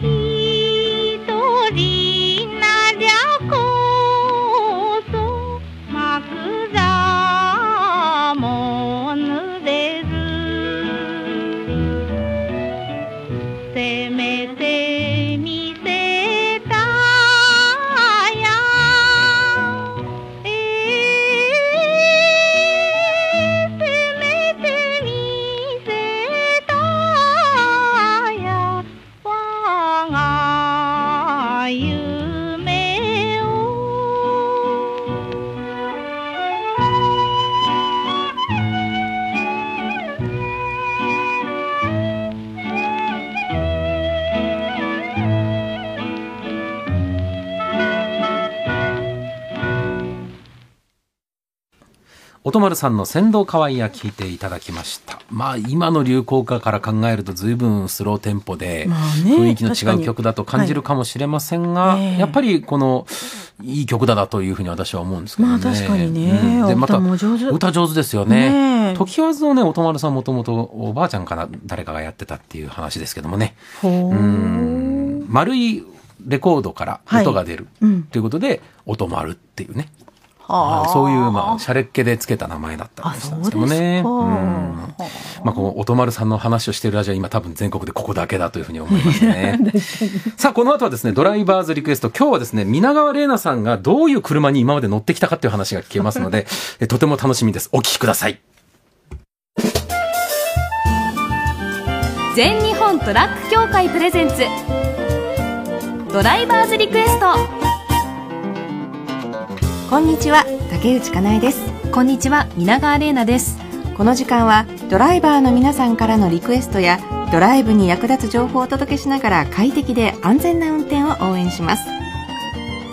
S34: 一人なりゃこそ枕も濡れるせめて見せたやえーせめて見せたや我が夢を
S2: 音丸さんの先導可愛いや聞いていただきました。まあ今の流行歌から考えると随分スローテンポで、
S13: まあね
S2: 雰囲気
S13: 確か
S2: の違
S13: に
S2: う曲だと感じるかもしれませんが、やっぱりこの、いい曲だなというふうに私は思うんですけどね。
S13: まあ確かにね
S2: うんで、
S13: お
S2: ま
S13: 歌
S2: た、
S13: も上手
S2: 歌上手ですよね。
S13: ねえ
S2: 時わずのね、音丸さんもともとおばあちゃんかな、誰かがやってたっていう話ですけどもね。
S13: ほう
S2: うん丸いレコードから音が出る
S13: はいうん
S2: ということで、音丸っていうね。
S13: は
S2: あ
S13: あ
S2: のそういう、まあ、シャレっ気でつけた名前だったんですけどもね。
S13: あそう
S2: うんまあ、この音丸さんの話をしているラジオは今多分全国でここだけだというふうに思いま すね。さあ、この後はですね、ドライバーズリクエスト。今日はですね、皆川玲奈さんがどういう車に今まで乗ってきたかっていう話が聞けます ので、えとても楽しみです。お聞きください。
S35: 全日本トラック協会プレゼンツドライバーズリクエスト
S36: こんにちは竹内かなえですこんにちは皆川玲奈ですこの時間はドライバーの皆さんからのリクエストやドライブに役立つ情報をお届けしながら快適で安全な運転を応援します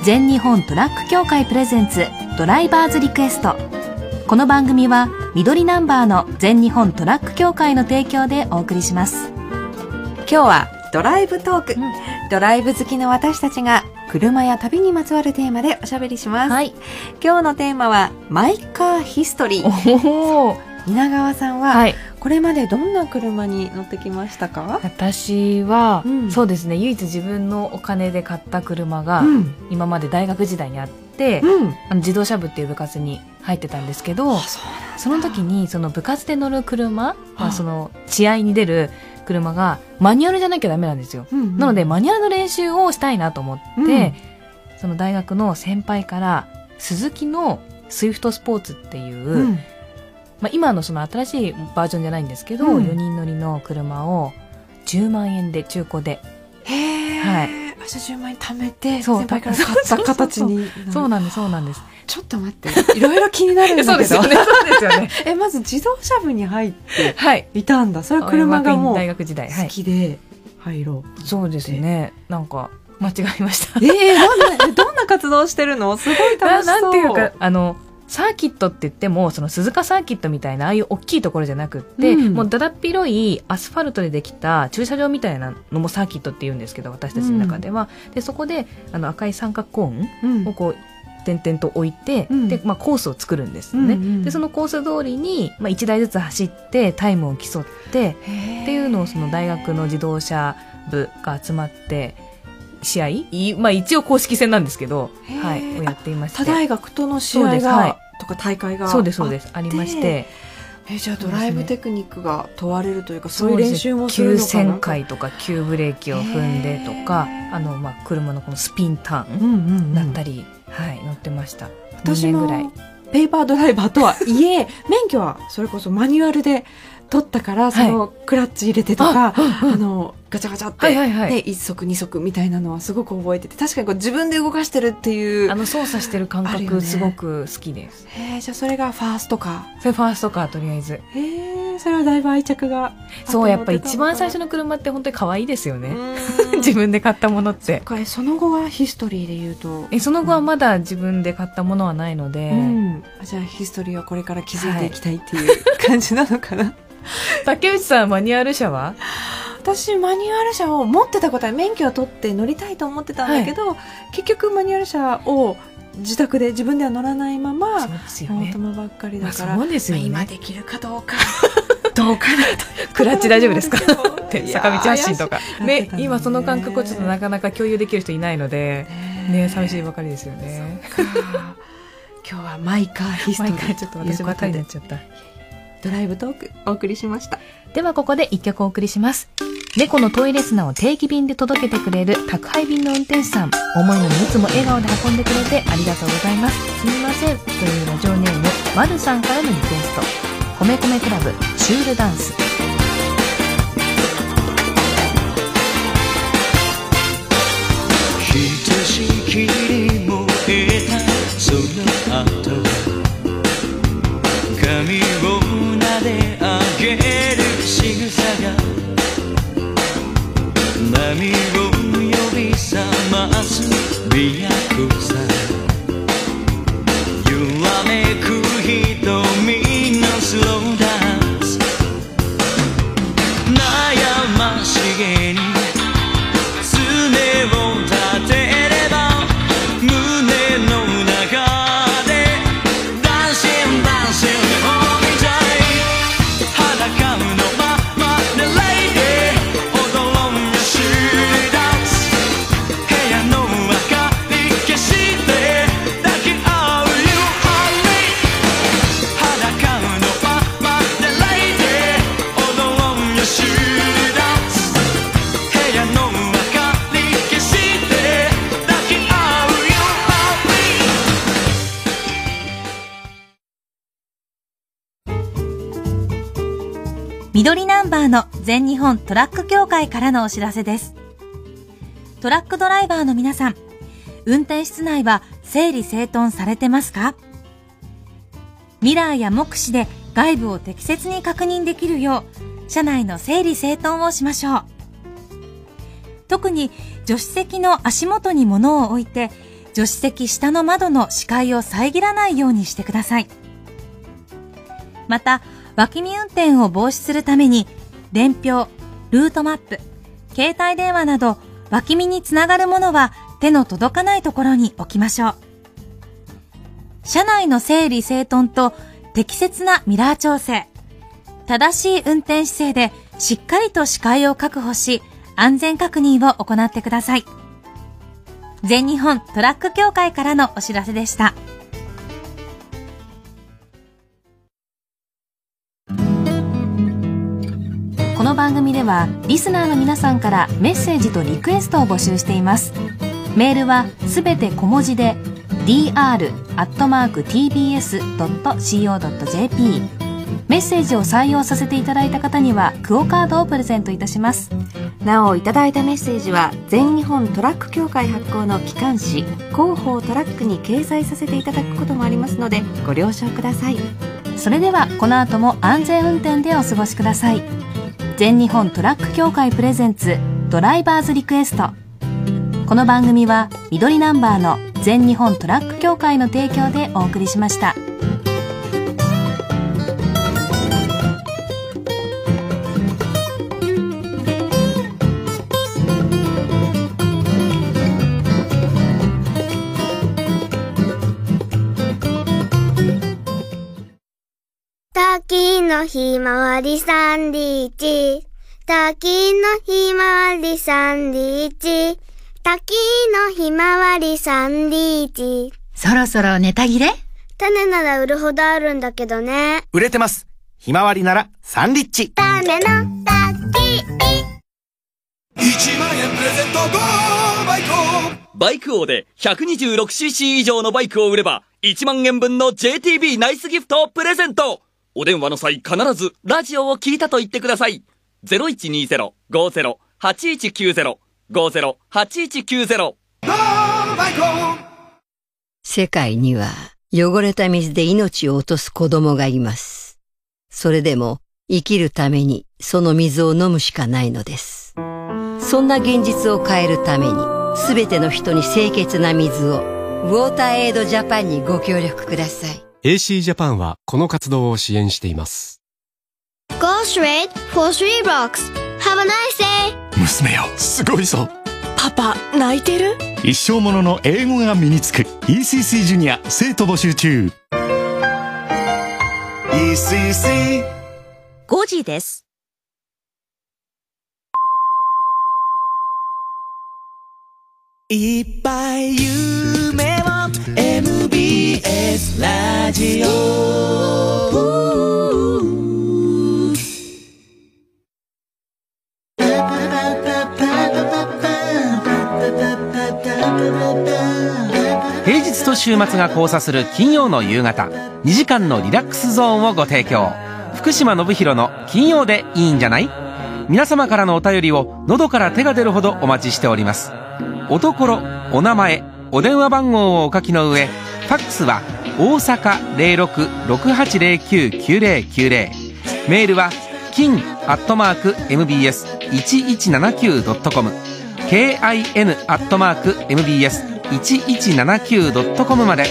S37: 全日本トラック協会プレゼンツドライバーズリクエストこの番組は緑ナンバーの全日本トラック協会の提供でお送りします
S36: 今日はドライブトーク、ドライブ好きの私たちが車や旅にまつわるテーマでおしゃべりします、今日のテーマはマイカーヒストリー稲川さんは、これまでどんな車に乗ってきましたか
S38: 私は、そうですね唯一自分のお金で買った車が、
S36: うん
S38: 今まで大学時代にあって、
S36: うん
S38: あの自動車部っていう部活に入ってたんですけどその時にその部活で乗る車、まあ、その試合に出る車がマニュアルじゃなきゃダメなんですよ、
S39: んうん
S38: なのでマニュアルの練習をしたいなと思って、
S39: うん
S38: その大学の先輩からスズキのスイフトスポーツっていう、
S39: うん
S38: まあ、今のその新しいバージョンじゃないんですけど、
S39: うん
S38: 4人乗りの車を10万円で中古で
S36: へ
S38: はい
S36: え、あじゃあ10万円貯めて
S38: そう
S36: 先輩から買った形に
S38: そうなんですそうなんです
S36: ちょっと待 っていろいろ気になるんだけど
S38: そうですよねそうですよね
S36: えまず自動車部に入って
S38: はい
S36: いたんだそれは車がもう
S38: 大学時代、好き
S36: で入ろう
S38: そうですねなんか間違えました
S36: ええなんな どんな活動してるのすごい楽しそう
S38: ななんていうかあのサーキットって言ってもその鈴鹿サーキットみたいなああいう大きいところじゃなくって、
S39: うん
S38: もうだだっ広いアスファルトでできた駐車場みたいなのもサーキットって言うんですけど私たちの中では、でそこであの赤い三角コーンをこう、点々と置いて、でまあ、コースを作るんですよね、
S39: うんうん
S38: でそのコース通りに、まあ、1台ずつ走ってタイムを競ってっていうのをその大学の自動車部が集まって試合いまあ、一応公式戦なんですけど、はい、をやっていまして
S36: 他大学との試
S38: そう
S36: 合
S38: です
S36: が、
S38: はい
S36: とか大会が
S38: そうですそうですありまして
S36: えじゃあドライブテクニックが問われるというかそ
S38: そう
S36: いうう
S38: です
S36: 練習もするのか
S38: 急
S36: な
S38: 旋回とか急ブレーキを踏んでとかあの、まあ、車のこのスピンターンだったり、はい、乗ってました
S36: 私
S38: 2年ぐら
S36: も
S38: い
S36: ペーパードライバーとはいえ免許はそれこそマニュアルで
S38: 取ったからそのクラッチ入れてとか、あのガチャガチャって、
S33: はいはいはい
S38: で1足2足みたいなのはすごく覚えてて確かにこう自分で動かしてるっていう
S33: あの操作してる感
S38: あるよね
S33: 覚すごく好きです。
S38: へえじゃあそれがファーストか
S33: それファーストカーとりあえず。
S38: へえそれはだいぶ愛着が
S33: そうやっぱ
S38: 番
S33: 一番最初の車って本当に可愛いですよね。自分で買ったものって。
S38: その後はヒストリーで言うと
S33: えその後はまだ自分で買ったものはないので、
S38: うん、じゃあヒストリーはこれから気づいていきたいっていう 感じなのかな、
S33: 竹内さんマニュアル車は
S38: 私マニュアル車を持ってたことは免許を取って乗りたいと思ってたんだけど、結局マニュアル車を自宅で自分では乗らないままオートマばっかりだから、
S33: まあそうですよね
S38: まあ今できるかどうか
S33: クラッチ大丈夫ですかって
S38: いやー
S33: 坂道発進とか、
S38: 怪しい
S33: ね、今その感覚をちょっとなかなか共有できる人いないので、ね、寂しいばかりですよね。
S38: 今日はマイカーヒストリー
S33: 毎回ちょっと私ばっかりになっちゃった。
S38: ドライブトークお送りしました
S40: ではここで一曲お送りします猫のトイレ砂を定期便で届けてくれる宅配便の運転手さん思いのにいつも笑顔で運んでくれてありがとうございますすみませんというラジオネームまるさんからのリクエスト米米クラブシュールダンス
S15: ひとしきり燃えたその後髪を撫で上げる仕草が波を呼び覚ます美薬さ揺らめく瞳のスローダンス悩ましげに「爪を立てれば胸の中で」「ダンシンダンシンを見たい」「裸のままでレイで踊ろうよシーダンス」「部屋の明かり消して抱き合う You and me」「裸のままでレイで踊ろうよシーダンス」部屋の明かり消して抱き合うよ Love me
S40: 緑ナンバーの全日本トラック協会からのお知らせです。トラックドライバーの皆さん、運転室内は整理整頓されてますかミラーや目視で外部を適切に確認できるよう、車内の整理整頓をしましょう。特に助手席の足元に物を置いて、助手席下の窓の視界を遮らないようにしてください。また脇見運転を防止するために伝票ルートマップ携帯電話など脇見につながるものは手の届かないところに置きましょう車内の整理整頓と適切なミラー調整正しい運転姿勢でしっかりと視界を確保し安全確認を行ってください全日本トラック協会からのお知らせでしたこの番組ではリスナーの皆さんからメッセージとリクエストを募集していますメールはすべて小文字で dr.tbs.co.jp メッセージを採用させていただいた方にはクオカードをプレゼントいたします
S36: なおいただいたメッセージは全日本トラック協会発行の機関紙広報トラックに掲載させていただくこともありますのでご了承ください
S40: それではこの後も安全運転でお過ごしください全日本トラック協会プレゼンツドライバーズリクエストこの番組は緑ナンバーの全日本トラック協会の提供でお送りしました。
S41: タキのひまわりサンディーチ。タキのひまわりサンディーチ。タキのひまわりサンディーチ。
S42: そろそろネタ切れ
S41: 種なら売るほどあるんだけどね。
S13: 売れてますひまわりならサンリッチ
S41: 種のタキ
S13: 1万円プレゼントゴーバイ
S43: バイク王で 126cc 以上のバイクを売れば1万円分の JTB ナイスギフトをプレゼントお電話の際必ずラジオを聞いたと言ってください0120-50-8190 50-8190
S4: 世界には汚れた水で命を落とす子供がいます。それでも生きるためにその水を飲むしかないのです。そんな現実を変えるために全ての人に清潔な水をウォーターエイドジャパンにご協力ください。
S23: AC ジャパンはこの活動を支援しています。
S41: Go straight for three blocks. Have a nice day.
S8: 娘よ すごいぞ
S41: パパ、泣いてる
S8: 一生ものの英語が身につく ECC ジュニア生徒募集中 ECC
S44: 5時です。
S34: いっぱい夢を MBS ラジオ
S13: 平日と週末が交差する金曜の夕方2時間のリラックスゾーンをご提供福島信弘の金曜でいいんじゃない皆様からのお便りを喉から手が出るほどお待ちしておりますおところお名前お電話番号をお書きの上ファックスは大阪0668099090メールは金アットマーク mbs1179.com kin アットマーク mbs 一一七九ドットコムまで。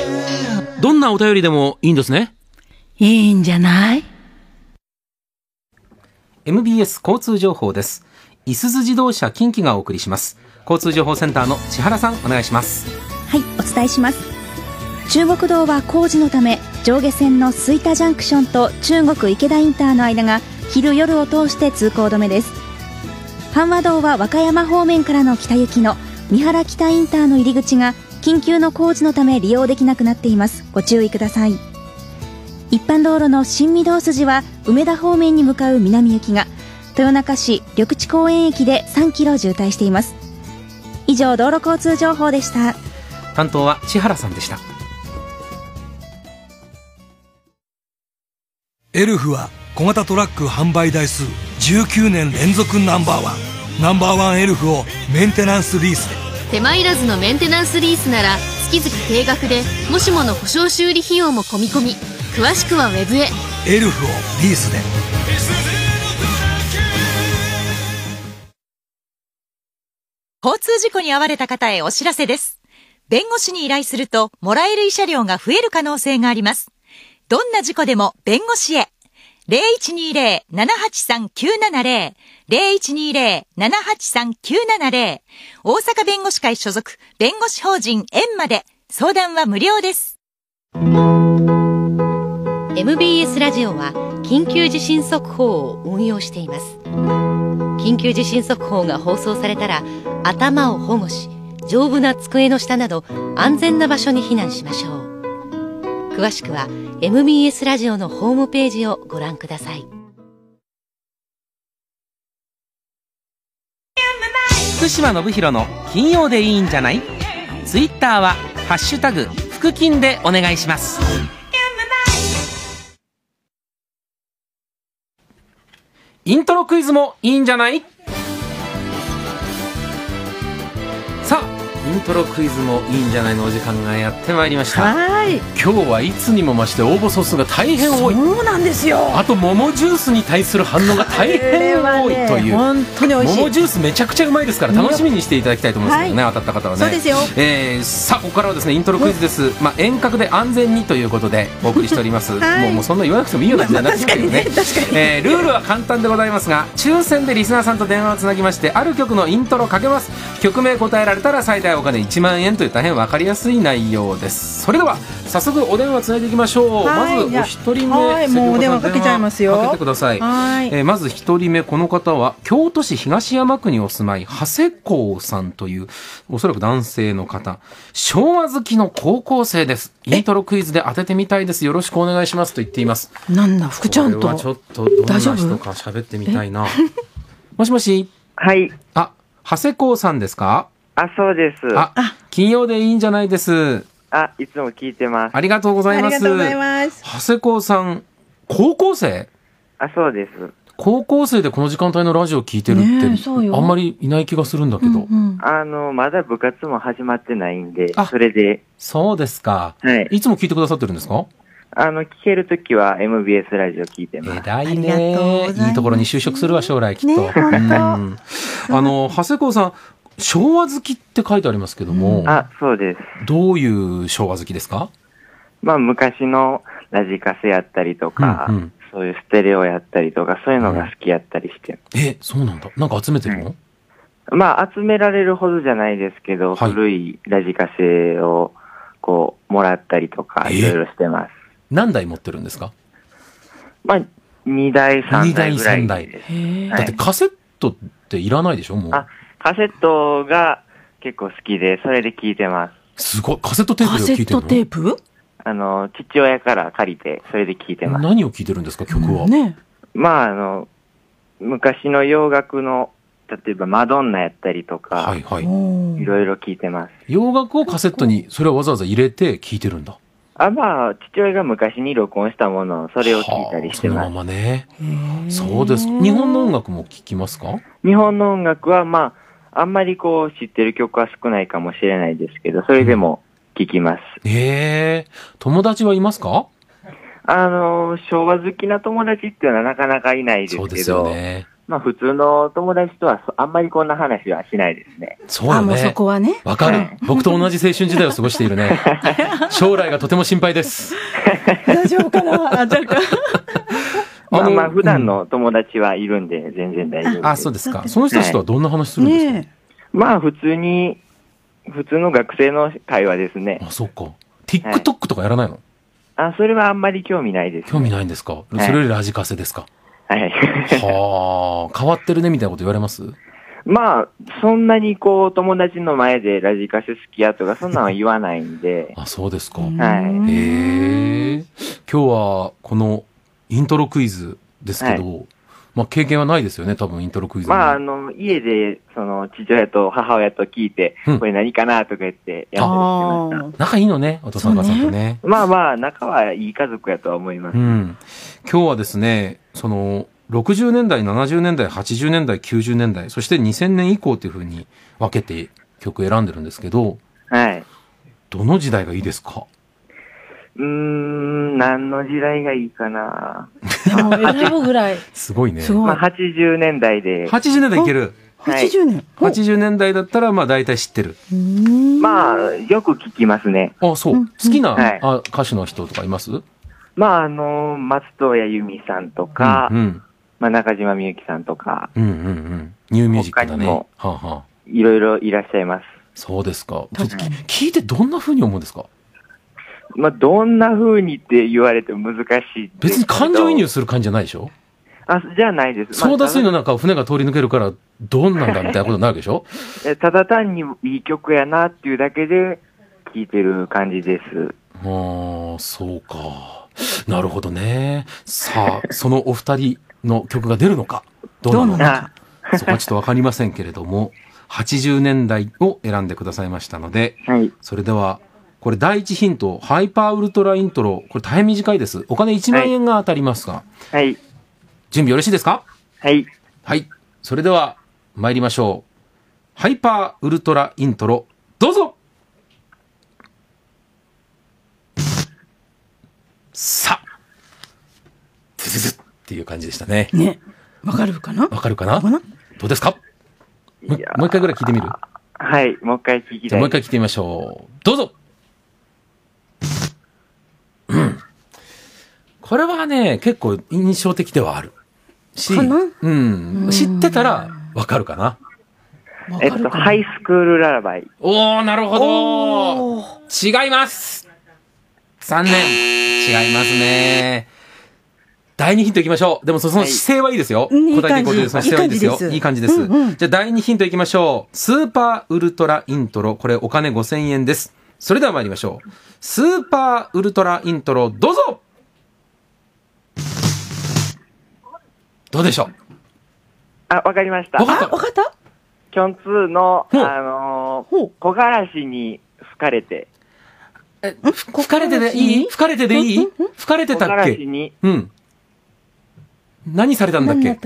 S2: どんなお便りでもいいんですね。
S13: いいんじゃない ?MBS 交通情報です。いすゞ自動車近畿がお送りします。交通情報センターの千原さんお願いします。
S14: はい、お伝えします。中国道は工事のため、上下線の吹田ジャンクションと中国池田インターの間が昼夜を通して通行止めです。阪和道は和歌山方面からの北行きの三原北インターの入り口が緊急の工事のため利用できなくなっています。ご注意ください。一般道路の新御堂筋は梅田方面に向かう南行きが豊中市緑地公園駅で3キロ渋滞しています。以上、道路交通情報でした。
S13: 担当は千原さんでした。
S15: エルフは小型トラック販売台数19年連続ナンバーワンナンバーワンエルフをメンテナンスリースで
S7: 手間いらずのメンテナンスリースなら月々定額でもしもの故障修理費用も込み込み詳しくはウェブへ
S15: エルフをリースで
S7: 交通事故に遭われた方へお知らせです。弁護士に依頼すると、もらえる慰謝料が増える可能性があります。どんな事故でも弁護士へ。0120-783-970。0120-783-970。大阪弁護士会所属、弁護士法人円まで。相談は無料です。
S42: MBS ラジオは緊急地震速報を運用しています緊急地震速報が放送されたら頭を保護し丈夫な机の下など安全な場所に避難しましょう詳しくは MBS ラジオのホームページをご覧ください
S13: 福島信弘の金曜でいいんじゃないツイッターはハッシュタグ福金でお願いしますイントロクイズもいいんじゃないさあイントロクイズもいいんじゃないのお時間がやってまいりました
S2: はい今日はいつにも増して応募総数が大変多い
S13: そうなんですよあ
S2: と桃ジュースに対する反応が大変多いという、
S1: これはね本当に美味しい
S2: 桃ジュースめちゃくちゃうまいですから楽しみにしていただきたいと思いますけどね、
S1: はい
S2: 当たった方はね
S1: そうですよ
S2: えーさあここからはですねイントロクイズです、まあ、遠隔で安全にということでお送りしております、
S1: はい
S2: もうもうそんな言わなくてもいいような時代になってきてるよね,、えールールは簡単でございますが抽選でリスナーさんと電話をつなぎましてある曲のイントロをかけます曲名答えられたら最大お金1万円という大変分かりやすい内容ですそれでは早速お電話つないでいきましょう
S1: はい
S2: まずお一人目
S1: はいもうお電話かけちゃいますよ
S2: かけてください
S1: はい
S2: えーまず一人目この方は京都市東山区にお住まい長谷光さんというおそらく男性の方昭和好きの高校生ですイントロクイズで当ててみたいですよろしくお願いしますと言っています
S1: なんだ、福ちゃん
S2: ことれは。ちょっとどんな
S1: 大丈夫
S2: 人か喋ってみたいなもしもしはいあ長谷光さんですかあそうですあ金曜でいいんじゃないですあいつも聞いてますありがとうございます
S3: ありがとうございます
S2: 長谷光さん高校生
S5: あ、そうです。
S2: 高校生でこの時間帯のラジオ聞いてるって、
S5: ねえそうよ
S2: あんまりいない気がするんだけど。
S5: あの、まだ部活も始まってないんで、それで、
S2: そうですか。い。つも聞いてくださってるんですか
S5: あの、聞けるときは MBS ラジオ聞いてます。
S2: 偉いね。いいところに就職するわ、将来きっと。
S5: ね本当
S2: うんあの、長谷川さん、昭和好きって書いてありますけども。
S5: あ、そうです。
S2: どういう昭和好きですか
S5: まあ、昔のラジカセやったりとか、そういうステレオやったりとか、そういうのが好きやったりして。
S2: え、そうなんだ。なんか集めてるの
S5: まあ、集められるほどじゃないですけど、古いラジカセを、こう、もらったりとか、いろいろしてます。
S2: 何台持ってるんですか
S5: まあ、2台、
S2: ?2
S5: 3
S2: 台、
S5: 台ぐらい。
S2: 3台。
S5: はい
S2: だってカセットっていらないでしょもう。
S5: カセットが結構好きで、それで聞いてます。
S2: すごい。カセットテープで聞いてるの
S5: カセットテー
S1: プ
S5: あの、父親から借りて、それで聞いてます。
S2: 何を聞いてるんですか曲は。
S5: まあ、あの、昔の洋楽の、例えばマドンナやったりとか、
S2: い
S5: ろいろ聞いてます。
S2: 洋楽をカセットに、それをわざわざ入れて聞いてるんだ。
S5: あ、まあ、父親が昔に録音したものを、それを聞いたりして
S2: そのま
S5: ま。
S2: すまね。そうです。日本の音楽も聞きますか
S5: 日本の音楽は、まあ、あんまりこう、知ってる曲は少ないかもしれないですけど、それでも聞きます。
S2: ええ友達はいますか
S5: あの、昭和好きな友達っていうのはなかなかいないですけど、
S2: ですよね。
S5: まあ普通の友達とはそあんまりこんな話はしないですね。
S2: そうだね。
S5: はね。
S2: わかる。僕と同じ青春時代を過ごしている ね。将来がとても心配です。
S5: 大丈夫か
S1: なあ、
S5: まあまあ普段の友達はいるんで全然大丈夫
S2: あ、そうですか。その人たちとはどんな話するんですか、
S5: まあ普通に、普通の学生の会話ですね。
S2: あ、そっか。TikTok とかやらないの、
S5: あ、それはあんまり興味ないです。
S2: 興味ないんですか、
S5: はい
S2: それよりラジカセですか
S5: はい。
S2: はあ、変わってるねみたいなこと言われます。
S5: まあ、そんなにこう友達の前でラジカセ好きやとかそんなのは言わないんで
S2: あ、そうですか。
S5: はい。
S2: へえ。今日はこのイントロクイズですけど、まあ経験はないですよね、多分イントロクイズに。
S5: まあ、あの、家で、その、父親と母親と聞いて、これ何かなとか言ってやったりしてまし
S2: 仲いいのね、お父さんお母さんとね。
S5: た。まあまあ、仲はいい家族やとは思います。
S2: うん。今日はですね、その、60年代、70年代、80年代、90年代、そして2000年以降というふうに分けて曲選んでるんですけど、
S5: はい。
S2: どの時代がいいですか
S5: うーん、何の時代がいいかな。
S1: 選ぶぐらい。
S2: すごいね。
S5: まあ、80年代で。
S2: 80年代いける。
S5: 80
S1: 年
S2: 80年代だったら、まあ大体知ってる。
S5: まあ、よく聞きますね。
S2: あ、そう。好きな、
S5: はい
S2: あ歌手の人とかいます
S5: まあ、あの、松任谷由実さんとか、
S2: うん。
S5: まあ、中島みゆきさんとか、
S2: うんうんうん。ニューミュージックだね。はあ、はあ、
S5: いろいろいらっしゃいます。
S2: そうですか。ちょっとき聞いてどんな風に思うんですか
S5: まあ、どんな風にって言われても難しい。
S2: 別に感情移入する感じじゃないでしょ
S5: あ、じゃあないです。まあ
S2: ソーダ水の中を船が通り抜けるから、どんなんだみたいなことになるでしょ
S5: えただ単にいい曲やなっていうだけで聴いてる感じです。
S2: ああ、そうか。なるほどね。さあ、そのお二人の曲が出るのか、どうなのか。そこはちょっとわかりませんけれども、80年代を選んでくださいましたので、それでは、これ第一ヒント、ハイパーウルトライントロ、これ大変短いです。お金1万円が当たりますが、
S5: はい。
S2: 準備よろしいですか
S5: はい。
S2: はい。それでは、参りましょう。ハイパーウルトライントロ、どうぞさあ、ズズズッっていう感じでしたね。
S1: ね。わかるかな
S2: わかるかなどうですかもうもう一回ぐらい聞いてみる
S5: はい、もう一回聞き
S2: じ
S5: た
S2: ゃあ
S5: い。
S2: もう一回聞いてみましょう。どうぞうんこれはね、結構印象的ではある。し、うん。知ってたらわかるかな。
S5: えっと、ハイスクールララバイ。
S2: おー、なるほど違います残念違いますね。第2ヒントいきましょう。でもそその姿勢はいいですよ。
S13: うんいい
S2: 答
S13: 感
S2: えて
S13: じ
S2: いこうというその姿勢はいいですよ。い
S13: い
S2: い
S13: い感
S2: 感
S13: じ
S2: じ
S13: で
S2: ですす。
S13: うんうん
S2: じゃあ第2ヒントいきましょう。スーパーウルトライントロ。これお金5000円です。それでは参りましょう。スーパーウルトライントロ、どうぞどうでしょう
S5: あ、わかりました。わかった
S1: わかった
S5: キョンツーの、あのー、木枯らしに吹かれて。
S2: え、吹かれてでいい吹かれてでいい吹かれてたっ
S5: 木枯ら
S2: け
S5: しに
S2: うん。何されたんだっけ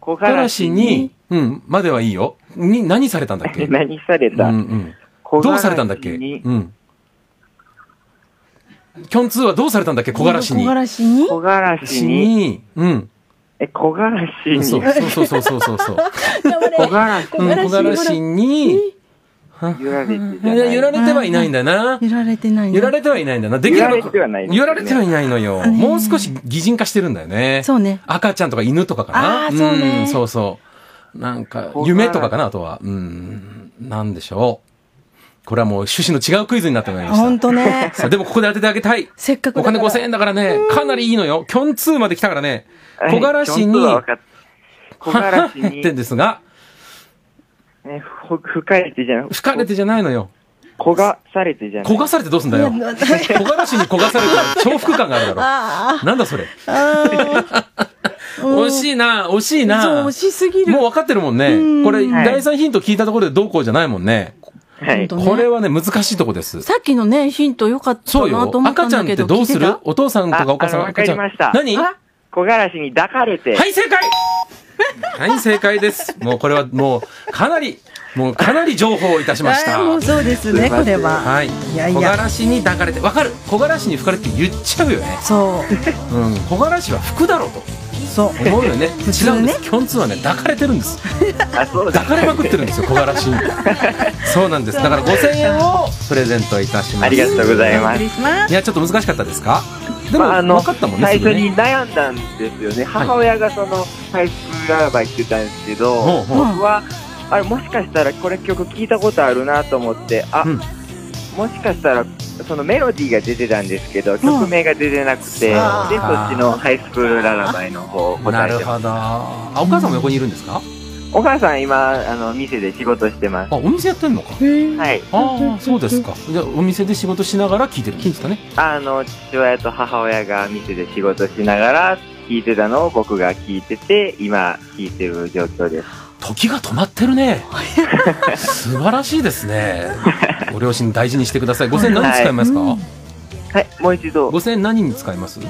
S5: 木
S2: 枯らしに、うん、まではいいよ。に、何されたんだっけ
S5: 何された、
S2: うんうん、どうされたんだっけうん。キョンツーはどうされたんだっけ木枯らしに。
S5: らしに。木枯らしに。
S2: うん。
S5: え、木枯らしに。
S2: そうそうそうそう そうそう。
S5: 木枯らし
S2: うん木枯らしに、
S5: 揺られて
S2: いや揺られてはいないんだな。
S1: 揺られてない
S2: 揺られてはいないんだな。でき
S5: 揺られてはないですね
S2: 揺られてはいないのよ。もう少し擬人化してるんだよね。
S1: そうね。
S2: 赤ちゃんとか犬とかかな。
S1: あーそうね
S2: んそうそう。なんか、夢とかかな、あとは。うん。なんでしょう。これはもう趣旨の違うクイズになってまいりました。
S1: 本当ね
S2: さあでもここで当ててあげたい。
S1: せっかく
S2: お金5000円だからね、かなりいいのよ。キョン2まで来たからね。小枯らし
S5: ちょっ
S2: に、
S5: とは分かっ木枯らし
S2: っ
S5: に
S2: て、んですが、
S5: ね、ふ、吹かれてじゃな
S2: 吹かれてじゃないのよ。
S5: 焦がされてじゃない
S2: 焦がされてどうすんだよ。
S5: いや
S2: 焦がらしに焦がされたら重複感があるだろ。
S1: あ
S2: なんだそれ。
S1: うん
S2: 惜しいな、惜しいな。
S1: そう惜しすぎる
S2: もう分かってるもん
S1: う
S2: ね。
S1: ん
S2: これ、
S1: はい
S2: 第3ヒント聞いたところでどうこうじゃないもんね。
S1: はい
S2: これはね、難しいとこです。
S1: さっきのね、ヒント良かった
S2: そう
S1: な
S2: よ
S1: と。思った
S2: 赤
S1: ん
S2: ちゃ
S1: だ
S2: んっ
S1: け
S2: て
S1: ど。
S2: どうする
S1: 聞いて
S2: お父さんとかお母さん
S5: ああの
S2: 赤ちゃん。
S5: わかりました
S2: 何
S5: あ木枯らしに抱かれて。
S2: はい、正解はい、正解です。もうこれはもう、かなり、もうかなり情報をいたしまし
S1: あ
S2: た。
S1: ーもうそうですねこれは
S2: はい。
S1: やい
S2: 木
S1: や
S2: 枯らしに抱かれて、わかる木枯らしに吹かれて言っちゃうよね。そう。うん。木枯らしは吹くだろうと。
S1: そう
S2: 思うよね。違うんです。キョンツーはね、抱かれてるんです。抱かれまくってるんですよ、木枯らしに。そうなんです。だから5000円をプレゼントいたします。
S5: ありがとうございますお送り
S1: します
S2: いや、ちょっと難しかったですかでも、
S5: まああの
S2: 分かったもんね、
S5: 最
S2: すぐ
S5: 初
S2: ね
S5: に悩んだんですよね。母親がその、パイプラバー言ってたんですけど、
S2: ほうほう
S5: 僕は、あれもしかしたらこれ曲聞いたことあるなと思って、あ、もしかしたら、そのメロディーが出てたんですけど、曲名が出てなくて、で、そ
S2: あー
S5: っちのハイスクールララバイの方を
S2: な
S5: 答え
S2: る
S5: てま
S2: ほど。あ、お母さんも横にいるんですか
S5: す。お母さん今、あの、店で仕事してます。
S2: あ、お店やってんのか
S5: はい。
S2: ああ、そうですか。じゃあ、お店で仕事しながら聞いてるんですかね。
S5: あの、父親と母親が店で仕事しながら聞いてたのを僕が聞いてて、今聞いてる状況です。
S2: 時が止まってる ね。素晴らしいですね。ご両親大事にしてください。5000円何に使いますか、
S5: ははい、もう一度。
S2: 5000円何に使います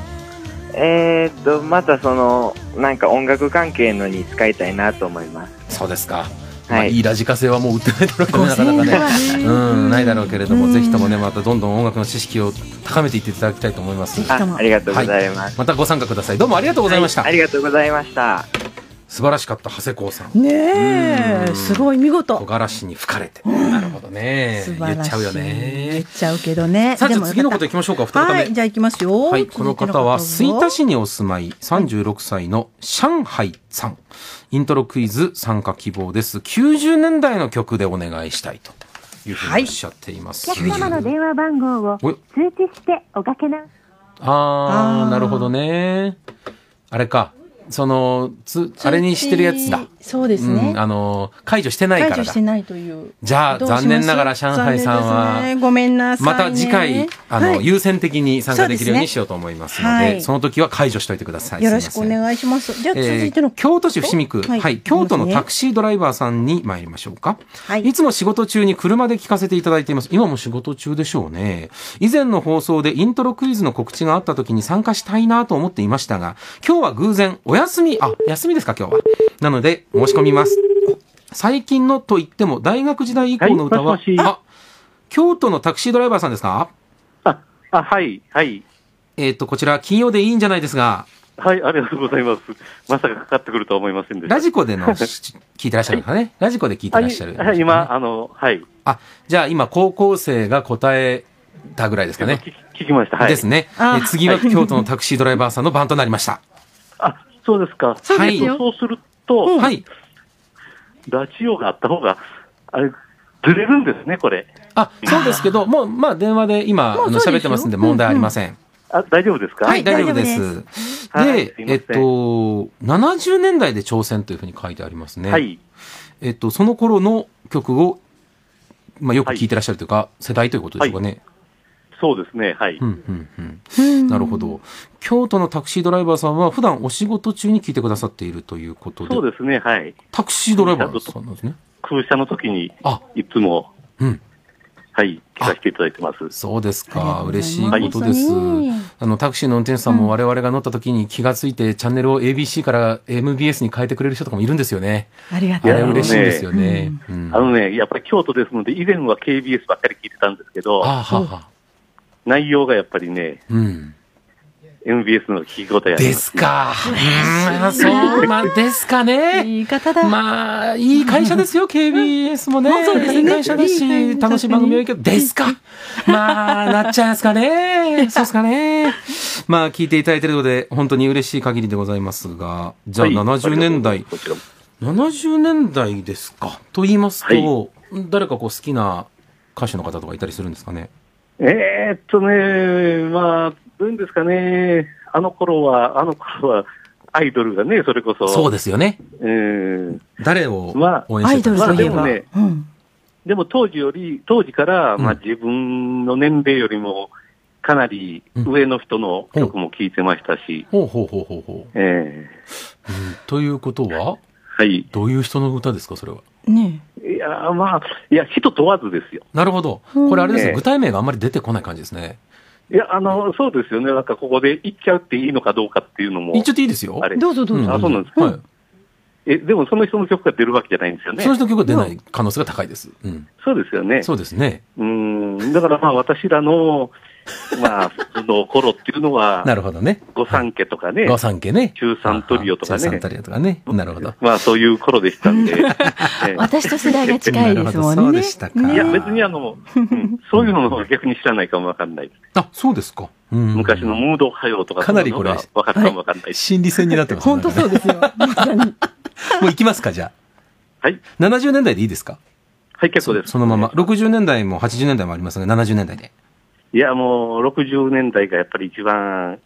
S5: えーっと、またその、なんか音楽関係のに使いたいなと思います。
S2: そうですか。まあ、いいラジカセはもう売ってないだろうけどねなかなか
S5: 5000
S2: ね。
S5: 円
S2: うん、ないだろうけれど
S5: う
S2: も、
S5: ん
S2: ぜひともね、またどんどん音楽の知識を高めていっていただきたいと思います。
S5: ひともあありがとうございます
S2: はまたご参加ください。どうもありがとうございました。
S5: ありがとうございました。
S2: 素晴らしかった、長谷光さん。
S1: ねえ、すごい見事。
S2: 木枯らしに吹かれて。なるほどね。
S1: 素晴
S2: 言
S1: ら
S2: っ
S1: しい
S2: ちゃうよね。
S1: 言っちゃうけどね。
S2: さあ、
S1: で
S2: じゃ
S1: も
S2: あ
S1: よ
S2: 次
S1: か
S2: の
S1: っ
S2: こといきましょうか、
S1: た
S2: 二方目。
S1: はい、じゃあ行きますよ。
S2: はい、この
S1: 続いて
S2: 方は
S1: どうぞ
S2: 吹田市にお住まい36歳の上海さん。イントロクイズ参加希望です。90年代の曲でお願いしたいというふうにおっしゃっています。
S3: お客様の電話番号を
S2: おい
S3: 通知しておかけな。
S2: あー、なるほどね。あれか。その、つ、あれにしてるやつだ。
S1: そうですね
S2: んあの、解除してないか
S1: 解
S2: ら
S1: 除
S2: だ
S1: して。ないという。
S2: じゃあ、
S1: どうします
S2: 残念ながら上海さんは、
S1: 残念ですねごめんなさいね。
S2: また次回、あの、
S1: はい
S2: 優先的に参加できるようにしようと思いますので、そ
S1: そうですねはい
S2: の時は解除しておいてください。
S1: よろしく
S2: すい
S1: お
S2: ません
S1: 願いします。じゃあ続いて
S2: えー京都市伏見区、
S1: は
S2: はいい、京都の
S1: ね
S2: タクシードライバーさんに参りましょうか。い、つも仕事中に車で聞かせていただいています。今も仕事中でしょうね。以前の放送でイントロクイズの告知があった時に参加したいなと思っていましたが、今日は偶然お休み、あ、休みですか今日は。なので、申し込みます。最近のと言っても、大学時代以降の歌は、
S8: はいもしもし
S2: あ、京都のタクシードライバーさんですか
S8: あ、はい、はい。
S2: えっ、と、こちら、金曜でいいんじゃないですが、
S8: はい、ありがとうございます。まさかかかってくるとは思いませんでした。
S2: ラジコで の、し聞いてらっしゃるのかね。ラジコで聞いてらっしゃる。
S8: はいはい、今、あの、はい。
S2: あ、じゃあ今、高校生が答えたぐらいですかね。
S8: 聞きました。はい。
S2: ですね。
S8: あ
S2: え次は京都のタクシードライバーさんの番となりました。
S8: そうですか。
S2: そうですよ
S8: はいそうすると、
S2: はい。
S8: ラジオがあった方が、あれ、ずれるんですね、これ。
S2: あ、そうですけど、もう、まあ、電話で今、
S8: も
S2: あ
S8: う
S2: の、
S8: そう
S2: 喋
S8: ですよ
S2: ってますんで問題ありません。
S8: あ、大丈夫ですか
S2: はい、大丈夫です。で、えっと、70年代で挑戦というふうに書いてありますね。
S8: はい。
S2: えっと、その頃の曲を、まあ、よく聞いてらっしゃるというか、世代ということでしょうかね。
S8: そうですね、はい。
S2: うん、うん。なるほど。京都のタクシードライバーさんは普段お仕事中に聞いてくださっているということで。
S8: そうですね、はい。
S2: タクシードライバーさんなんですね。
S8: 空車の時に、
S2: あ
S8: いつも、
S2: うん
S8: はい、聞かせていただいてます。
S2: そうですか。嬉しいことです。あの、タクシーの運転手さんも我々が乗った時に気がついて、チャンネルを ABC から MBS に変えてくれる人とかもいるんですよね。
S25: ありが
S2: あれ嬉しいですよね。うん
S8: あのね、やっぱり京都ですので、以前は KBS ばっかり聞いてたんですけど、
S2: あはは。
S8: 内容がやっぱりね、
S2: うん。
S8: MBS の聞き応えあります。
S2: ですか。うん、そう、まあ、ですかね。言い方だ。まあ、いい会社ですよ、KBS もね。
S15: そうですね
S2: いい会社だし、楽しい番組多いけど、ですか。まあ、なっちゃいますかね。そうですかね。 まあ、聞いていただいてるので、本当に嬉しい限りでございますが、じゃあ、
S8: はい
S2: 70年代。70年代ですか。と言いますと、誰かこう、好きな歌手の方とかいたりするんですかね。
S8: えーっとね、まあ、どういうんですかね、あの頃は、あの頃は、アイドルがね、それこそ。
S2: そうですよね。
S8: うん。
S2: 誰を
S8: まあ、
S2: 応援してたんですか
S8: まあでもね、でも当時より、当時から、まあ自分の年齢よりも、かなり上の人の曲も聴いてましたし、
S2: ほうほうほうほうほう。
S8: え
S2: ということは、
S8: はい。
S2: どういう人の歌ですか、それは。
S25: ね
S8: えいや、まあ、いや、人問わずですよ。
S2: なるほど。
S8: うん
S2: これあれです
S8: え
S2: ね、
S8: え
S2: 具体名があんまり出てこない感じですね。
S8: いや、あの、そうですよね。なんかここで言っちゃっていいのかどうかっていうのも。
S2: 言っちゃっていいですよ
S8: あれ
S2: どうぞどうぞ
S8: あ、そうなんですか。え、でもその人の曲が出るわけじゃないんですよね。
S2: その人の曲が出ない可能性が高いです。うん。
S8: そうですよね。
S2: そうですね。
S8: うん。だからまあ私らの、まあ、その頃っていうのは、
S2: なるほどね。
S8: ご三家とかね。
S2: ご三家ね。
S8: 中三トリオとか
S2: サン
S8: ね
S2: タ。リアとかね。なるほど。
S8: まあそういう頃でした んで。ええ
S25: 私と世代が近いですも んね。
S2: なるほどそうでしたか
S8: いや、別にあの、うんそういうのの方が逆に知らないかもわかんない。
S2: あ、そうですか。
S8: 昔のムード歌謡とか
S2: かなりこれ
S8: そういうのがわかるかもわかんない。
S2: 心理戦になってますね。本当そうですよ。 もう行きますか、じゃあ。
S8: はい。
S2: 70年代でいいですか
S8: はい、結構です。
S2: そのまま。60年代も80年代もありますが、70年代で。
S8: いや、もう60年代がやっぱり一番、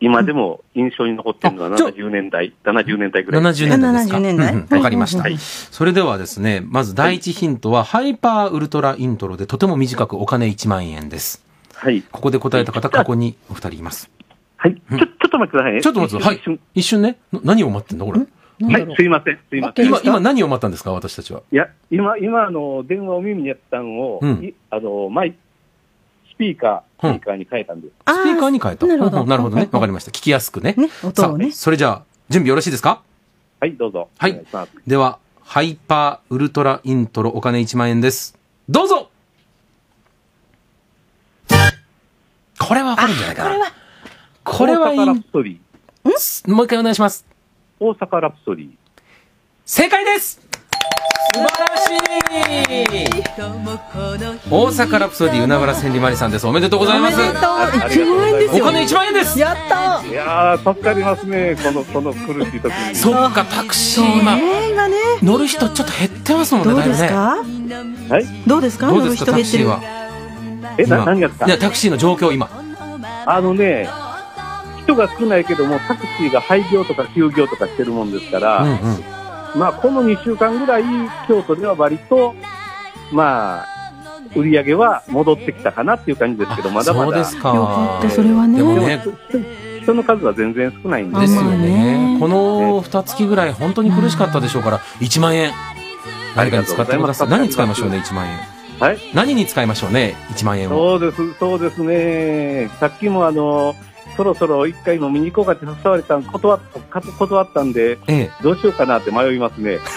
S8: 今でも印象に残ってるのは70年代、70年代ぐらい。
S2: 70年代ですか。
S25: 70年代
S2: うんうんわかりました
S25: は。
S2: それではですね、まず第一ヒントは、ハイパーウルトライントロでとても短くお金1万円です。
S8: はい。
S2: ここで答えた方、過去にお二人います。
S8: はい。ちょ、ちょっと待ってくださいね。
S2: ちょっと待ってください。はい。一瞬ね。な何を待ってんのこれ。
S8: はい、すいません、すいません。
S2: 今、今何を待ったんですか私たちは。
S8: いや、今、今、あの、電話を耳にやったんを、
S2: うん
S8: いあの、マイ、スピーカー、スピーカーに変えたんです。
S2: スピーカーに変えた。なるほど。なるほどね。わかりました。聞きやすくね。
S25: 音をね
S2: さあそれじゃあ、準備よろしいですか
S8: はい、どうぞ。
S2: はい。では、ハイパーウルトライントロお金1万円です。どうぞこれはわかるんじゃないかな。これは、
S8: 大阪ラプソディ。
S2: もう一回お願いします。
S8: 大阪ラプソディ。
S2: 正解です素晴らしい大阪ラプソディ海原千里マリさんです。おめでとうございます。
S8: ありがとうございます
S2: お金1万円です
S25: やった
S8: いやー、助かりますね、この、この苦しい時に。
S2: そっか、タクシー今、
S25: 今ね
S2: 乗る人ちょっと減ってますもんね、
S25: どうです
S2: だいぶね
S25: か
S8: はい
S25: どうですか
S2: どうですか、タ
S25: 乗る
S2: ク
S25: 人
S2: シー
S25: 減
S2: は
S25: ってる。
S8: えな
S2: 今
S8: 何がですか
S2: いや、タクシーの状況今。
S8: あのね、人が少ないけども、タクシーが廃業とか休業とかしてるもんですから、
S2: うんうん。
S8: まあ、この2週間ぐらい、京都では割と、まあ、売り上げは戻ってきたかなっていう感じですけど、まだまだ。
S2: そうですかよかったそ
S25: れはね
S2: でもね
S8: 人の数は全然少ないんで。
S2: ですよね。この二月ぐらい本当に苦しかったでしょうから、1万円。誰かに使ってください。何に使いましょうね、1万円。
S8: はい
S2: 何に使いましょうね、1万円を。
S8: そうです、そうですね。さっきもあの、そろそろ一回飲みに行こうかって誘われたん、断った、か断ったんで、
S2: ええ、
S8: どうしようかなって迷いますね。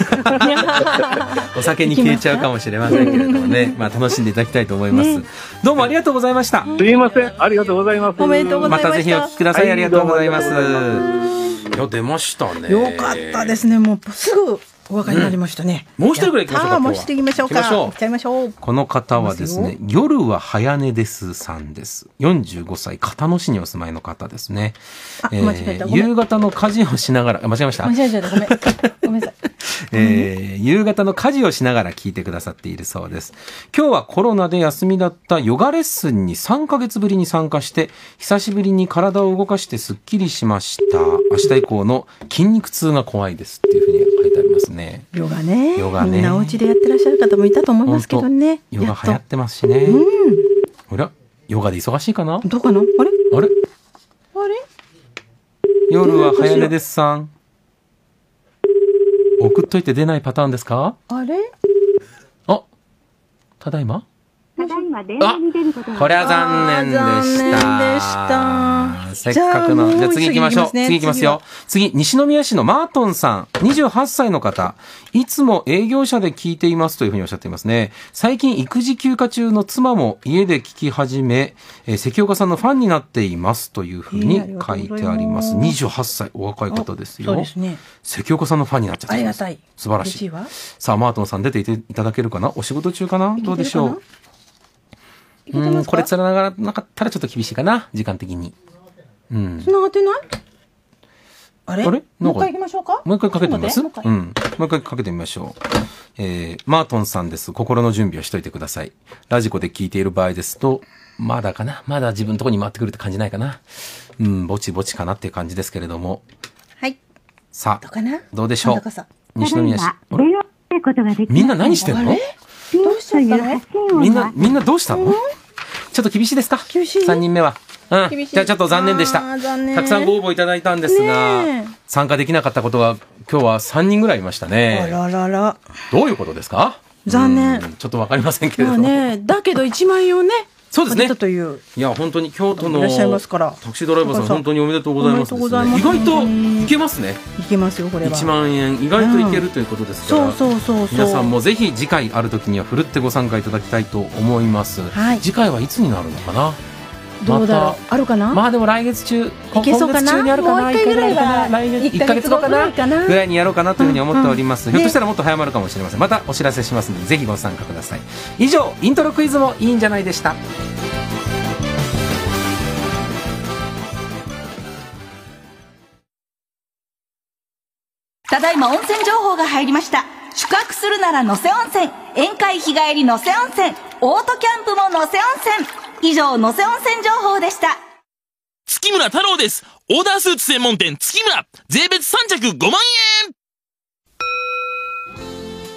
S2: お酒に消えちゃうかもしれませんけれどもね、まあ楽しんでいただきたいと思います。どうもありがとうございました。
S8: すいません、ありがとうございます。
S2: おめでとうございましたまたぜひお聞きくださいありがとうございます
S8: はどうもありがとうございます
S2: いや、出ましたね。
S25: よかったですねもうすぐお分かりになりましたね、
S2: もう一人ぐらい行きましょう
S25: あ
S2: か
S25: あ。もう一人行きましょうか
S2: 行きましょう
S25: 行っちゃいましょう
S2: この方はですね、夜は早寝ですさんです。45歳、片野市にお住まいの方ですね。
S25: あ間違えたごめん
S2: 夕方の家事をしながら、あ間違えました
S25: 間違えちゃったごめんごめんなさい
S2: えー夕方の家事をしながら聞いてくださっているそうです。今日はコロナで休みだったヨガレッスンに3ヶ月ぶりに参加して、久しぶりに体を動かしてスッキリしました。明日以降の筋肉痛が怖いですっていうふうに書いてありますね。
S25: ヨガね
S2: ヨガね
S25: みんなお家でやってらっしゃる方もいたと思いますけどね
S2: ヨガ流行ってますしね。あら、ヨガで忙しいかな
S25: どうかなあれ
S2: あれ
S25: あれ
S2: 夜は早寝ですさん。送っといて出ないパターンですか
S25: あれ
S2: あ、ただいま
S34: ただいま電話に出ることが
S2: これは残念でした。せっかくの。
S34: じ
S2: じゃあ
S34: ゃあもう
S2: 次行きましょう。
S34: 次
S2: 次
S34: 行きますね
S2: 行きますよ。次、西宮市のマートンさん、28歳の方。いつも営業者で聞いていますというふうにおっしゃっていますね。最近育児休暇中の妻も家で聞き始め、えー関岡さんのファンになっていますというふうに書いてあります。28歳、お若い方ですよ。
S1: そうですね。
S2: 関岡さんのファンになっちゃった
S1: ありがたい。
S2: 素晴ら
S1: 嬉
S2: し
S1: し
S2: い
S1: いわ。
S2: さあ、マートンさん出ていていただけるかなお仕事中かなどうでしょううん、これつながらなかったらちょっと厳しいかな、時間的に。うん。
S1: 繋がってないあれ
S2: あれ
S1: もう一回行きましょうか
S2: もう一回かけてみます
S1: ち
S2: う
S1: ょ
S2: ん
S1: っと。待ってもう一
S2: もう一回かけてみましょう。えー、マートンさんです。心の準備をしといてください。ラジコで聞いている場合ですと、まだかなまだ自分のところに回ってくるって感じないかなうん、ぼちぼちかなっていう感じですけれども。
S1: はい。
S2: さ
S1: どうかな
S2: あ、どうでしょ
S1: 今
S2: う
S1: 度こそ
S2: 西 宮市。
S34: ただいま電話に出ることができ
S2: みんな何してんの
S34: ピンという発信音は
S2: みんな、みんなどうしたのちょっと厳しいですか厳しい ?3 人目は。うん。
S1: 厳しい
S2: じゃあちょっと残念でした
S1: あ。ー残念
S2: たくさんご応募いただいたんですが、
S1: ねえ
S2: 参加できなかったことが今日は3人ぐらいいました
S1: あ
S2: ね。
S1: ららら。
S2: どういうことですか
S1: 残念。
S2: ちょっとわかりませんけれ
S1: ま
S2: ど
S1: あ
S2: も。
S1: ね、だけど一万円をね。
S2: そうですね。
S1: という。
S2: いや、本当に京都の
S1: いらっしゃいますから
S2: タクシードライバーさん本当におめでとうございますですね、
S1: おめでとうございます
S2: 意外といけますね。
S1: いけますよ、これは。
S2: 1万円意外といけるということですから、
S1: うんそうそうそうそう
S2: 皆さんもぜひ次回ある時にはふるってご参加いただきたいと思います、
S1: はい
S2: 次回はいつになるのかな
S1: どうだろう。あるかなま
S2: あでも来月中、
S1: いけそうか
S2: 今月中にあ
S1: な
S2: るか
S1: もう
S2: な
S1: 一回ぐらいは、
S2: 1ヶ月後かな
S1: 一ヶ月ぐらい
S2: ぐらいにやろうかなというふうに思っております、
S1: うんうん
S2: ひょっとしたらもっと早まるかもしれませんまたお知らせしますのでぜひご参加ください以上イントロクイズもいいんじゃないでした
S45: ただいま温泉情報が入りました宿泊するなら野瀬温泉宴会日帰り野瀬温泉オートキャンプも野瀬温泉以上野瀬温泉情報でした
S43: 月村太郎です。オーダースーツ専門店月村。税別3着5万円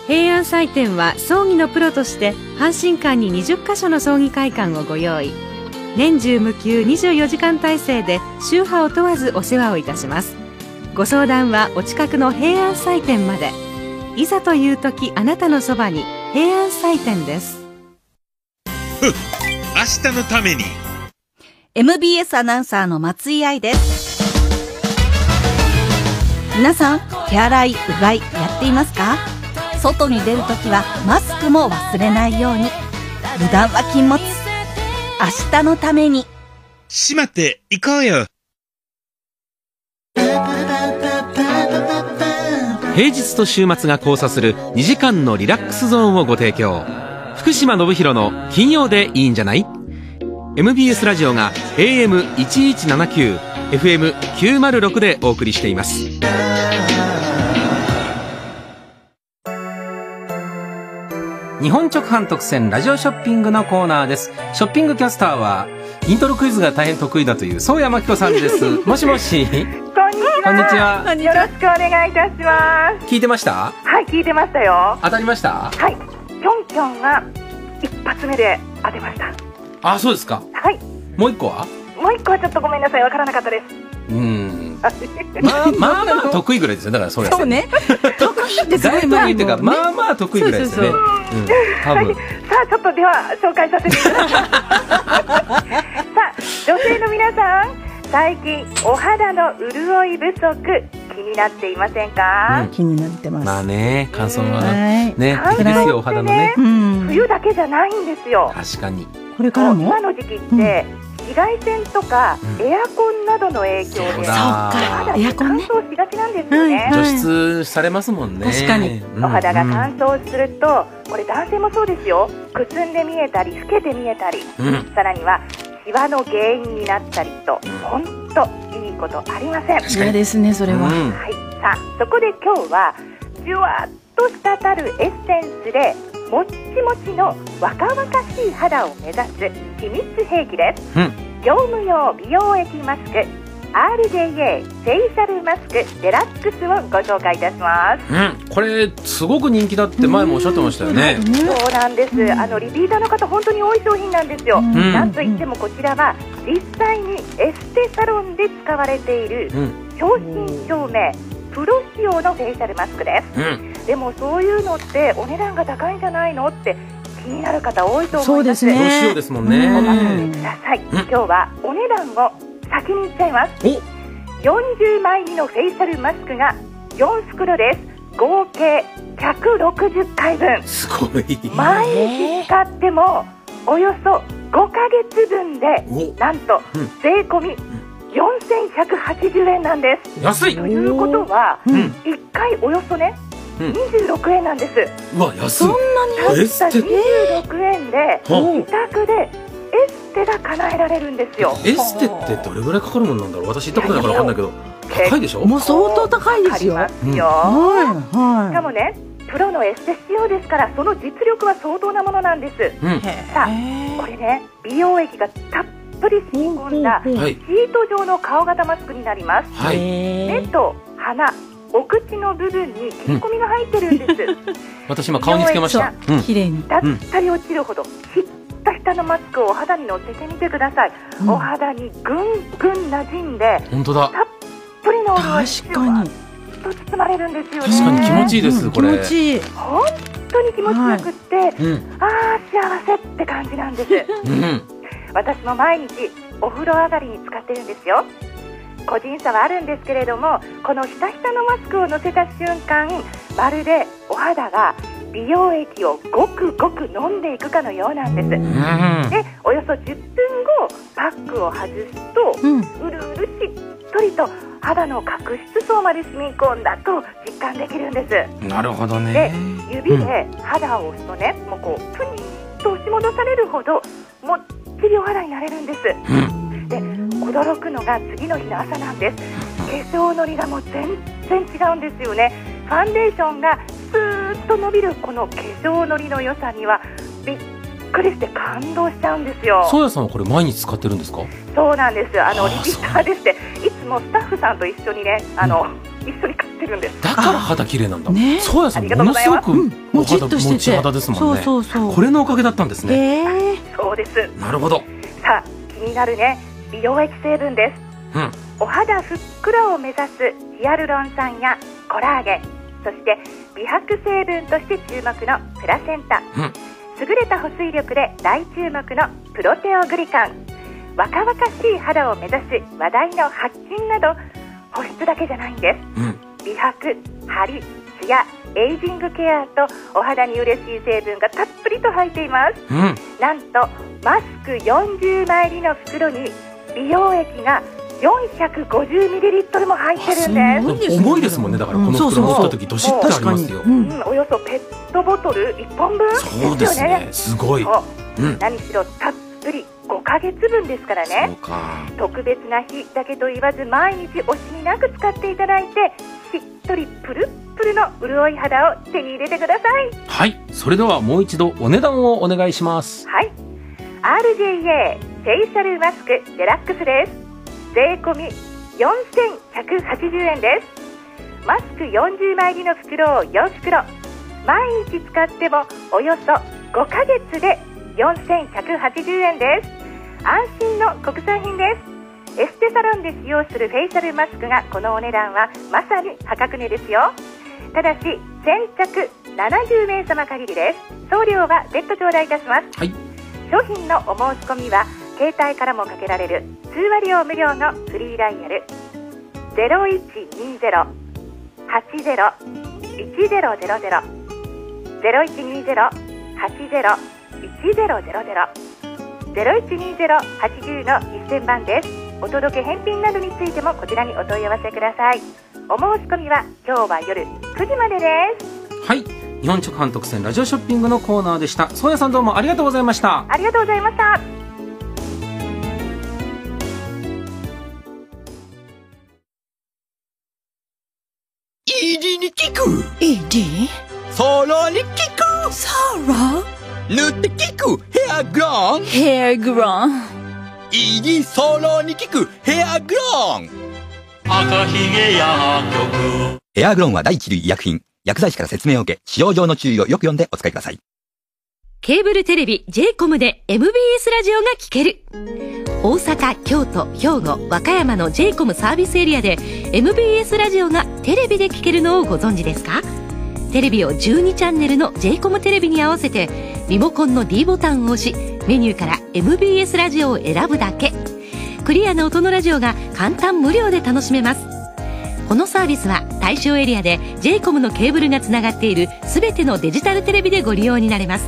S36: 平安祭典は葬儀のプロとして阪神館に20カ所の葬儀会館をご用意年中無休24時間体制で宗派を問わずお世話をいたしますご相談はお近くの平安祭典までいざという時あなたのそばに平安祭典です
S46: 明日のために
S45: MBS アナウンサーの松井愛です皆さん手洗いうがいやっていますか外に出るときはマスクも忘れないように無断は禁物明日のために
S46: しまっていこうよ
S13: 平日と週末が交差する2時間のリラックスゾーンをご提供福島信弘の金曜でいいんじゃない MBS ラジオが AM1179 FM906 でお送りしています
S2: 日本直販特選ラジオショッピングのコーナーですショッピングキャスターはイントロクイズが大変得意だという宗谷真紀子さんです もしもし
S47: こんにちは。
S2: こんにちは
S47: よろしくお願いいたします。
S2: 聞いてました
S47: はい、聞いてましたよ。
S2: 当たりました
S47: はい、キョンキョンが一発目で当てました。
S2: あそうですか
S47: はい、
S2: もう一個は
S47: もう一個はちょっとごめんなさい、わからなかったです。
S2: うんま あまあまあ 得意ぐらいですよだからそれ
S47: そうね。
S2: 大得意っていうか、まあまあ得意ぐらいですよね。
S47: そう
S2: うん、多分。
S47: さあちょっとでは紹介させてくださいさあ女性の皆さん最近お肌の潤い不足気になっていませんか、
S2: 気になってます。まあね、乾燥は
S47: はい
S2: ね、
S47: 乾燥
S2: いいですよ、お肌のね。
S47: 冬だけじゃないんですよ
S2: 確かに。
S47: これからも今の時期って、紫外線とかエアコンなどの影響で、
S2: そうだそうか
S47: お肌って乾燥しがちなんですよね、
S2: 除湿されますもんね。
S47: 確かに
S2: うん
S47: お肌が
S2: うん
S47: 乾燥すると、これ男性もそうですよくすんで見えたり老けて見えたり、
S2: うん
S47: さらにはシワの原因になったりと本当いいことありません
S1: 嫌ですね、それは。
S47: はい、さあそこで今日はじゅわっと滴るエッセンスでもっちもちの若々しい肌を目指す秘密兵器です業務用美容液マスク RJA フェイシャルマスクデラックスをご紹介いたします
S2: うん、これすごく人気だって前もおっしゃってましたよね。
S47: そうなんです。あのリピーターの方本当に多い商品なんですよ。
S2: ん
S47: なんといってもこちらは実際にエステサロンで使われている
S2: うん、
S47: 商品証明プロ仕様のフェイシャルマスクです。
S2: うん、
S47: でもそういうのってお値段が高いんじゃないのって気になる方多いと思います
S1: そうですね
S2: どうしようですもんね
S47: お任せください、今日はお値段を先に言っちゃいます40枚入りのフェイシャルマスクが4袋です合計160回分
S2: すごい
S47: 毎日使ってもおよそ5ヶ月分でなんと
S2: うん
S47: 税込み4180円なんです
S2: 安い
S47: ということは、一1回およそね
S2: うん
S47: 26円なんです、
S2: うわ安い
S47: た
S2: エ
S47: っ
S2: ス
S47: た
S2: テ
S47: 26円で自宅でエステが叶えられるんですよ
S2: エステってどれぐらいかかるもんなんだろう私行ったことないから分かんないけど高いでしょ
S1: もう相当高いですよ。
S2: うん
S1: はい
S47: し
S1: は
S47: かもねプロのエステ仕様ですからその実力は相当なものなんです、
S2: うん
S47: さあこれね美容液がたっぷり染み込んだシ
S15: うんうんうんはい
S47: ート状の顔型マスクになります、
S15: はい
S47: 目と鼻お口の部分に切り込みが入ってるんです、
S2: 私今顔につけました
S47: そう
S2: うん
S1: 綺麗に
S47: だったり落ちるほどひったひたのマスクをお肌にのせてみてください、お肌にぐんぐんなじんで
S2: 本当だ
S47: たっぷりのオールを一
S1: かに
S47: と包まれるんですよね
S2: 確かに気持ちいいですこれ
S1: 気持ちいい
S47: 本当に気持ちよくって、
S2: うん
S47: ああ幸せって感じなんです
S2: うん
S47: 私も毎日お風呂上がりに使ってるんですよ個人差はあるんですけれどもこのひたひたのマスクをのせた瞬間まるでお肌が美容液をごくごく飲んでいくかのようなんです、でおよそ10分後パックを外すと、うるうるしっとりと肌の角質層まで染み込んだと実感できるんです
S2: なるほど
S47: で
S2: ね
S47: 指で肌を押すとね、もうこうプニーッと押し戻されるほどもっちりお肌になれるんです、で驚くのが次の日の朝なんです化粧のりがもう全然違うんですよねファンデーションがスーッと伸びるこの化粧のりの良さにはびっくりして感動しちゃうんですよ
S2: そうやさんはこれ毎日使ってるんですか
S47: そうなんですあのリピーターでしていつもスタッフさんと一緒にねあの、一緒に買ってるんです
S2: だから肌綺麗なんだ
S47: ね
S2: そうやさん
S47: ありが
S2: もの
S47: とうござ
S2: す
S47: い
S2: ご
S47: ます
S2: くお肌持ち肌ですもんね
S47: そうそうそう
S2: これのおかげだったんですね
S47: えそうです
S2: なるほど
S47: さあ気になるね美容液成分です
S2: うん
S47: お肌ふっくらを目指すヒアルロン酸やコラーゲンそして美白成分として注目のプラセンタ、
S2: うん
S47: 優れた保水力で大注目のプロテオグリカン若々しい肌を目指す話題の発菌など保湿だけじゃないんです、美白ハリツヤエイジングケアとお肌に嬉しい成分がたっぷりと入っています
S15: うん
S47: なんとマスク40枚入りの袋に美容液が450ミリリットルも入ってるんです。
S2: 重いですもんねだからこの
S47: そう
S2: 袋
S47: そう
S2: 持った時どしっとありますよ
S47: うんおよそペットボトル1本分ですよね。
S2: そうですねすごい
S47: そう
S2: うん
S47: 何しろたっぷり5ヶ月分ですからね。
S2: か
S47: 特別な日だけと言わず毎日惜しみなく使っていただいてしっとりプルップルの潤い肌を手に入れてください。
S2: はいそれではもう一度お値段をお願いします
S47: はい RJA フェイシャルマスクデラックスです税込み4180円ですマスク40枚入りの袋を4袋毎日使ってもおよそ5ヶ月で4180円です安心の国産品ですエステサロンで使用するフェイシャルマスクがこのお値段はまさに破格値ですよただし先着70名様限りです送料は別途頂戴いたします、商品のお申し込みは携帯からもかけられる通話料無料のフリーダイヤル0120-80-1000 0120-80-1000 0120-80の1000番ですお届け返品などについてもこちらにお問い合わせくださいお申し込みは今日は夜9時までです
S2: はい日本直販特選ラジオショッピングのコーナーでした宗谷さんどうもありがとうございました
S47: ありがとうございました
S15: ーに聞く ED? ソロに聞くソロ塗って聞くヘアグロンヘアグロン ED ソロに聞くヘアグロン
S48: 赤ひげや
S17: エアグロンは第一類医薬品。薬剤師から説明を受け、使用上の注意をよく読んでお使いください。
S42: ケーブルテレビ j コムで MBS ラジオが聴ける大阪京都兵庫和歌山の j コムサービスエリアで MBS ラジオがテレビで聴けるのをご存知ですかテレビを12チャンネルの j コムテレビに合わせてリモコンの d ボタンを押しメニューから MBS ラジオを選ぶだけクリアな音のラジオが簡単無料で楽しめますこのサービスは対象エリアで j コムのケーブルがつながっている全てのデジタルテレビでご利用になれます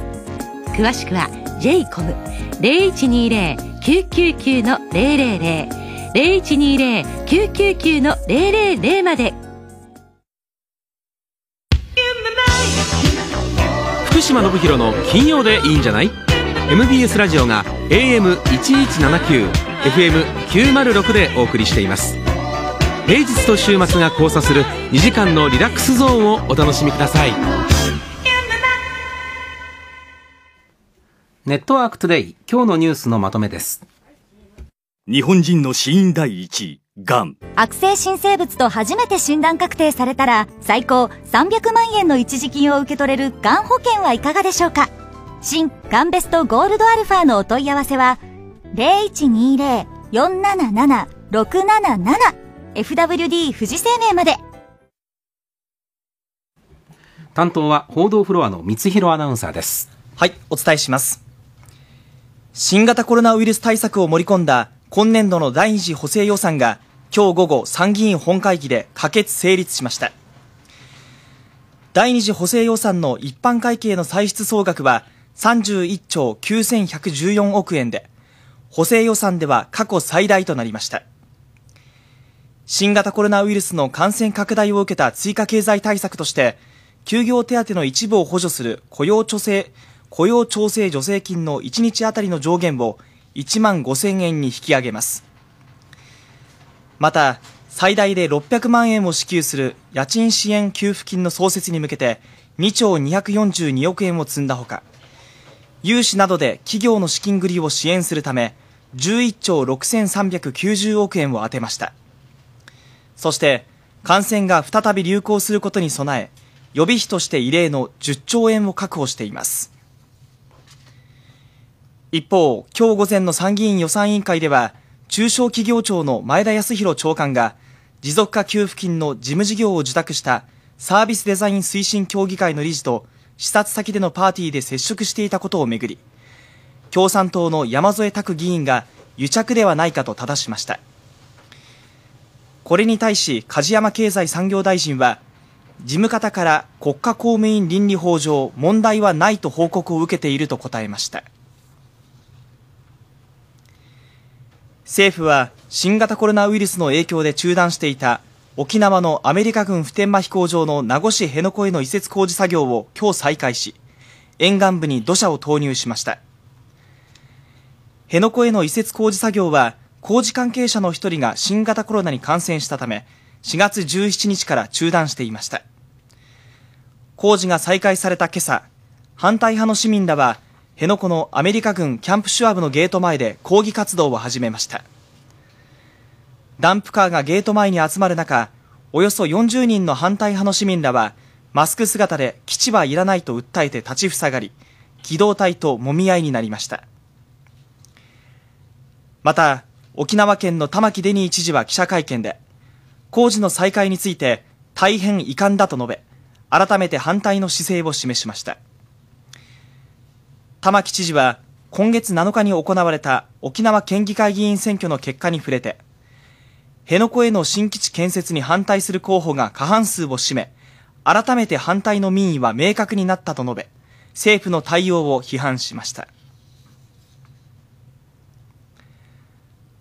S42: 詳しくは j コム0 1 2 0 9 9 9の0 0 0 0 1 2 0 9 9 9の0 0 0まで
S13: 福島信弘の金曜でいいんじゃない MBS ラジオが AM1179 FM906 でお送りしています平日と週末が交差する2時間のリラックスゾーンをお楽しみくださいネットワークトゥデイ今日のニュースのまとめです
S7: 日本人の死因第1位、がん。
S36: 悪性新生物と初めて診断確定されたら最高300万円の一時金を受け取れるがん保険はいかがでしょうか新がんベストゴールドアルファのお問い合わせは0120-477-677 FWD 富士生命まで
S13: 担当は報道フロアの三弘アナウンサーです
S21: はい、お伝えします。新型コロナウイルス対策を盛り込んだ今年度の第二次補正予算が今日午後参議院本会議で可決成立しました。第二次補正予算の一般会計の歳出総額は31兆9114億円で、補正予算では過去最大となりました。新型コロナウイルスの感染拡大を受けた追加経済対策として、休業手当の一部を補助する雇用調整、雇用調整助成金の1日あたりの上限を1万5000円に引き上げます。また、最大で600万円を支給する家賃支援給付金の創設に向けて2兆242億円を積んだほか、融資などで企業の資金繰りを支援するため、11兆6390億円を充てました。そして、感染が再び流行することに備え、予備費として異例の10兆円を確保しています。一方、今日午前の参議院予算委員会では、中小企業庁の前田康弘長官が、持続化給付金の事務事業を受託したサービスデザイン推進協議会の理事と、視察先でのパーティーで接触していたことをめぐり、共産党の山添拓議員が癒着ではないかと正しました。これに対し、梶山経済産業大臣は、事務方から国家公務員倫理法上問題はないと報告を受けていると答えました。政府は新型コロナウイルスの影響で中断していた沖縄のアメリカ軍普天間飛行場の名護市辺野古への移設工事作業を今日再開し、沿岸部に土砂を投入しました。辺野古への移設工事作業は、工事関係者の一人が新型コロナに感染したため、4月17日から中断していました。工事が再開された今朝、反対派の市民らは、辺野古のアメリカ軍キャンプシュアブのゲート前で抗議活動を始めました。ダンプカーがゲート前に集まる中、およそ40人の反対派の市民らは、マスク姿で基地はいらないと訴えて立ちふさがり、機動隊と揉み合いになりました。また、沖縄県の玉城デニー知事は記者会見で、工事の再開について大変遺憾だと述べ、改めて反対の姿勢を示しました。玉城知事は、今月7日に行われた沖縄県議会議員選挙の結果に触れて、辺野古への新基地建設に反対する候補が過半数を占め、改めて反対の民意は明確になったと述べ、政府の対応を批判しました。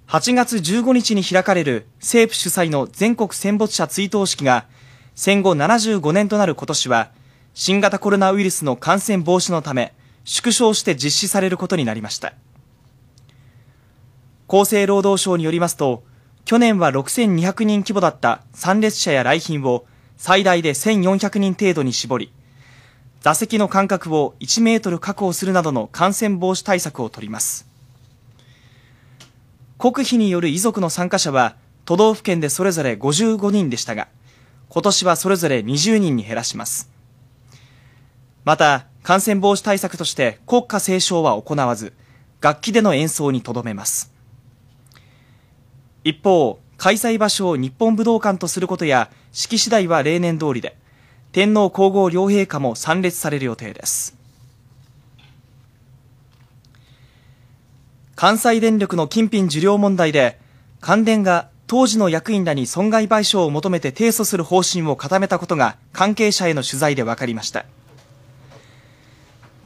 S21: 8月15日に開かれる政府主催の全国戦没者追悼式が戦後75年となる今年は新型コロナウイルスの感染防止のため縮小して実施されることになりました。厚生労働省によりますと去年は6200人規模だった参列者や来賓を最大で1400人程度に絞り座席の間隔を1メートル確保するなどの感染防止対策を取ります。国費による遺族の参加者は都道府県でそれぞれ55人でしたが、今年はそれぞれ20人に減らします。また、感染防止対策として国歌斉唱は行わず、楽器での演奏にとどめます。一方、開催場所を日本武道館とすることや、式次第は例年通りで、天皇皇后両陛下も参列される予定です。関西電力の金品受領問題で、関電が当時の役員らに損害賠償を求めて提訴する方針を固めたことが関係者への取材で分かりました。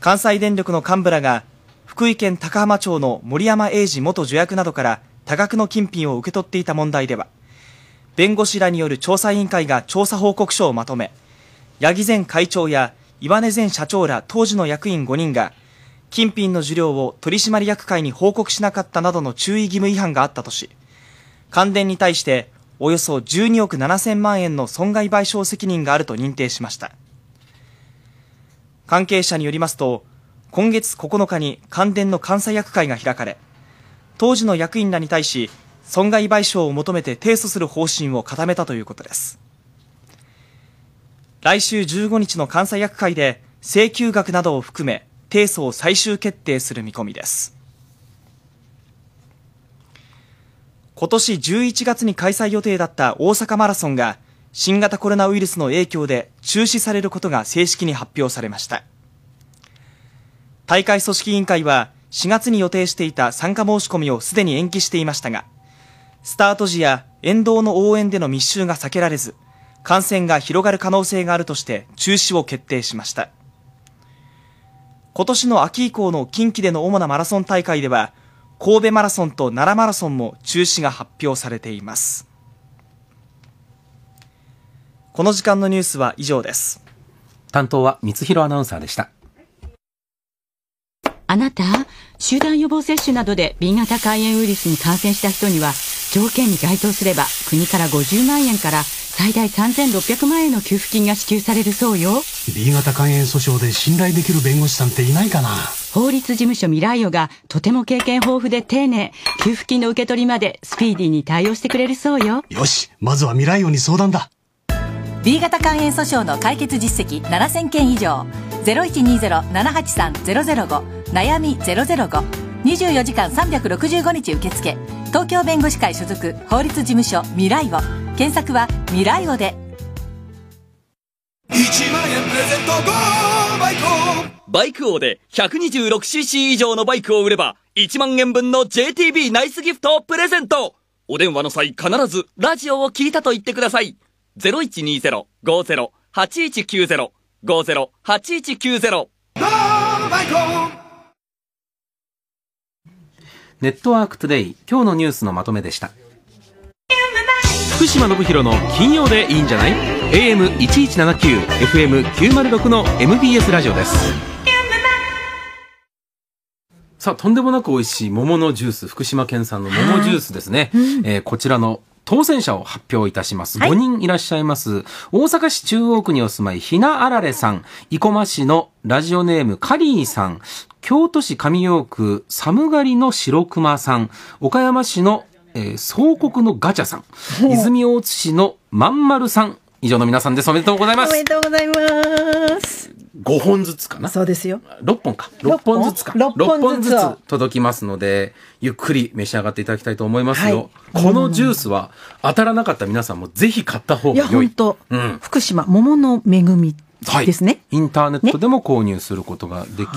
S21: 関西電力の幹部らが、福井県高浜町の森山英二元助役などから多額の金品を受け取っていた問題では、弁護士らによる調査委員会が調査報告書をまとめ、八木前会長や岩根前社長ら当時の役員5人が、金品の受領を取締役会に報告しなかったなどの注意義務違反があったとし、関電に対しておよそ12億7000万円の損害賠償責任があると認定しました。関係者によりますと、今月9日に関電の監査役会が開かれ、当時の役員らに対し、損害賠償を求めて提訴する方針を固めたということです。来週15日の監査役会で、請求額などを含め、提訴を最終決定する見込みです。今年11月に開催予定だった大阪マラソンが新型コロナウイルスの影響で中止されることが正式に発表されました。大会組織委員会は4月に予定していた参加申し込みをすでに延期していましたが、スタート時や沿道の応援での密集が避けられず、感染が広がる可能性があるとして中止を決定しました。今年の秋以降の近畿での主なマラソン大会では、神戸マラソンと奈良マラソンも中止が発表されています。この時間のニュースは以上です。
S13: 担当は三弘アナウンサーでした。
S49: あなた、集団予防接種などで B 型肝炎ウイルスに感染した人には、条件に該当すれば、国から50万円から最大3600万円の給付金が支給されるそうよ。
S15: B 型肝炎訴訟で信頼できる弁護士さんっていないかな
S49: 法律事務所ミライオがとても経験豊富で丁寧、給付金の受け取りまでスピーディーに対応してくれるそうよ。
S15: よし、まずは未来王に相談だ。
S49: B 型肝炎訴訟の解決実績7000件以上0120-783-005悩み005 24時間365日受付東京弁護士会所属法律事務所未来を検索は未来をで
S34: 1万円プレゼントゴーバイコ
S43: バイク王で 126cc 以上のバイクを売れば1万円分の JTB ナイスギフトをプレゼントお電話の際必ずラジオを聞いたと言ってください0120-50-8190 50-8190
S34: バイコ
S13: ネットワークトゥデイ今日のニュースのまとめでした。福島信弘の金曜でいいんじゃない ?AM1179、FM906 の MBS ラジオです。
S2: さあ、とんでもなく美味しい桃のジュース、福島県産の桃ジュースですね。えーこちらの当選者を発表いたします。5人いらっしゃいます。大阪市中央区にお住まい、ひなあられさん、生駒市のラジオネーム、カリーさん、京都市上陽区、寒狩りの白熊さん、岡山市の、えー総国のガチャさん、泉大津市のまんまるさん、以上の皆さんです。おめでとうございま
S1: おめ
S2: す。
S1: でとうございます。
S2: 5本ずつかな。
S1: そうですよ。
S2: 6本か。6本ずつか。
S1: 六
S2: 六
S1: 本
S2: 本ず
S1: 六
S2: つ
S1: 本ず
S2: 届きますので、ゆっくり召し上がっていただきたいと思いますよ。
S1: はい
S2: このジュースは当たらなかった皆さんもぜひ買った方
S1: い
S2: が
S1: や、
S2: 良い。
S1: 本当、
S2: うん。
S1: 福島、桃の恵み
S2: はい。
S1: ですね。
S2: インターネットでも購入することができ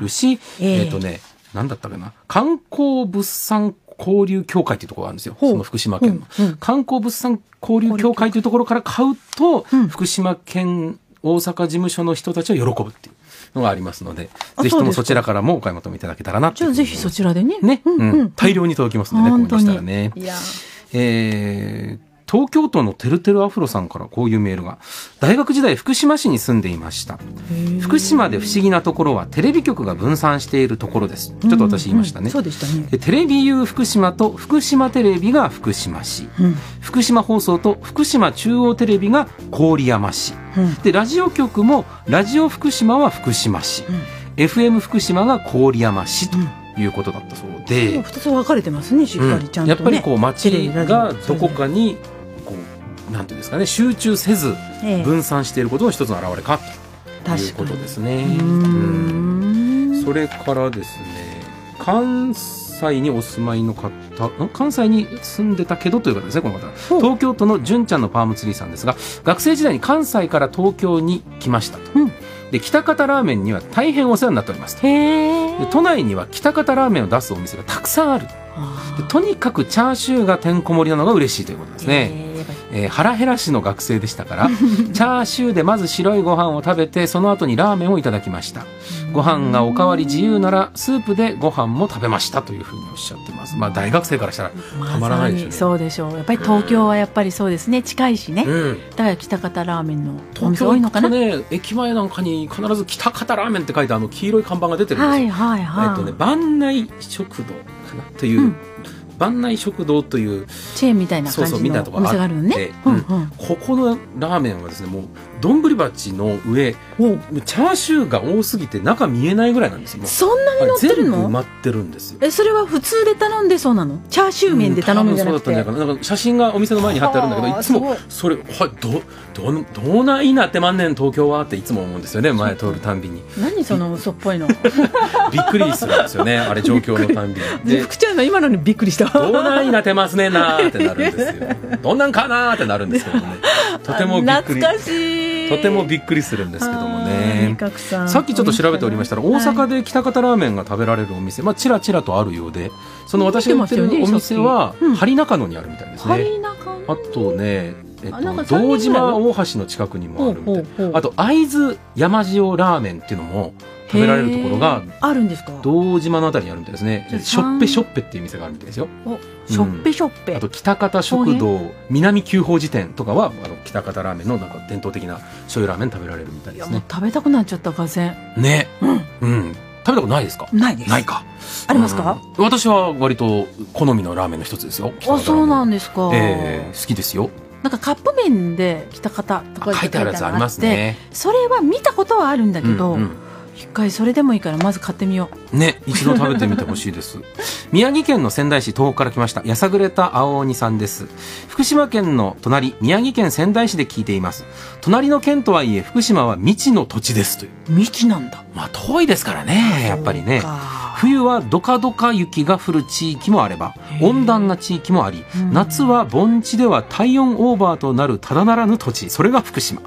S2: るし、
S1: ええ
S2: えっ、とね、なんだったかな。観光物産交流協会というところがあるんですよ。その福島県の。観光物産交流協会というところから買うと、福島県大阪事務所の人たちは喜ぶっていうのがありますので、
S1: あ
S2: ぜひと
S1: そう
S2: も
S1: ですか
S2: そちらからもお買い求めいただけたらなと
S1: じゃあぜひそちらでね。
S2: ね。
S1: うんう
S2: うんん。大量に届きますのでね、
S1: 本
S2: 購
S1: 当
S2: 入
S1: に
S2: したらね。
S1: いや
S2: えー東京都のてるてるアフロさんからこういうメールが。大学時代福島市に住んでいました。福島で不思議なところはテレビ局が分散しているところです。ちょっと私言いましたね。
S1: そうでしたね。
S2: でテレビ U 福島と福島テレビが福島市。
S1: うん。
S2: 福島放送と福島中央テレビが郡山市。
S1: うん。
S2: でラジオ局もラジオ福島は福島市、FM 福島が郡山市ということだったそうで、
S1: もう二つ分かれてますね、しっかりちゃんと、ね
S2: やっぱりこう町
S1: テレビラジオ
S2: がどこかにこうなんていうんですかね集中せず
S1: ええ
S2: 分散していることの一つの表れかということですね。うんそれからですね関西にお住まいの方ん関西に住んでたけどという方ですねこの方東京都の純ちゃんのパームツリーさんですが学生時代に関西から東京に来ましたと。で北方ラーメンには大変お世話になっておりますとで都内には北方ラーメンを出すお店がたくさんあるでとにかくチャーシューがてんこ盛りなのが嬉しいということですね、えー腹減らしの学生でしたから チャーシューでまず白いご飯を食べてその後にラーメンをいただきましたご飯がおかわり自由ならスープでご飯も食べましたというふうにおっしゃってますまあ大学生からしたらたまらないでしょうね
S1: そうでしょうやっぱり東京はやっぱりそうですね近いしね、
S2: うん
S1: だから北方ラーメンのお
S2: 東
S1: 店
S2: 京
S1: 多い
S2: 行
S1: の
S2: く
S1: か
S2: と
S1: な、
S2: ね駅前なんかに必ず「北方ラーメン」って書いてあの黄色い看板が出てるんですよ、
S1: はいはいはい
S2: えっとね番内食堂かなという、番内食堂という
S1: チェーンみたいな
S2: そう
S1: 感
S2: そう
S1: じ
S2: みたいな
S1: の
S2: とこ
S1: お店があるのね
S2: あって
S1: うんうん
S2: ここのラーメンはですねもう丼鉢の上チャーシューが多すぎて中見えないぐらいなんですよもう
S1: そんなに乗ってるの
S2: 全部埋まってるんですよ
S1: えそれは普通で頼んでそうなのチャーシュー麺で頼むんじゃなくて、
S2: 多分そうだったんじゃないかななんか写真がお店の前に貼ってあるんだけ
S1: は
S2: ど
S1: あ
S2: いつも
S1: す
S2: それ「はいどどんどうないなってまんねん東京は」っていつも思うんですよね前通るたん びに
S1: 何その嘘っぽいの
S2: びっくりするんですよねあれ状況のたんび にで
S1: 福ちゃんの今のにびっくりした
S2: どんなんになってますねなーってなるんですよどんなんかなーってなるんですけど ねとてもびっくり
S1: 懐かしい
S2: とてもびっくりするんですけどもね
S1: 角さん
S2: さっきちょっと調べておりましたら大阪で北方ラーメンが食べられるお店、まあちらちらとあるようでその私が言ってるお店は針中野にあるみたいですね、あとね、えっ
S1: あなんか
S2: と、
S1: 三軒ぐらい
S2: 堂島大橋の近くにもあるみたい
S1: ほうほうほう
S2: あと会津山塩ラーメンっていうのも食べられるところが
S1: へーあるんですか
S2: 堂島のあたりにあるみたいですね
S1: じゃあ
S2: しょっぺしょっぺっていう店があるみたいですよ
S1: おしょっぺしょっぺ、
S2: あと北方食堂南急報辞典とかはあの北方ラーメンのなんか伝統的な醤油ラーメン食べられるみたいですね
S1: 食べたくなっちゃったがぜん
S2: ね、うん、食べたことないですか
S1: ないです
S2: ないか。
S1: ありますか、
S2: うん私は割と好みのラーメンの一つですよ。
S1: あそうなんですか、
S2: ええ好きですよ。
S1: なんかカップ麺で来た方とか
S2: あ書いてあるやつありますね
S1: 書いてあるのがあってそれは見たことはあるんだけど、
S2: うんうん
S1: 一回それでもいいからまず買ってみよう
S2: ね、一度食べてみてほしい です。宮城県の仙台市東北から来ました。やさぐれた青鬼さんです。福島県の隣、宮城県仙台市で聞いています。隣の県とはいえ、福島は未知の土地ですという。
S1: 未知なんだ
S2: まあ遠いですからね、やっぱりね。冬はドカドカ雪が降る地域もあれば、温暖な地域もあり、夏は盆地では体温オーバーとなるただならぬ土地、それが福島。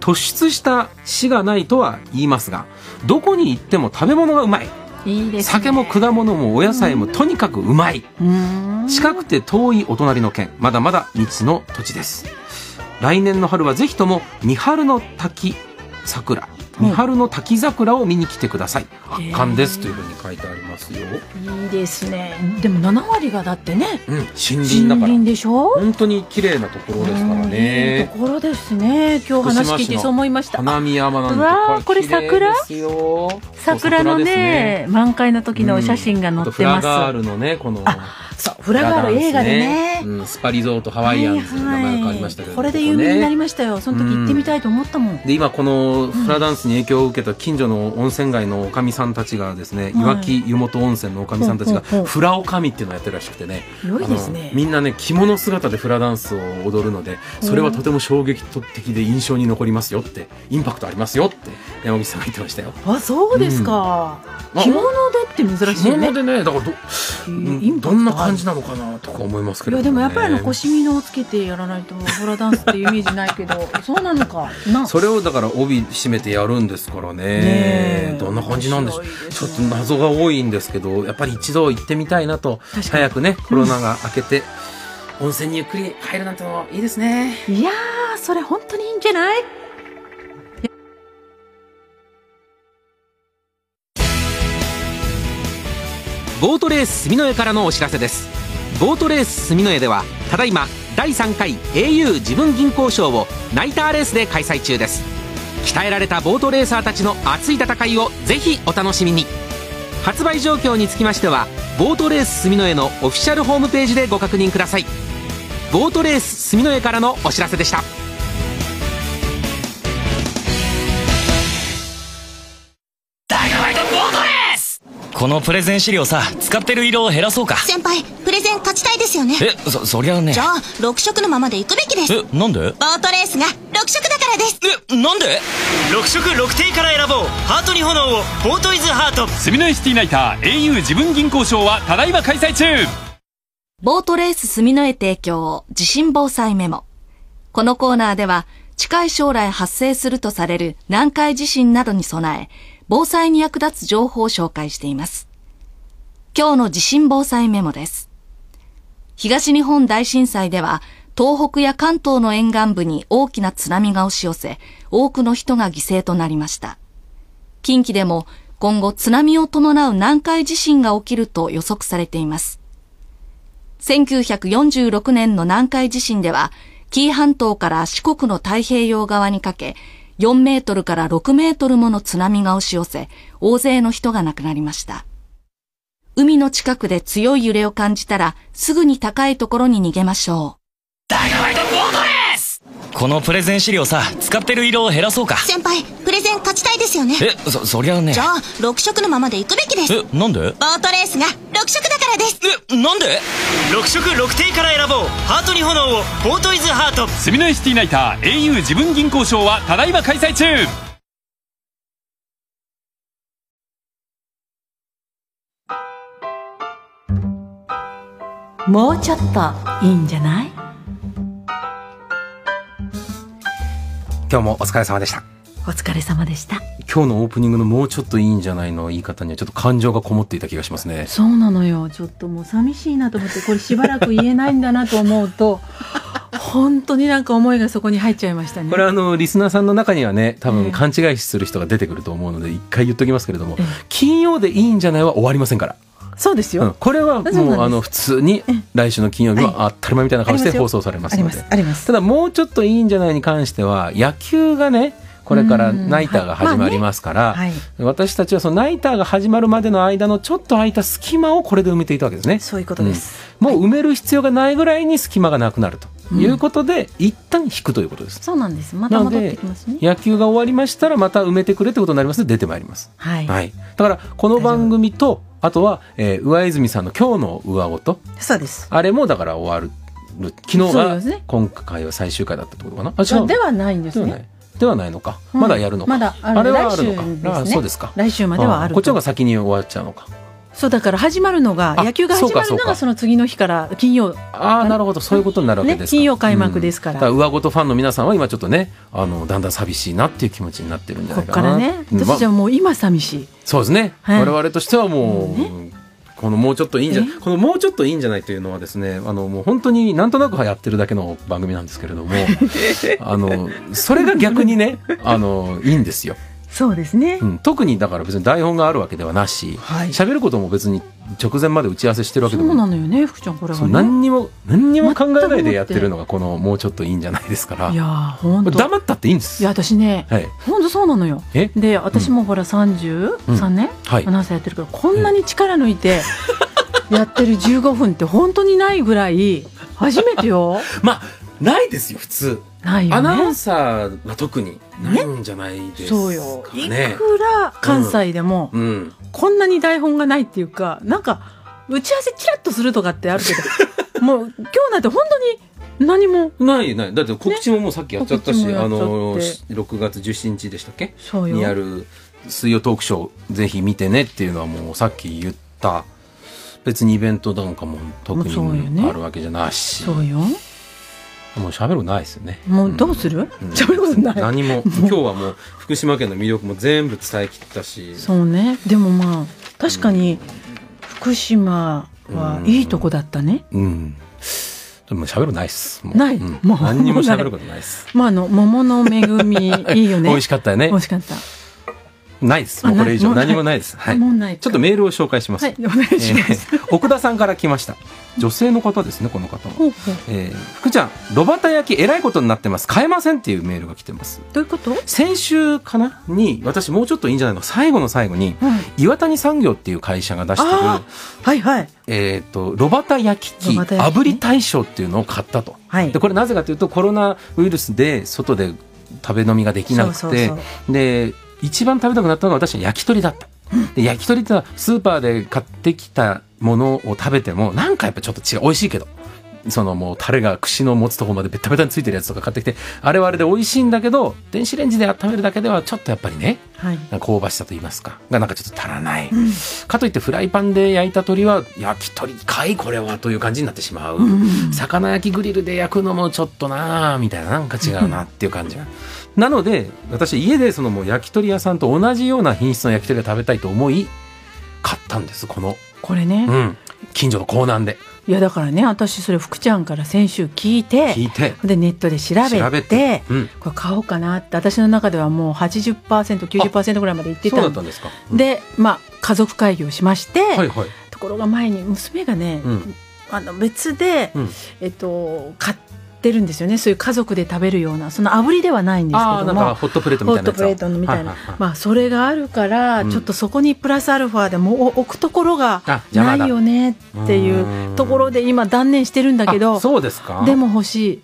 S2: 突出した市がないとは言いますが、どこに行っても食べ物がうまい。
S1: いいです
S2: 酒も果物もお野菜もとにかくうまい近くて遠いお隣の県まだまだ未知の土地です来年の春はぜひとも三春の滝桜三春の滝桜を見に来てください圧巻ですというふうに書いてありますよ、
S1: いいですねでも7割がだってね
S2: うん、森林だから
S1: 森林でしょ
S2: 本当に綺麗なところですから
S1: いい
S2: ね
S1: ところですね今日話聞いてそう思いました
S2: 花見山なんて
S1: うわーこれ
S2: 綺麗
S1: 桜
S2: ですよ
S1: 桜のね
S2: ですね
S1: 満開の時のお写真が載
S2: あと
S1: っ
S2: フ
S1: て
S2: ラ
S1: ます、
S2: ガールのねこの
S1: そうフラガール映画でね
S2: うん、スパリゾートハワイアンズの名前が変わりましたけど、
S1: これで有名になり
S2: こ
S1: ましたよその時行ってみたいと思ったもん、
S2: こねで今このフラダンスに影響を受けた近所の温泉街のおかみさんたちがですね、
S1: はい
S2: いわき湯本温泉のおかみさんたちが
S1: ほうほうほう
S2: フラおかみっていうのをやってるらしくてね
S1: 良いですね
S2: あのみんなね着物姿でフラダンスを踊るのでそれはとても衝撃的で印象に残りますよってインパクトありますよって山口さんが言ってましたよ
S1: あそうですか、
S2: うん
S1: 着物でって珍しい
S2: 着
S1: ね
S2: 物でねだからど,、うん、どんな感じなのかなとか思いますけ
S1: い
S2: れどね
S1: やでもやっぱりあの腰みのをつけてやらないとフラダンスっていうイメージないけど そうなのかな
S2: それをだから帯締めてやるんですからねどんな感じなんでしょう、ちょっと謎が多いんですけどやっぱり一度行ってみたいなと早くねコロナが明けて、温泉にゆっくり入るなんてのもいいですね
S1: いやーそれ本当にいいんじゃない
S13: ボートレース住之江からのお知らせですボートレース住之江ではただいま第3回 au 自分銀行賞をナイターレースで開催中です鍛えられたボートレーサーたちの熱い戦いをぜひお楽しみに発売状況につきましてはボートレース住之江のオフィシャルホームページでご確認くださいボートレース住之江からのお知らせでした
S5: このプレゼン資料さ使ってる色を減らそうか
S23: 先輩プレゼン勝ちたいですよね
S5: えそそりゃね
S23: じゃあ6色のままで行くべきです
S5: えなんで
S23: ボートレースが6色だからです
S5: えなんで
S24: 6色6点から選ぼうハートに炎をボートイズハート
S29: スミノエシティナイター au 自分銀行賞はただいま開催中
S42: ボートレース住の絵提供地震防災メモ。このコーナーでは
S45: 近い将来発生するとされる南海地震などに備え、防災に役立つ情報を紹介しています。今日の地震防災メモです。東日本大震災では、東北や関東の沿岸部に大きな津波が押し寄せ、多くの人が犠牲となりました。近畿でも今後津波を伴う南海地震が起きると予測されています。1946年の南海地震では、紀伊半島から四国の太平洋側にかけ、4メートルから6メートルもの津波が押し寄せ、大勢の人が亡くなりました。海の近くで強い揺れを感じたら、すぐに高いところに逃げましょう。
S50: このプレゼン資料さ使ってる色を減らそうか
S14: 先輩、プレゼン勝ちたいですよね。
S50: えそそりゃね
S14: じゃあ、6色のままで行くべきです。
S50: えなんで
S14: ボートレースが6色だからです。
S15: え、なんで ?6 色6点から選ぼう。ハートに炎を、ボートイズハート。
S51: すみのエシティナイター au 自分銀行賞はただいま開催中
S13: もうちょっといいんじゃない
S2: 今日もお疲れ様でした
S13: お疲れ様でした
S2: 今日のオープニングのもうちょっといいんじゃないの言い方にはちょっと感情がこもっていた気がしますね
S1: そうなのよちょっともう寂しいなと思ってこれしばらく言えないんだなと思うと本当になんか思いがそこに入っちゃいましたね
S2: これあのリスナーさんの中にはね多分勘違いする人が出てくると思うので一回言っときますけれども金曜でいいんじゃないは終わりませんから
S1: そうです
S2: うん
S1: よ、
S2: これは
S1: そうなんで
S2: もう
S1: す
S2: あの普通に来週の金曜日は当たり前みたいな感じ
S1: あ
S2: で
S1: りま
S2: す
S1: よ
S2: 放送されますので
S1: あります
S2: ただもうちょっといいんじゃないに関しては野球がねこれからナイターが始まりますから、
S1: はい
S2: 私たちはそのナイターが始まるまでの間のちょっと空いた隙間をこれで埋めていたわけですね。そういうことです。もう埋める必要がないぐらいに隙間がなくなるということで、一旦引くということです。
S13: そうなんですまた戻ってきますね
S2: 野球が終わりましたらまた埋めてくれってことになりますので出てまいります。
S13: はい
S2: だからこの番組とあとは、えー上泉さんの今日の上ごと
S52: そうです
S2: あれもだから終わる昨日
S1: そうで
S2: が
S1: すね
S2: 今回は最終回だったってことかなあ違う
S1: あではないんです
S2: では
S1: ね
S2: ないではないのか、
S1: うん
S2: まだやるのか
S1: まだある
S2: れはあるのか
S1: 来週ですね
S2: あそうですか
S1: 来週まではあると
S2: こっちの方が先に終わっちゃうのか
S1: そうだから始まるのが
S2: あ
S1: 野球が始まる
S2: そうかそ
S1: の
S2: うか
S1: がその次の日から金曜
S2: ああなるほどそういうことになるわけですか
S1: ね金曜開幕ですから
S2: だから上ごとファンの皆さんは今ちょっとねあのだんだん寂しいなっていう気持ちになってるんじゃない
S1: だ
S2: か
S1: か
S2: な
S1: らね
S2: うん
S1: 私たちは
S2: ま
S1: もう今寂しい、
S2: そうですね、
S1: はい
S2: 我々としてはもう、このもうちょっといいんじゃこのもうちょっといいんじゃないというのはですねあのもう本当になんとなくやってるだけの番組なんですけれど もあのそれが逆にねあのいいんですよ。
S1: そうですね
S2: うん、特にだから別に台本があるわけではなし喋、ることも別に直前まで打ち合わせしてるわけ
S1: そ
S2: でも
S1: う
S2: ない
S1: なのよね福ちゃんこれ
S2: そう
S1: はね
S2: 何にも何にも考えないでやってるのがこのもうちょっといいんじゃないですから
S1: いやーほんと
S2: 黙ったっていいんです
S1: いや私ね
S2: はい
S1: ほんとそうなのよ
S2: え
S1: で私もほら33年、
S2: はい
S1: アナウンサーやってるからこんなに力抜いてやってる15分って本当にないぐらい初めてよ
S2: まあないですよ普通
S1: ないよね
S2: アナウンサーは特にないんじゃないですか
S1: そう
S2: ね
S1: よいくら関西でも、
S2: うん
S1: こんなに台本がないっていうかなんか打ち合わせキラッとするとかってあるけ どもう今日なんて本当に何も
S2: ないないだって告知ももうさっきやっちゃったし、
S1: ね告知もやっちゃ
S2: あ
S1: って
S2: の6月17日でしたっけ
S1: そうよ
S2: にある水曜トークショーぜひ見てねっていうのはもうさっき言った別にイベントなんかも特
S1: もうそうよ
S2: に
S1: ね
S2: あるわけじゃないし
S1: そうよ
S2: もう喋ることないですよね
S1: もうどうする
S2: うん
S1: 喋、ることない
S2: 何も今日はもう福島県の魅力も全部伝えきった し
S1: そうねでもまあ確かに福島はいいとこだったね、
S2: うんでも喋ることないっすもう
S1: ない
S2: うん
S1: もう
S2: 何にも喋ることないっす
S1: まああの桃の恵 みいいよね
S2: 美味しかったよね
S1: 美味しかった
S2: ないです。
S1: あ
S2: もうこれ以上
S1: ない
S2: 何もないです。はい。
S1: もうないか
S2: ちょっとメールを紹介します。
S1: はいお願いします
S2: えー奥田さんから来ました。女性の方ですね、この方は。
S1: ほうほう
S2: えー福ちゃん、炉端焼きえらいことになってます。買えませんっていうメールが来てます。
S1: どういうこと
S2: 先週かなに、私もうちょっといいんじゃないの最後の最後に、岩谷産業っていう会社が出してる、
S1: あはいはい
S2: えっ、と、炉端焼き器、
S1: 炉端焼き器
S2: 炙り大賞っていうのを買ったと。で、これなぜかというと、コロナウイルスで外で食べ飲みができなくて、
S1: そうそうそ
S2: で、一番食べたくなったのが私は焼き鳥だった。で焼き鳥ってのはスーパーで買ってきたものを食べてもなんかやっぱちょっと違う美味しいけどそのもうタレが串の持つとこまでベタベタについてるやつとか買ってきて、あれはあれで美味しいんだけど、電子レンジで温めるだけではちょっとやっぱりね、
S1: はい。
S2: なんか香ばしさと言いますか、がなんかちょっと足らない。かといってフライパンで焼いた鳥は焼き鳥かいこれはという感じになってしまう、
S13: うん
S2: 魚焼きグリルで焼くのもちょっとなあみたいななんか違うなっていう感じがなので私家でそのもう焼き鳥屋さんと同じような品質の焼き鳥が食べたいと思い買ったんですこの、
S1: これね。
S2: うん、近所の港南で
S1: いやだからね私それ福ちゃんから先週聞いて
S2: 聞いて
S1: でネットで調べて
S2: 調べてうん
S1: これ買おうかなって私の中ではもう 80%90% ぐらいまでいって
S2: そうだ
S1: た
S2: った
S1: ん
S2: んですか
S1: でまあ家族会議をしまして、
S2: はいはい
S1: ところが前に娘がね、
S2: うん
S1: あの別で、
S2: うん
S1: えっと、買ってるんですよねそういう家族で食べるようなその炙りではないんですけ
S2: ああ
S1: ど
S2: なん
S1: も
S2: かホットプレートみたいなやつ
S1: ホットプレートのみたいな、
S2: ははは
S1: まあ、それがあるから、
S2: うん
S1: ちょっとそこにプラスアルファでもうお置くところが
S2: あ邪
S1: な
S2: 魔だ
S1: いよねっていうところで今断念してるんだけど
S2: あそうですか
S1: でも欲し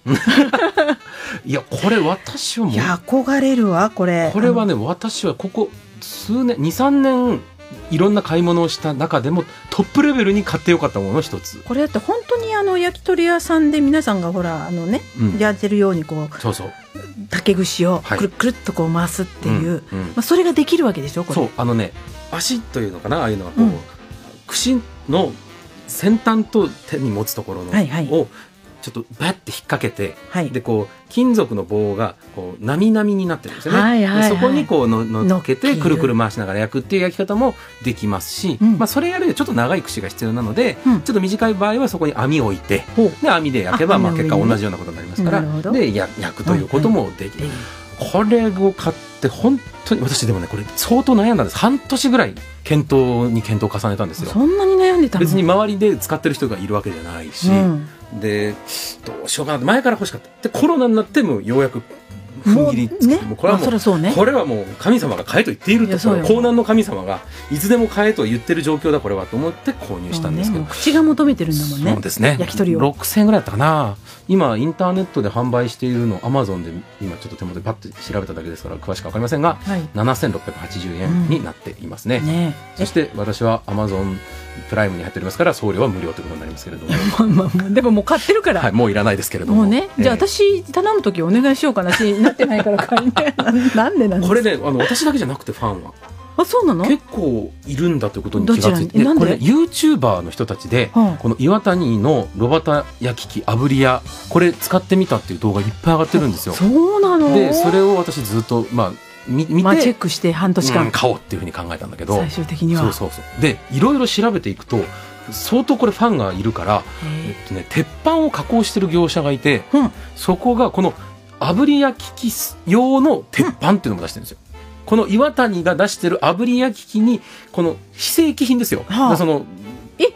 S1: い
S2: いやこれ私はもう
S1: いや憧れるわこれ
S2: これはね私はここ数年23年いろんな買い物をした中でもトップレベルに買ってよかったものの一つ
S1: これだって本当にあの焼き鳥屋さんで皆さんがほらあのね、
S2: うん
S1: やってるようにこう
S2: そうそう
S1: 竹串を
S2: はい
S1: くるくるっとこう回すっていう、
S2: うんうん
S1: まあ、それができるわけでしょこれ
S2: そうあのね足というのかなああいうのはこう、
S1: うん
S2: 串の先端と手に持つところの、
S1: はいはい
S2: をちょっとバッて引っ掛けて、でこう金属の棒がこうなみなみになってるんですよね、
S1: はいはいはい
S2: でそこにこうののっけ
S1: 乗ってける
S2: くるくる回しながら焼くっていう焼き方もできますし、まあ、それやるよりちょっと長い串が必要なので、ちょっと短い場合はそこに網を置いて、で網で焼けば
S1: あ
S2: まあ結果
S1: 網
S2: 同
S1: の上にね
S2: じようなことになりますか
S1: なるほ
S2: ら
S1: ど
S2: でや焼くということもできる、これを買って本当に私でもねこれ相当悩んだんです半年ぐらい検討に検討を重ねたんですよ
S1: そんなに悩んでたの
S2: 別に周りで使ってる人がいるわけじゃないし、
S1: うん
S2: でどうしようかなって前から欲しかったでコロナになってもようやく踏ん切りつけてもうこれはも
S1: まあそりゃそうね
S2: これはもう神様が買えと言っている
S1: い
S2: と
S1: やそうよ
S2: 江南の神様がいつでも買えと言ってる状況だこれはと思って購入したんですけど、
S1: もう口が求めてるんだもんね
S2: そうですね
S1: 焼き鳥を
S2: 6000円ぐらいだったかな今インターネットで販売しているのアマゾンで今ちょっと手元でパッと調べただけですから詳しくわかりませんが、
S1: はい
S2: 7680円になっていますね,、
S1: うんね
S2: そして私はアマゾンプライムに入っておりますから送料は無料ということになりますけれ ども、
S1: でももう買ってるから、
S2: はい、もういらないですけれども
S1: もうね、じゃあ
S2: ええ
S1: 私頼む時お願いしようかなしなってないから買い ねなんでなんですか
S2: これねあの私だけじゃなくてファンは
S1: あそうなの
S2: 結構いるんだということに気がつい
S1: どちらに
S2: て
S1: なん
S2: こ
S1: で
S2: れユーチューバーの人たちで、
S1: はあ
S2: この岩谷の炉端焼き器炙り屋これ使ってみたっていう動画いっぱい上がってるんですよ。
S1: そうなの
S2: でそれを私ずっとまあみ見て、
S1: まあチェックして半年間、
S2: うん買おうっていうふうに考えたんだけど
S1: 最終的には
S2: そうそうそうでいろいろ調べていくと相当これファンがいるから、えっとね、鉄板を加工してる業者がいて、そこがこの炙り焼き器用の鉄板っていうのも出してるんですよ。この岩谷が出してる炙り焼き器にこの非正規品ですよ、
S1: はあ
S2: その
S1: え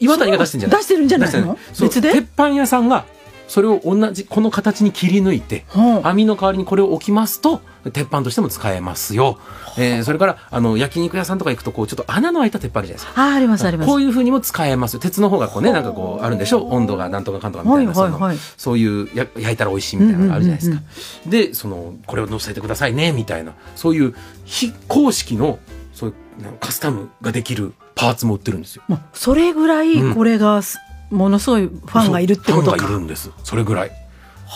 S2: 岩谷が出してるんじゃない
S1: そう出してるんじゃないの
S2: 出してそう
S1: 別で
S2: 鉄板屋さんがそれを同じこの形に切り抜いて、網の代わりにこれを置きますと鉄板としても使えますよ、えーそれからあの焼肉屋さんとか行くとこうちょっと穴の開いた鉄板あるじゃないですか
S1: あありますあります
S2: こういうふうにも使えますよ鉄の方がこうねなんかこうあるんでしょ温度がなんとかかんとかみたいな、
S1: はいはいはい
S2: そのそういうや焼いたら美味しいみたいなのがあるじゃないですか、
S1: うんうん
S2: でそのこれを乗せてくださいねみたいなそういう非公式のそういうなんかカスタムができるパーツも売ってるんですよ
S1: もうそれぐらいこれがすものすごいファンがいるってこと
S2: そうファンが
S1: か
S2: いるんですそれぐらい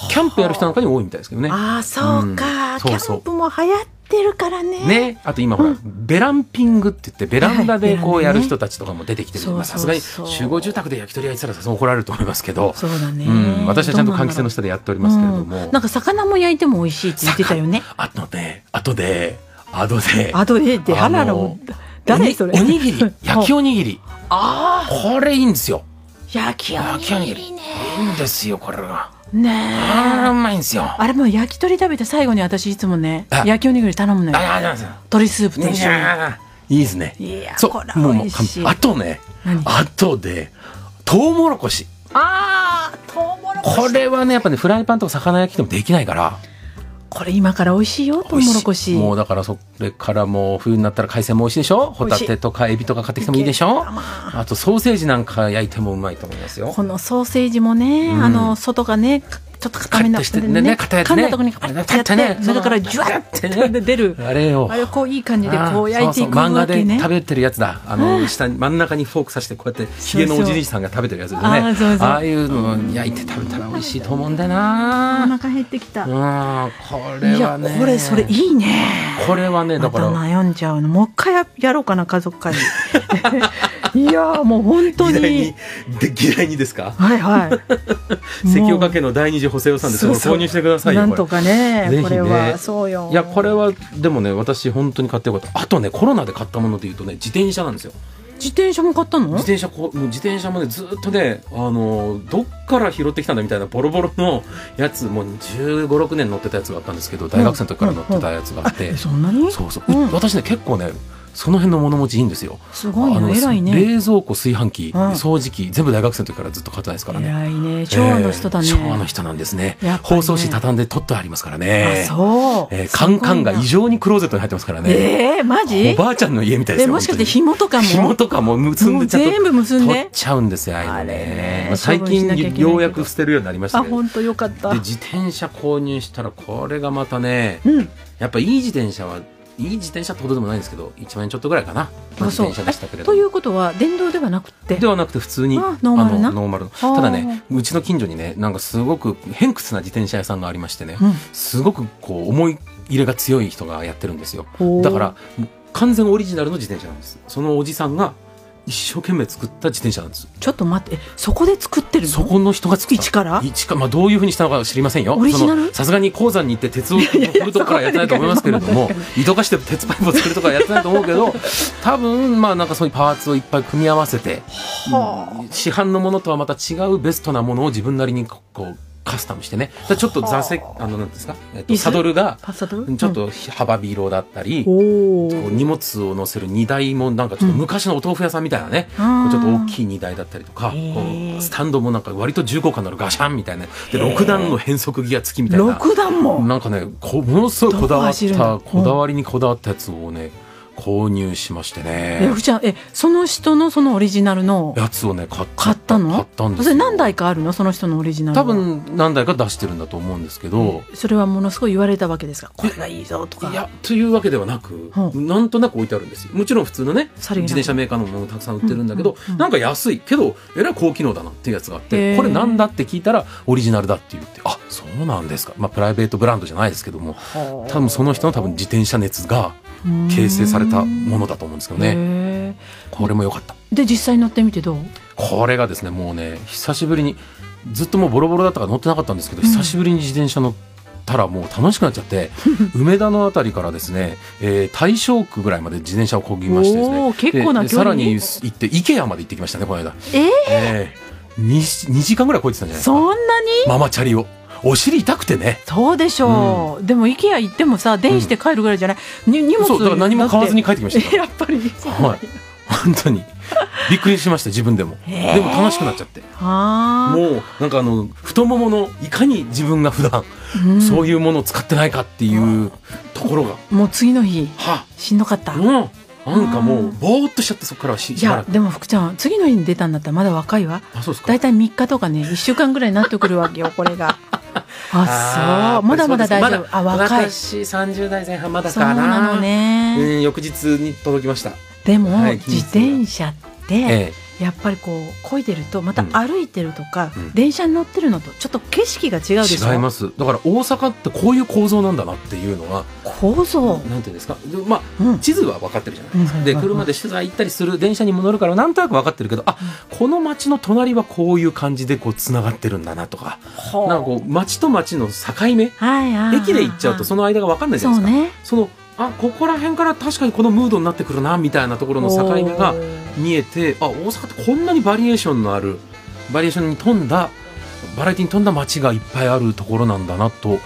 S2: キャンプやる人なんかに多いみたいですけどね
S1: ああそうか、
S2: うんそうそう
S1: キャンプも流行ってるからね
S2: ね、あと今ほら、ベランピングって言ってベランダでこ
S1: は
S2: う
S1: い
S2: やる人たちとかも出てきてる
S1: ベランダね
S2: まあさすがに
S1: そうそうそ
S2: 集
S1: う
S2: 合住宅で焼き鳥屋行ってたらさすがに怒られると思いますけど
S1: そうだね
S2: ん、私はちゃんと換気扇の下でやっておりますけれども、
S1: なんか魚も焼いても美味しいって言ってたよね
S2: あとであとであとで
S1: あとでであらら
S2: の
S1: 誰それ
S2: おにぎ り焼きおにぎり
S1: あ
S2: これいいんですよ
S1: ー焼きお
S2: 焼きおにぎりいいんですよこれが
S1: ねえ
S2: あらうまいんですよ
S1: あれもう焼き鳥食べて最後に私いつもね
S2: あ
S1: 焼きおにぎり頼むのよ
S2: あありがとうございます
S1: 鶏スープと一
S2: い
S1: 緒に
S2: やーいいですね
S1: いや
S2: そう
S1: これ
S2: もうも
S1: 美
S2: う
S1: 味しい
S2: あとね
S1: 何
S2: あとでトウモロコシ
S1: あートウモロコシ
S2: これはねやっぱねフライパンとか魚焼きでもできないから
S1: これ今から美味しいよトウモロコシ
S2: もうだからそれからもう冬になったら海鮮も美味しいでしょ
S1: 美
S2: ホ
S1: 味
S2: タ
S1: しい
S2: テとかエビとか買ってきてもいいでしょあとソーセージなんか焼いてもうまいと思いますよ
S1: このソーセージもね、
S2: うん
S1: あの外がねかちょっと固め
S2: カッ
S1: な、
S2: としてねね硬いやつね
S1: 噛んだとこにカパッとやって、
S2: あれね
S1: それからジュワッって出る。
S2: あれを
S1: あれをこういい感じでこう焼いていく
S2: あーそうそう
S1: わけ
S2: 漫画
S1: ね
S2: で。食べてるやつだあ
S1: う
S2: の
S1: ん
S2: 下に真ん中にフォーク刺してこうやってひげのおじいさんが食べてるやつですね
S1: そうそうあーそうそう
S2: ああいうのを焼いて食べたら美味しいと思うんだよ
S1: あ
S2: な
S1: ーお腹減ってきた。
S2: うん
S1: い
S2: これは
S1: や、
S2: ね
S1: これ、それいいね。
S2: これはねだから
S1: 悩んじゃうの。もう一回ややろうかな、家族 会。いやー、もう本当
S2: 議題
S1: に
S2: に。で議題にですか
S1: はいはい。
S2: 関岡家の第二次補正予算です
S1: そうそう
S2: 購入してくださいよこ
S1: なん
S2: れ
S1: とかね、
S2: ぜひね
S1: これは。そうよ。
S2: いやこれはでもね私本当に買ってよかったあとねコロナで買ったものでいうとね自転車なんですよ
S1: 自転車も買ったの
S2: 自転車こうもう自転車もねずっとねあのどっから拾ってきたんだみたいなボロボロのやつもう1 5 6年乗ってたやつがあったんですけど大学生の時から乗ってたやつがあって、
S1: そんなに
S2: そうそう、私ね結構ねその辺の物持ちいいんですよ
S1: すごい
S2: あの
S1: ね。偉いね。
S2: 冷蔵庫炊飯器、
S1: うん
S2: 掃除機全部大学生の時からずっと買ってないですからね
S1: 偉いね。昭和の人だね。
S2: えー昭和の人なんですね
S1: やっぱり
S2: 放
S1: ね
S2: 送紙畳んで取ってありますからね
S1: あそう
S2: えーカンカンが異常にクローゼットに入ってますからね
S1: ええー、マジ
S2: おばあちゃんの家みたいです
S1: え、
S2: よ
S1: もしかして
S2: 本当に
S1: 紐とかも
S2: 紐とかも結んでちゃんと
S1: もう全部結んで
S2: 取っちゃうんですよああいうのねまあ
S1: 処
S2: 最
S1: 分しなきゃいけないけ
S2: 近
S1: ど
S2: ようやく捨てるようになりました
S1: あ、
S2: けど
S1: 本当よかった
S2: で。自転車購入したらこれがまたね、
S1: うん
S2: やっぱいい自転車はいい自転車ってことでもないんですけど1万円ちょっとぐらいかな、まあ
S1: あ
S2: 自
S1: そう
S2: 転車でしたけれど
S1: と
S2: も
S1: いうことは、電動ではなくて。
S2: ではなくて普通に
S1: あノーマルな
S2: あのノーマルの
S1: あー
S2: ただねうちの近所にねなんかすごく偏屈な自転車屋さんがありましてね、
S1: うん
S2: すごくこう思い入れが強い人がやってるんですよ
S1: ほう
S2: だから完全オリジナルの自転車なんですそのおじさんが一生懸命作った自転車なんです
S1: ちょっと待って、えそこで作ってるの
S2: そこの人が作った
S1: 一から
S2: 一か、まあ、どういうふうにしたのか知りませんよ
S1: オリジナル
S2: そのさすがに鉱山に行って鉄を掘るとかからやってないと思いますけれども糸化して鉄パイプを作るとかはやってないと思うけど多分まあなんかそういうパーツをいっぱい組み合わせて
S1: は
S2: 市販のものとはまた違うベストなものを自分なりにここうカスタムしてねだからちょっと座席あのなんていうんですか、えっと、
S1: 椅子
S2: サドルが
S1: パサド
S2: ちょっと幅広だったり、
S1: おお
S2: こう荷物を乗せる荷台もなんかちょっと昔のお豆腐屋さんみたいなね、
S1: う
S2: こう
S1: ん
S2: ちょっと大きい荷台だったりとか、こうスタンドもなんか割と重厚感のあるガシャンみたいなで6段の変速ギア付きみたいな
S1: 6段も
S2: なんかねこうものすごいこだわっ
S1: どこ走るんだ
S2: たこだわりにこだわったやつをね購入しまして
S1: え、
S2: ね
S1: ふちゃん、え、その人のそのオリジナルの
S2: やつをね買っ
S1: 買ったの
S2: 買ったんです
S1: そ
S2: よ
S1: れ何台かあるのその人のオリジナル
S2: 多
S1: は。
S2: 分何台か出してるんだと思うんですけど、
S1: それはものすごい言われたわけですが、これがいいぞとか。
S2: いやというわけではなく、なんとなく置いてあるんですよもちろん普通のね自
S1: さりげなく
S2: 転車メーカーのものもたくさん売ってるんだけど、なんか安いけどえらい高機能だなっていうやつがあっ
S1: へ
S2: て
S1: ー
S2: これなんだって聞いたらオリジナルだって言ってあそうなんですか、まあ、プライベートブランドじゃないですけども多分その人の多分自転車熱が形成されたものだと思うんですけどね
S1: ね。
S2: これも良かった
S1: で、実際乗ってみてどう
S2: これがですねもうね久しぶりにずっともうボロボロだったから乗ってなかったんですけど、久しぶりに自転車乗ったらもう楽しくなっちゃって 梅田のあたりからですね、えー大正区ぐらいまで自転車をこぎましてです
S1: お
S2: ね
S1: ー結構な
S2: で
S1: 距
S2: さ
S1: 離
S2: らに行って IKEA まで行ってきましたねこの間
S1: えー
S2: えー、2, 時間ぐらいこいてたんじゃないです
S1: そ
S2: か
S1: んなに
S2: ママチャリをお尻痛くてね
S1: そうでしょう。でも、IKEA 行ってもさ、電して帰るぐらいじゃない。に荷物
S2: そうだから何も買わずに帰ってきました
S1: えやっぱり。
S2: はい本当にびっくりしました自分でも、
S1: へー
S2: でも楽しくなっちゃって
S1: は
S2: もうなんかあの太もものいかに自分が普段
S1: あ。うん
S2: そういうものを使ってないかっていうところが、
S1: もう次の日、
S2: は
S1: しんどかった。
S2: もうなんかもうぼーっとしちゃってそこからはし
S1: い
S2: しばら
S1: や
S2: く
S1: でも福ちゃん次の日に出たんだったらまだ若いわ
S2: あそうですか
S1: 大体3日とかね1週間ぐらいになってくるわけよこれがあそうまだまだ大丈夫あ若い
S2: 私30代前半まだ
S1: そう
S2: かな
S1: なのね
S2: うん翌日に届きました
S1: でも、
S2: はい
S1: 自転車って
S2: ええ
S1: やっぱりこう漕いでるとまた
S2: うん
S1: 歩いてるとか、
S2: うん
S1: 電車に乗ってるのとちょっと景色が違うでしょ
S2: 違いますだから大阪ってこういう構造なんだなっていうのは
S1: 構造
S2: なんていうんですかでまあ、
S1: うん
S2: 地図は分かってるじゃないですか、
S1: うん
S2: で車で取材行ったりする電車にも乗るからなんとなく分かってるけどあこの街の隣はこういう感じでこうつながってるんだなとか
S1: ほう
S2: なんかこう街と街の境目
S1: はいはいはい
S2: 駅で行っちゃうとその間が分かんないじゃないですか
S1: そうね
S2: そのあここら辺から確かにこのムードになってくるなみたいなところの境目が見えてあ大阪ってこんなにバリエーションのあるバリエーションに富んだバラエティに富んだ街がいっぱいあるところなんだなと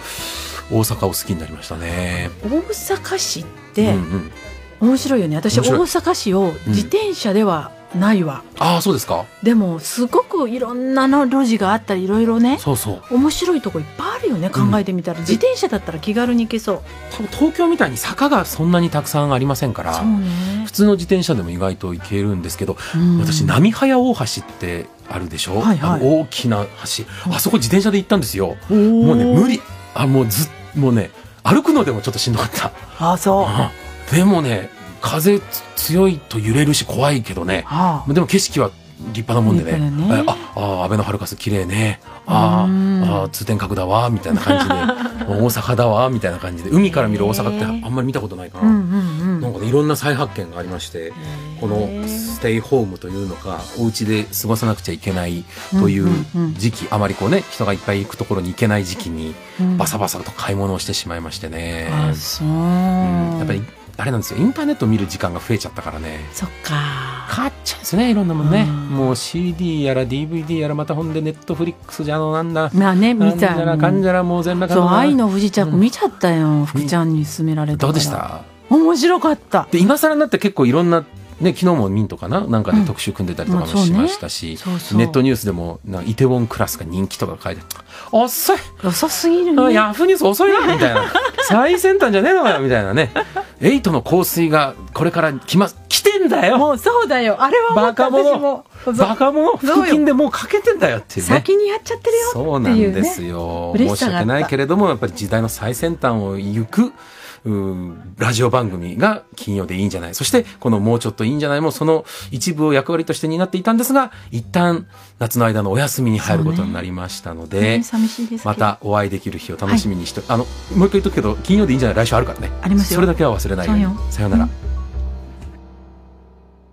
S2: 大阪を好きになりましたね。
S1: 大阪市っ
S2: うんう
S1: て
S2: ん、
S1: 面白いよね、私大
S2: 面白い
S1: 阪市を自転車ではないわ、
S2: ああそうですか
S1: でもすごくいろんなの路地があったりいろいろね
S2: そうそう
S1: 面白いとこいっぱいあるよね考えてみたら、自転車だったら気軽に行けそう
S2: 多分東京みたいに坂がそんなにたくさんありませんから
S1: そうね
S2: 普通の自転車でも意外と行けるんですけど、
S1: うん
S2: 私波早大橋ってあるでしょ、はいはい、大きな橋あそこ自転車で行ったんですよもうね無理あもうずもうね歩くのでもちょっとしんどかった、
S1: あそう
S2: でもね風強いと揺れるし怖いけどね、はあ、でも景色は立派なもんでねねああ安倍のハルカス綺麗ねああ通天閣だわみたいな感じで大阪だわみたいな感じで海から見る大阪ってあんまり見たことないから、うんうんうん、なんかねいろんな再発見がありましてこのステイホームというのかお家で過ごさなくちゃいけないという時期、うんうんうん、あまりこうね人がいっぱい行くところに行けない時期にバサバサと買い物をしてしまいましてね。
S1: うん、
S2: やっぱりあれなんですよインターネット見る時間が増えちゃったからね
S1: そっか
S2: 買っちゃうんですねいろんなもんね、うん、もう CD やら DVD やらまたほんでネットフリックスじゃあのなんだ
S1: まあね見た
S2: らかんじゃらもう全裸
S1: そう愛の不時着見ちゃったよ、うん、福ちゃんに勧められた
S2: どうでした
S1: 面白かった
S2: で今更になって結構いろんなね、昨日もミントかななんかで特集組んでたりとかもしましたし、うんまあねそうそう、ネットニュースでもなイテウォンクラスが人気とか書いて遅い
S1: 遅すぎるね
S2: ヤフーニュース遅いなみたい な最先端じゃねえのかよみたいなねエイトの香水がこれから来ます来てんだよ
S1: もうそうだよあれは
S2: バカ者バカ者腹筋でもうかけてんだよっていうね
S1: 先にやっちゃってるよっていう、ね、そうなん
S2: ですよ申し訳ないけれどもやっぱり時代の最先端を行くうんラジオ番組が金曜でいいんじゃないそしてこのもうちょっといいんじゃないもその一部を役割として担っていたんですが一旦夏の間のお休みに入ることになりましたので、ねね、またお会いできる日を楽しみにして、はい、あのもう一回言っとくけど金曜でいいんじゃない来週あるからね
S1: あります
S2: それだけは忘れないようにさようなら、うん